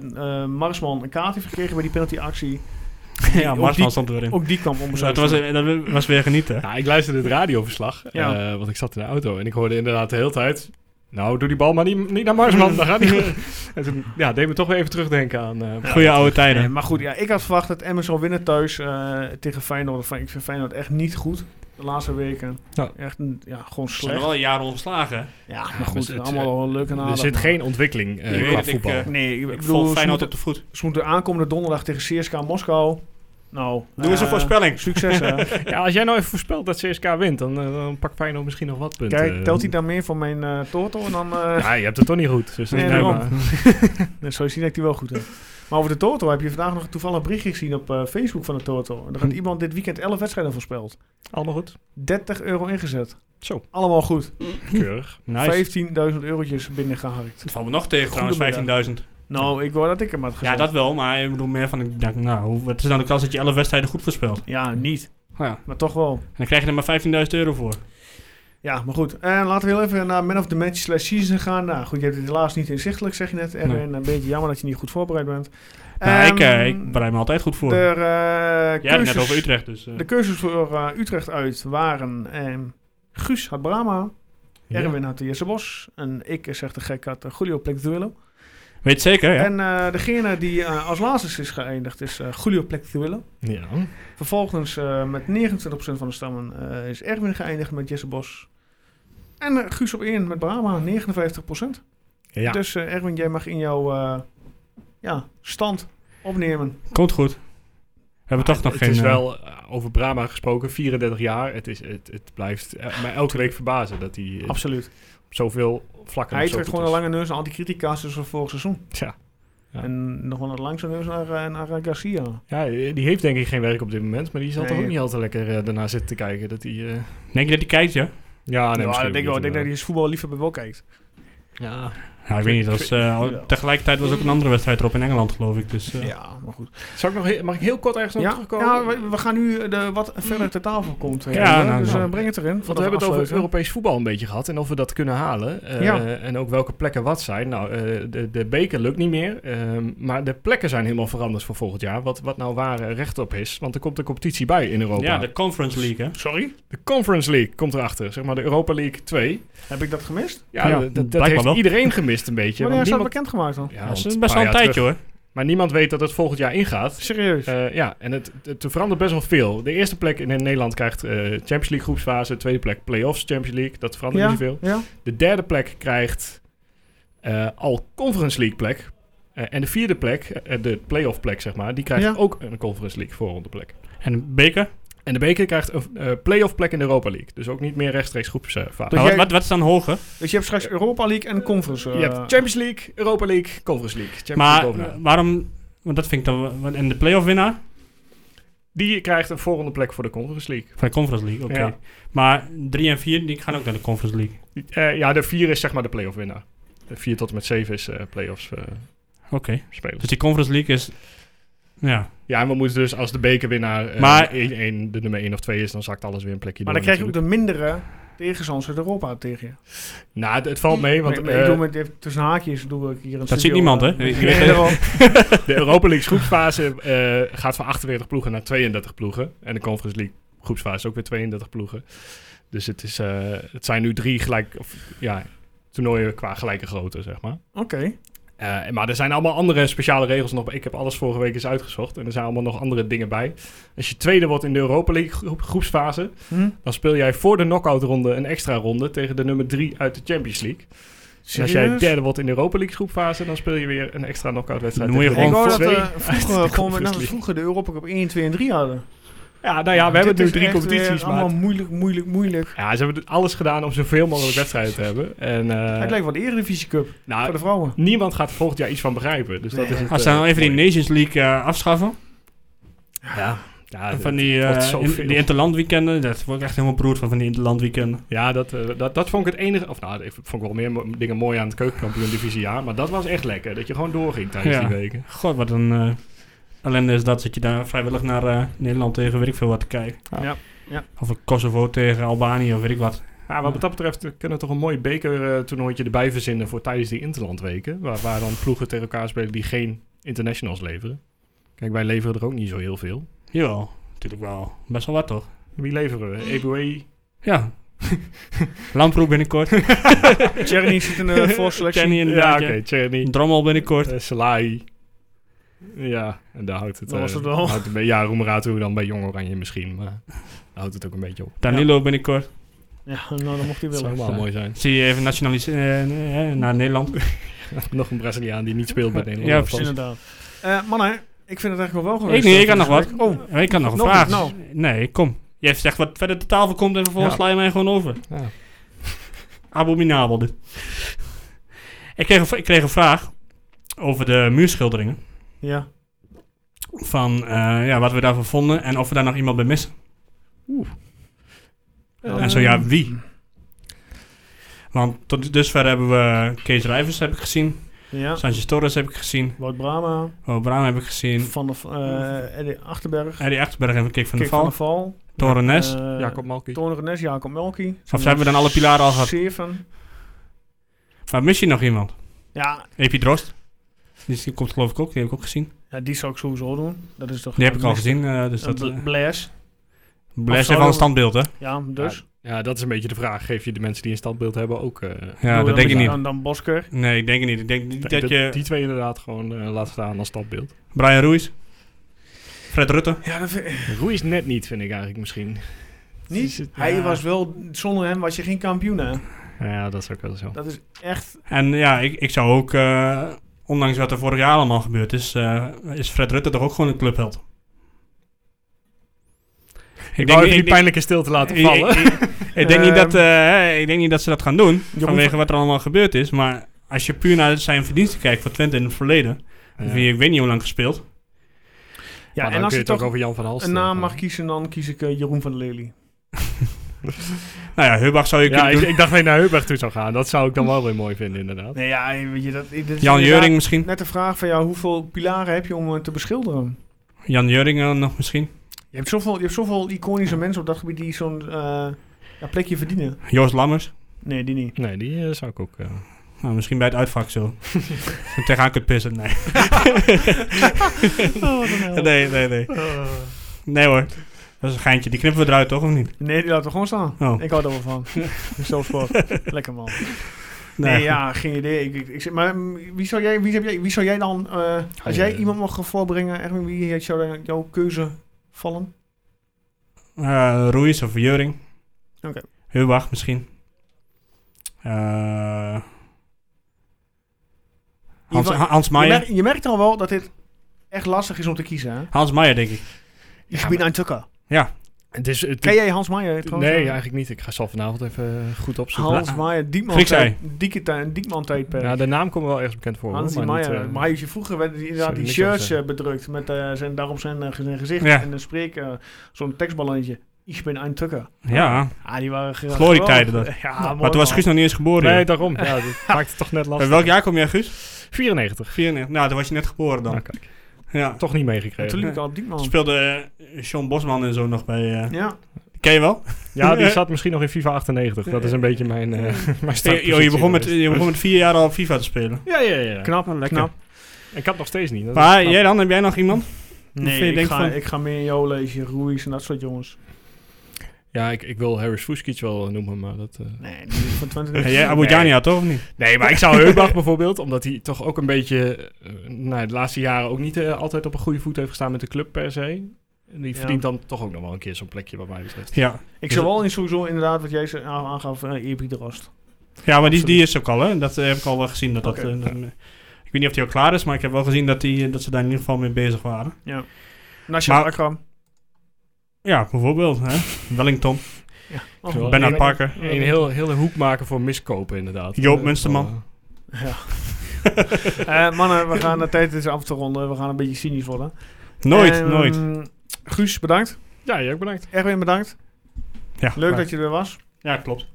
Speaker 2: eh, Marsman een kaart heeft gekregen bij die penaltyactie.
Speaker 4: ja,
Speaker 2: ook
Speaker 4: Marsman
Speaker 2: die-
Speaker 4: stond er weer in.
Speaker 2: Ook die kwam
Speaker 4: Dus dat,
Speaker 2: onbezuinigd.
Speaker 4: was, dat was weer genieten.
Speaker 5: Ja, ik luisterde het radioverslag,
Speaker 2: Ja.
Speaker 5: eh, want ik zat in de auto en ik hoorde inderdaad de hele tijd
Speaker 3: Nou, doe die bal maar niet, niet naar Marsman. Dan gaat hij goed. En toen, ja, deed me toch weer even terugdenken aan... eh,
Speaker 2: Nou,
Speaker 4: Goeie oude tijden.
Speaker 2: Nee, maar goed, ja, ik had verwacht dat Emmen zou winnen thuis eh, tegen Feyenoord. Enfin, Ik vind Feyenoord echt niet goed de laatste weken.
Speaker 3: Ja.
Speaker 2: Echt een- ja, gewoon
Speaker 4: Ze zijn
Speaker 2: slecht.
Speaker 4: er wel een jaar ontslagen.
Speaker 2: Ja, maar
Speaker 3: maar
Speaker 2: goed,
Speaker 3: het-
Speaker 2: allemaal wel leuk en aardig.
Speaker 3: er zit
Speaker 2: maar-
Speaker 3: geen ontwikkeling eh,
Speaker 4: Ik weet
Speaker 3: qua
Speaker 4: het, ik,
Speaker 3: voetbal.
Speaker 4: eh,
Speaker 2: Nee, ik,
Speaker 4: Ik
Speaker 2: bedoel,
Speaker 4: volg
Speaker 2: ze
Speaker 4: Feyenoord
Speaker 2: moeten,
Speaker 4: op de voet.
Speaker 2: ze moeten aankomende donderdag tegen CSKA Moskou. Nou,
Speaker 4: Doe eens een
Speaker 2: eh,
Speaker 4: voorspelling.
Speaker 2: Succes, hè.
Speaker 3: Ja, als jij nou even voorspelt dat CSK wint, dan, eh, dan pakt Feyenoord misschien nog wat punten.
Speaker 4: eh,
Speaker 2: Kijk, telt hij dan meer van mijn eh Toto en dan... eh
Speaker 5: Ah,
Speaker 3: Ja, je hebt het toch niet goed. Dus dat
Speaker 2: Nee,
Speaker 3: is prima.
Speaker 2: daarom. Dan zou je zien dat ik die wel goed heb. Maar over de Toto heb je vandaag nog toevallig een berichtje gezien op eh, Facebook van de Toto. En daar gaat
Speaker 3: Hm.
Speaker 2: iemand dit weekend 11 wedstrijden voorspeld.
Speaker 3: Allemaal goed.
Speaker 2: 30 euro ingezet.
Speaker 3: Zo.
Speaker 2: Allemaal goed.
Speaker 3: Keurig.
Speaker 4: Nice.
Speaker 2: 15.000 eurotjes binnengeharkt.
Speaker 4: Het valt me nog tegen
Speaker 2: Goedemiddag.
Speaker 4: trouwens, 15.000.
Speaker 2: Nou, ik wou dat ik hem had gezet.
Speaker 4: Ja, dat wel, maar ik bedoel meer van, ik dacht, nou, hoe- wat is nou de kans dat je 11 wedstrijden goed voorspelt?
Speaker 2: Ja, niet.
Speaker 4: Oh Ja.
Speaker 2: Maar toch wel.
Speaker 4: En dan krijg je er maar 15.000 euro voor.
Speaker 2: Ja, maar goed. En laten we heel even naar Man of the Match slash season gaan. Nou goed, je hebt het helaas niet inzichtelijk, zeg je net. En
Speaker 4: Nee.
Speaker 2: een beetje jammer dat je niet goed voorbereid bent.
Speaker 4: Nou, ik, eh,
Speaker 2: Ehm,
Speaker 4: ik bereid me altijd goed voor.
Speaker 2: de, eh,
Speaker 4: Jij hebt het net
Speaker 2: keuzes-
Speaker 4: over Utrecht, dus... eh,
Speaker 2: De keuzes voor eh, Utrecht uit waren... ehm, Guus had Brama, Erwin had de Jesse Bos. En ik, eh, zeg de gek, had eh, Julio Plectuelo.
Speaker 4: Weet je zeker, ja?
Speaker 2: En eh, degene die eh, als laatste is geëindigd is eh, Julio Plectuelo.
Speaker 3: Ja.
Speaker 2: Vervolgens eh, met 29% van de stammen eh, is Erwin geëindigd met Jesse Bos. En eh, Guus op 1 met Brama, 59%.
Speaker 3: ja.
Speaker 2: Dus eh, Erwin, jij mag in jouw eh, ja, stand opnemen.
Speaker 4: Komt goed. We hebben toch nog
Speaker 3: het
Speaker 4: geen...
Speaker 3: is
Speaker 4: eh,
Speaker 3: wel, eh, over Brahma gesproken, 34 jaar. Het, is, het, het blijft eh, mij elke week verbazen dat hij eh, op
Speaker 2: Absoluut.
Speaker 3: zoveel vlakken
Speaker 2: Hij
Speaker 3: nog zo
Speaker 2: trekt
Speaker 3: goed
Speaker 2: gewoon een
Speaker 3: is.
Speaker 2: lange neus aan anticritica's dus van vorig seizoen.
Speaker 3: Ja. Ja.
Speaker 2: En nog wel een langse neus naar, eh, naar eh, Garcia.
Speaker 3: Ja, eh, die heeft denk ik geen werk op dit moment, maar die zal
Speaker 2: Nee.
Speaker 3: toch ook niet altijd lekker eh, daarna zitten te kijken. Dat hij, eh,
Speaker 4: Denk je dat hij kijkt, ja?
Speaker 3: ja, nee,
Speaker 2: Ja,
Speaker 3: misschien
Speaker 2: ik denk, wel, ik denk dat
Speaker 3: ook niet, eh.
Speaker 2: hij zijn voetbal liever bij wel kijkt.
Speaker 3: Ja,
Speaker 4: Nou, ik weet niet. Dat was, eh, al-
Speaker 2: Ja.
Speaker 4: tegelijkertijd was ook een andere wedstrijd erop in Engeland, geloof ik. Dus, eh,
Speaker 2: Ja, maar goed.
Speaker 3: Zal ik nog heel, mag ik heel kort ergens nog
Speaker 2: Ja,
Speaker 3: terugkomen?
Speaker 2: ja, we, we gaan nu eh, de, wat verder ter tafel komt. eh,
Speaker 4: Ja, nou,
Speaker 2: dus
Speaker 4: nou.
Speaker 2: eh, breng het erin.
Speaker 3: Want we hebben het over
Speaker 2: afsluiten.
Speaker 3: Europees voetbal een beetje gehad en of we dat kunnen halen. eh,
Speaker 2: Ja.
Speaker 3: En ook welke plekken wat zijn. Nou, eh, de, de beker lukt niet meer. ehm, maar de plekken zijn helemaal veranderd voor volgend jaar. Wat, wat nou waar eh, recht op is. Want er komt een competitie bij in Europa.
Speaker 4: ja,
Speaker 3: de,
Speaker 4: de Conference League, hè?
Speaker 2: Sorry,
Speaker 3: Conference League komt erachter. Zeg maar de Europa League 2.
Speaker 2: heb ik dat gemist?
Speaker 3: Ja,
Speaker 4: Ja,
Speaker 3: dat- dat, dat
Speaker 4: blijkbaar
Speaker 3: heeft
Speaker 4: wel.
Speaker 3: iedereen gemist een beetje.
Speaker 2: Wanneer
Speaker 3: want
Speaker 2: is dat
Speaker 3: niemand,
Speaker 2: bekendgemaakt dan?
Speaker 3: ja,
Speaker 4: dat
Speaker 3: want
Speaker 4: is
Speaker 3: een
Speaker 4: best wel
Speaker 3: paar
Speaker 4: een
Speaker 3: jaar
Speaker 4: tijdje,
Speaker 3: terug.
Speaker 4: hoor.
Speaker 3: Maar niemand weet dat het volgend jaar ingaat.
Speaker 2: Serieus?
Speaker 3: Eh, ja, en het, het, er verandert best wel veel. De eerste plek in Nederland krijgt eh, Champions League groepsfase. De tweede plek playoffs Champions League. Dat verandert
Speaker 2: ja,
Speaker 3: niet Nou, zoveel.
Speaker 2: ja.
Speaker 3: De derde plek krijgt eh, al Conference League plek. Eh, en de vierde plek, eh, de playoff plek zeg maar, die krijgt
Speaker 2: Ja.
Speaker 3: ook een Conference League voorronde plek.
Speaker 4: En de beker?
Speaker 3: En de beker krijgt een eh, playoff plek in de Europa League. Dus ook niet meer rechtstreeks eh, groepsfase.
Speaker 2: Dus
Speaker 4: Maar wat,
Speaker 2: jij-
Speaker 4: wat, wat is dan hoger?
Speaker 2: Dus je hebt straks Europa League en Conference. eh,
Speaker 3: je hebt Champions League, Europa League, Conference League. Champions
Speaker 4: Maar
Speaker 3: League bovenaan.
Speaker 4: eh, waarom... Want dat vind ik dan... wel- want- En de playoff winnaar?
Speaker 3: Die krijgt een voorronde plek voor de Conference League.
Speaker 4: Van de Conference League, oké.
Speaker 3: Ja.
Speaker 4: Maar 3 en 4, die gaan ook naar de Conference League.
Speaker 3: Eh, ja, de vier is zeg maar de playoff winnaar. De vier tot en met zeven is eh playoffs eh
Speaker 4: Oké.
Speaker 3: spelen.
Speaker 4: Dus die Conference League is... Ja,
Speaker 3: Ja, en we moeten dus als de bekerwinnaar eh,
Speaker 4: Maar-
Speaker 3: één- één- de nummer 1 of 2 is, dan zakt alles weer een plekje
Speaker 2: maar dan
Speaker 3: door
Speaker 2: krijg je ook
Speaker 3: natuurlijk.
Speaker 2: de mindere tegenstanders uit Europa tegen je.
Speaker 3: Nou, het, het valt mee, want
Speaker 2: Want,
Speaker 3: eh,
Speaker 2: ik doe met, even tussen haakjes doe ik hier een eh,
Speaker 4: Dat ziet niemand, hè? Je weet-
Speaker 3: eh, de Europa League groepsfase eh, gaat van 48 ploegen naar 32 ploegen. En de Conference League groepsfase ook weer 32 ploegen. Dus het, is, eh, het zijn nu drie gelijk, of, ja, toernooien qua gelijke grootte, zeg maar.
Speaker 2: Oké.
Speaker 3: Eh, maar er zijn allemaal andere speciale regels nog. Ik heb alles vorige week eens uitgezocht. En er zijn allemaal nog andere dingen bij. Als je tweede wordt in de Europa League groep- groepsfase,
Speaker 2: Hm?
Speaker 3: Dan speel jij voor de knock-outronde een extra ronde tegen de nummer 3 uit de Champions League. En als jij
Speaker 2: Serieus?
Speaker 3: derde wordt in de Europa League groepfase, dan speel je weer een extra knock-out wedstrijd.
Speaker 4: Dan moet je
Speaker 3: tegen
Speaker 2: Ik
Speaker 3: de
Speaker 2: hoor
Speaker 4: Gewoon
Speaker 2: dat
Speaker 3: twee
Speaker 2: eh,
Speaker 3: uit de
Speaker 2: vroeger, gewoon, met-
Speaker 3: Conference
Speaker 2: dat we
Speaker 3: League.
Speaker 2: vroeger de Europa Cup 1, 2 en 3 hadden.
Speaker 3: Ja, nou ja, we hebben
Speaker 2: Dit
Speaker 3: nu
Speaker 2: is
Speaker 3: drie
Speaker 2: echt
Speaker 3: competities,
Speaker 2: weer
Speaker 3: maar...
Speaker 2: Allemaal moeilijk, moeilijk, moeilijk.
Speaker 3: Ja, ze hebben alles gedaan om zoveel mogelijk wedstrijden te hebben. En eh,
Speaker 2: Het lijkt wel de Eredivisie Cup voor
Speaker 3: nou,
Speaker 2: de
Speaker 4: Ah.
Speaker 2: vrouwen.
Speaker 3: niemand gaat er volgend jaar iets van begrijpen. Dus dat
Speaker 2: Nee.
Speaker 3: is het,
Speaker 4: Als ze dan
Speaker 3: eh,
Speaker 4: Ah, even die
Speaker 3: mooie.
Speaker 4: Nations League eh, afschaffen.
Speaker 3: Ja, ja,
Speaker 4: van die,
Speaker 3: Ah, wordt
Speaker 4: eh
Speaker 3: zoveel.
Speaker 4: in- die interlandweekenden. Dat word ik echt helemaal beroerd van, van die interlandweekenden.
Speaker 3: ja dat, eh, dat, dat vond ik het enige... Of nou, ik vond ik wel meer mo- dingen mooi aan het keukenkampioen divisiejaar. Maar dat was echt lekker, dat je gewoon doorging tijdens
Speaker 4: Ja.
Speaker 3: die weken.
Speaker 4: God, wat een eh ellende is dat. Dat je daar vrijwillig naar eh, Nederland tegen weet ik veel wat te kijken.
Speaker 2: Ja, ja.
Speaker 4: Of een Kosovo tegen Albanië of weet ik wat.
Speaker 3: Ja, wat dat betreft eh, kunnen we toch een mooi bekertoernooitje erbij verzinnen voor tijdens die interlandweken. Waar, waar dan ploegen tegen elkaar spelen die geen internationals leveren. Kijk, wij leveren er ook niet zo heel veel.
Speaker 4: Jawel, natuurlijk wel. Best wel wat toch?
Speaker 3: Wie leveren we? EBOE,
Speaker 4: Ja, Lamproe binnenkort.
Speaker 2: Tjerni zit in de voorselectie.
Speaker 4: Kenny
Speaker 3: Ja,
Speaker 4: inderdaad.
Speaker 3: oké,
Speaker 4: Ja,
Speaker 3: Tjerni.
Speaker 4: Drommel binnenkort.
Speaker 3: Eh, Salai. Ja, en daar houdt het...
Speaker 2: Dat
Speaker 3: eh,
Speaker 2: was het wel.
Speaker 3: houdt het bij- ja, Roemerato dan bij Jong Oranje misschien, maar daar houdt het ook een beetje op.
Speaker 4: Danilo binnenkort.
Speaker 2: Ja, nou, dat mocht hij
Speaker 3: Dat zou
Speaker 2: willen.
Speaker 3: wel mooi zijn.
Speaker 4: Zie je even nationaliseren eh, naar Nederland.
Speaker 3: Nog een Braziliaan die niet speelt bij Nederland.
Speaker 4: Ja,
Speaker 3: alvast.
Speaker 4: precies.
Speaker 2: Inderdaad. Eh, mannen, ik vind het eigenlijk wel wel
Speaker 4: Ik
Speaker 2: geweest.
Speaker 4: niet,
Speaker 2: eh,
Speaker 4: ik had nog
Speaker 2: voor dit
Speaker 4: wat.
Speaker 2: gesprek.
Speaker 4: Oh, ik had nog een
Speaker 2: Nog
Speaker 4: vraag.
Speaker 2: niet, nou.
Speaker 4: Nee, kom. Jij zegt wat verder de tafel komt en vervolgens
Speaker 3: Ja.
Speaker 4: sla je mij gewoon over.
Speaker 3: Ja.
Speaker 4: Abominabel dit. ik, kreeg, een v- ik kreeg een vraag over de muurschilderingen.
Speaker 2: Ja.
Speaker 4: Van eh, ja, wat we daarvan vonden en of we daar nog iemand bij missen.
Speaker 2: Eh,
Speaker 4: En zo ja, wie? Want tot dusver hebben we Kees Rijvers heb ik gezien.
Speaker 2: Ja.
Speaker 4: Sanchez Torres heb ik gezien.
Speaker 2: Wout Brama,
Speaker 4: Rob Braam heb ik gezien.
Speaker 2: Van de, eh Eddie Achterberg,
Speaker 4: Harry Achterberg heb ik Kik van de
Speaker 2: Kik van de
Speaker 4: Val.
Speaker 2: Val,
Speaker 4: Torrenes.
Speaker 2: eh,
Speaker 3: Jacob Malki.
Speaker 2: Toon Renes, Jacob Melki.
Speaker 4: Of hebben we dan alle pilaren al gehad?
Speaker 2: Zeven.
Speaker 4: Maar mis je nog iemand?
Speaker 2: Ja,
Speaker 4: Epi Drost. Die is- die komt geloof ik ook, die heb ik ook gezien.
Speaker 2: ja, die zou ik sowieso doen. Dat is toch
Speaker 4: Die heb ik al gezien, eh, dus dat...
Speaker 2: Bl-
Speaker 4: eh,
Speaker 2: Blaise.
Speaker 4: Blaise
Speaker 2: zouden
Speaker 4: heeft wel een
Speaker 2: we-
Speaker 4: standbeeld, hè?
Speaker 2: Ja, dus.
Speaker 3: Ja, dat is een beetje de vraag. Geef je de mensen die een standbeeld hebben ook... eh,
Speaker 4: Ja,
Speaker 2: Doe
Speaker 4: dat
Speaker 2: dan-
Speaker 4: denk ik niet.
Speaker 2: Dan, dan Bosker.
Speaker 4: Nee, ik denk het niet. Ik denk niet
Speaker 3: dat-
Speaker 4: dat je...
Speaker 3: Die twee inderdaad gewoon eh, laat staan als standbeeld.
Speaker 4: Brian Ruiz. Fred Rutte.
Speaker 2: Ja, dat vind ik
Speaker 3: Roeis net niet, vind ik eigenlijk misschien.
Speaker 2: niet.
Speaker 3: Is het-
Speaker 2: Hij
Speaker 3: ja.
Speaker 2: was wel, zonder hem was je geen kampioen, hè.
Speaker 3: Nou Ja, dat is ook wel zo.
Speaker 2: Dat is echt...
Speaker 4: En ja, ik, ik zou ook... eh, ondanks wat er vorig jaar allemaal gebeurd is... eh, is Fred Rutte toch ook gewoon een clubheld?
Speaker 3: Ik wou
Speaker 4: denk niet-
Speaker 3: even
Speaker 4: ik
Speaker 3: die
Speaker 4: denk-
Speaker 3: pijnlijke stilte laten
Speaker 4: Ik-
Speaker 3: vallen.
Speaker 4: Ik, ik denk niet dat,
Speaker 2: Ehm,
Speaker 4: eh, ik denk niet dat ze dat gaan doen.
Speaker 2: Jeroen
Speaker 4: vanwege wat er allemaal gebeurd is. Maar als je puur naar zijn verdiensten kijkt voor Twente in het verleden.
Speaker 3: Ja.
Speaker 4: Wie, ik weet niet hoe lang gespeeld.
Speaker 2: Ja,
Speaker 3: maar
Speaker 2: en als
Speaker 3: dan kun
Speaker 2: je
Speaker 3: je het
Speaker 2: toch
Speaker 3: ook over Jan van Halst. eh,
Speaker 2: een naam mag kiezen, dan kies ik eh, Jeroen van der Lely.
Speaker 4: Nou ja, Hubbach zou je
Speaker 3: Ja,
Speaker 4: kunnen
Speaker 3: ik,
Speaker 4: doen.
Speaker 3: ik dacht dat je naar Heuberg toe zou gaan. Dat zou ik dan wel weer mooi vinden, inderdaad.
Speaker 2: Nee, ja, weet je, dat, dit is
Speaker 4: Jan
Speaker 2: inderdaad
Speaker 4: Juring misschien.
Speaker 2: Net de vraag van jou, hoeveel pilaren heb je om eh, te beschilderen?
Speaker 4: Jan Juring eh, nog misschien.
Speaker 2: Je hebt zoveel, je hebt zoveel iconische mensen op dat gebied die zo'n eh, ja, plekje verdienen.
Speaker 4: Joost Lammers.
Speaker 2: Nee, die niet.
Speaker 3: Nee, die eh, zou ik ook... eh,
Speaker 4: Nou, misschien bij het uitvak zo. Als je tegenaan kunt pissen. Nee.
Speaker 2: Oh,
Speaker 4: nee, nee, nee.
Speaker 2: Eh.
Speaker 4: Nee hoor. Dat is een geintje. Die knippen we eruit toch, of niet?
Speaker 2: Nee, die laten we gewoon staan.
Speaker 4: Oh.
Speaker 2: Ik hou er wel van. Zo sport. Lekker man. Nee, ja, geen idee. Ik, ik, ik, zeg- maar mm, wie zou jij, wie heb jij, wie zou jij dan, eh, als jij
Speaker 3: eh,
Speaker 2: iemand mag voorbrengen, Erwin, wie heet jou, dan- jouw keuze vallen?
Speaker 4: Eh Ruiz of Juring.
Speaker 2: Oké.
Speaker 4: Hubbach misschien. Eh, Hans,
Speaker 2: Ivan-
Speaker 4: Hans
Speaker 2: Je,
Speaker 4: Meijer.
Speaker 2: merkt- je merkt al wel dat dit echt lastig is om te kiezen, hè?
Speaker 4: Hans Meijer, denk ik.
Speaker 2: Ik ben een tukker.
Speaker 3: het is, het,
Speaker 2: Ken jij Hans Meijer trouwens?
Speaker 3: nee,
Speaker 2: ja.
Speaker 3: eigenlijk niet. Ik ga zal vanavond even goed opzoeken.
Speaker 2: Hans Meijer, Diekman,
Speaker 4: Grieks
Speaker 2: tijd, Dieke- Diekman tijdperk.
Speaker 3: Ja, de naam komt me wel ergens bekend voor. hoor,
Speaker 2: Hansi
Speaker 3: maar niet,
Speaker 2: Meijer.
Speaker 3: eh,
Speaker 2: maar hij is je vroeger werden die, inderdaad
Speaker 3: zou
Speaker 2: die
Speaker 3: ik niks over
Speaker 2: shirts eh, bedrukt met eh, zijn, daarop zijn, eh, zijn gezicht.
Speaker 4: Ja.
Speaker 2: En dan spreek eh, zo'n tekstballonnetje. Ik ben een tukker.
Speaker 4: Ja.
Speaker 2: Ah, die waren ge-
Speaker 4: Glorietijden
Speaker 2: geweldig. Ja, mooi
Speaker 4: Maar toen was
Speaker 2: man.
Speaker 4: Guus nog niet eens geboren.
Speaker 3: Nee,
Speaker 4: joh.
Speaker 3: daarom. Ja, dat maakt het toch net
Speaker 4: Bij
Speaker 3: lastig.
Speaker 4: welk jaar kom jij, Guus?
Speaker 3: 94.
Speaker 4: 94. Nou, toen was je net geboren dan.
Speaker 2: Ah,
Speaker 3: Nou, kijk.
Speaker 4: Ja.
Speaker 3: Toch niet
Speaker 2: En
Speaker 3: meegekregen.
Speaker 2: Toen liep ik al Diekman.
Speaker 4: Speelde eh, Sean Bosman en zo nog bij... eh,
Speaker 2: Ja,
Speaker 4: Ken je wel?
Speaker 3: Ja, die zat misschien nog in FIFA 98. Dat is een beetje mijn, eh mijn
Speaker 4: Je,
Speaker 3: startpositie
Speaker 4: joh, je, begon met,
Speaker 3: geweest.
Speaker 4: je begon met vier jaar al FIFA te spelen.
Speaker 3: Ja, ja, ja.
Speaker 2: knap, knap.
Speaker 3: En Ik had nog steeds niet. dat is
Speaker 4: Maar
Speaker 3: knap.
Speaker 4: jij dan? Heb jij nog iemand? Of je
Speaker 2: Nee, ik
Speaker 4: denkt
Speaker 2: ga,
Speaker 4: van-
Speaker 2: ik ga meer in jou lezen, Ruiz en dat soort jongens.
Speaker 3: Ja, ik, ik wil Harris Fuskic wel noemen, maar dat... eh,
Speaker 2: Nee, die is van Twente. niet.
Speaker 4: En jij Abu
Speaker 3: Nee.
Speaker 4: Jania, toch of niet?
Speaker 3: Nee, maar ik zou Heubach bijvoorbeeld, omdat hij toch ook een beetje... eh, nou, de laatste jaren ook niet eh, altijd op een goede voet heeft gestaan met de club per se. En die
Speaker 2: Ja.
Speaker 3: verdient dan toch ook nog wel een keer zo'n plekje wat mij betreft.
Speaker 4: Ja.
Speaker 2: Ik zou wel in sowieso inderdaad wat jij ze- aan- aangaf, eh Epi Drost.
Speaker 4: Ja, maar die, die is ook al, hè? Dat eh, heb ik al wel gezien. Dat dat,
Speaker 2: Oké.
Speaker 4: eh, dat- ik weet niet of die al klaar is, maar ik heb wel gezien dat, die, eh, dat ze daar in ieder geval mee bezig waren.
Speaker 2: National
Speaker 4: Maar-
Speaker 2: Akram.
Speaker 4: Ja, bijvoorbeeld, hè? Wellington,
Speaker 2: Oh,
Speaker 3: Terwijl-
Speaker 4: Bernard
Speaker 3: Ja.
Speaker 4: Parker.
Speaker 3: Een heel, hele hoek maken voor miskopen inderdaad.
Speaker 4: Joop
Speaker 3: Eh,
Speaker 4: Munsterman.
Speaker 3: wel, eh,
Speaker 2: Eh, mannen, we gaan de tijd is af te ronden. We gaan een beetje cynisch worden.
Speaker 4: Nooit,
Speaker 2: Ehm,
Speaker 4: nooit.
Speaker 2: Guus, bedankt.
Speaker 3: Ja, jij ook bedankt.
Speaker 2: Erwin, bedankt.
Speaker 4: Ja,
Speaker 2: Leuk
Speaker 4: maar-
Speaker 2: dat je er was.
Speaker 4: Ja, klopt.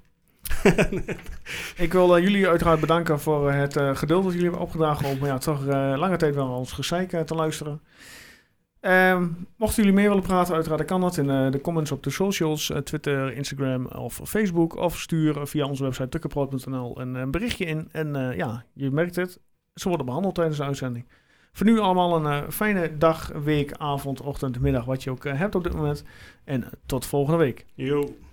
Speaker 2: Ik wil eh, jullie uiteraard bedanken voor eh, het eh, geduld dat jullie hebben opgedragen om ja, toch eh, lange tijd wel naar ons gezeik eh, te luisteren. Ehm, mochten jullie meer willen praten, uiteraard kan dat in eh, de comments op de socials, eh, Twitter, Instagram of Facebook. Of stuur via onze website tukkenproot.nl een, eh, berichtje in. En eh, ja, je merkt het, ze worden behandeld tijdens de uitzending. Voor nu allemaal een eh, fijne dag, week, avond, ochtend, middag, wat je ook eh, hebt op dit moment. En eh, tot volgende week.
Speaker 4: Yo.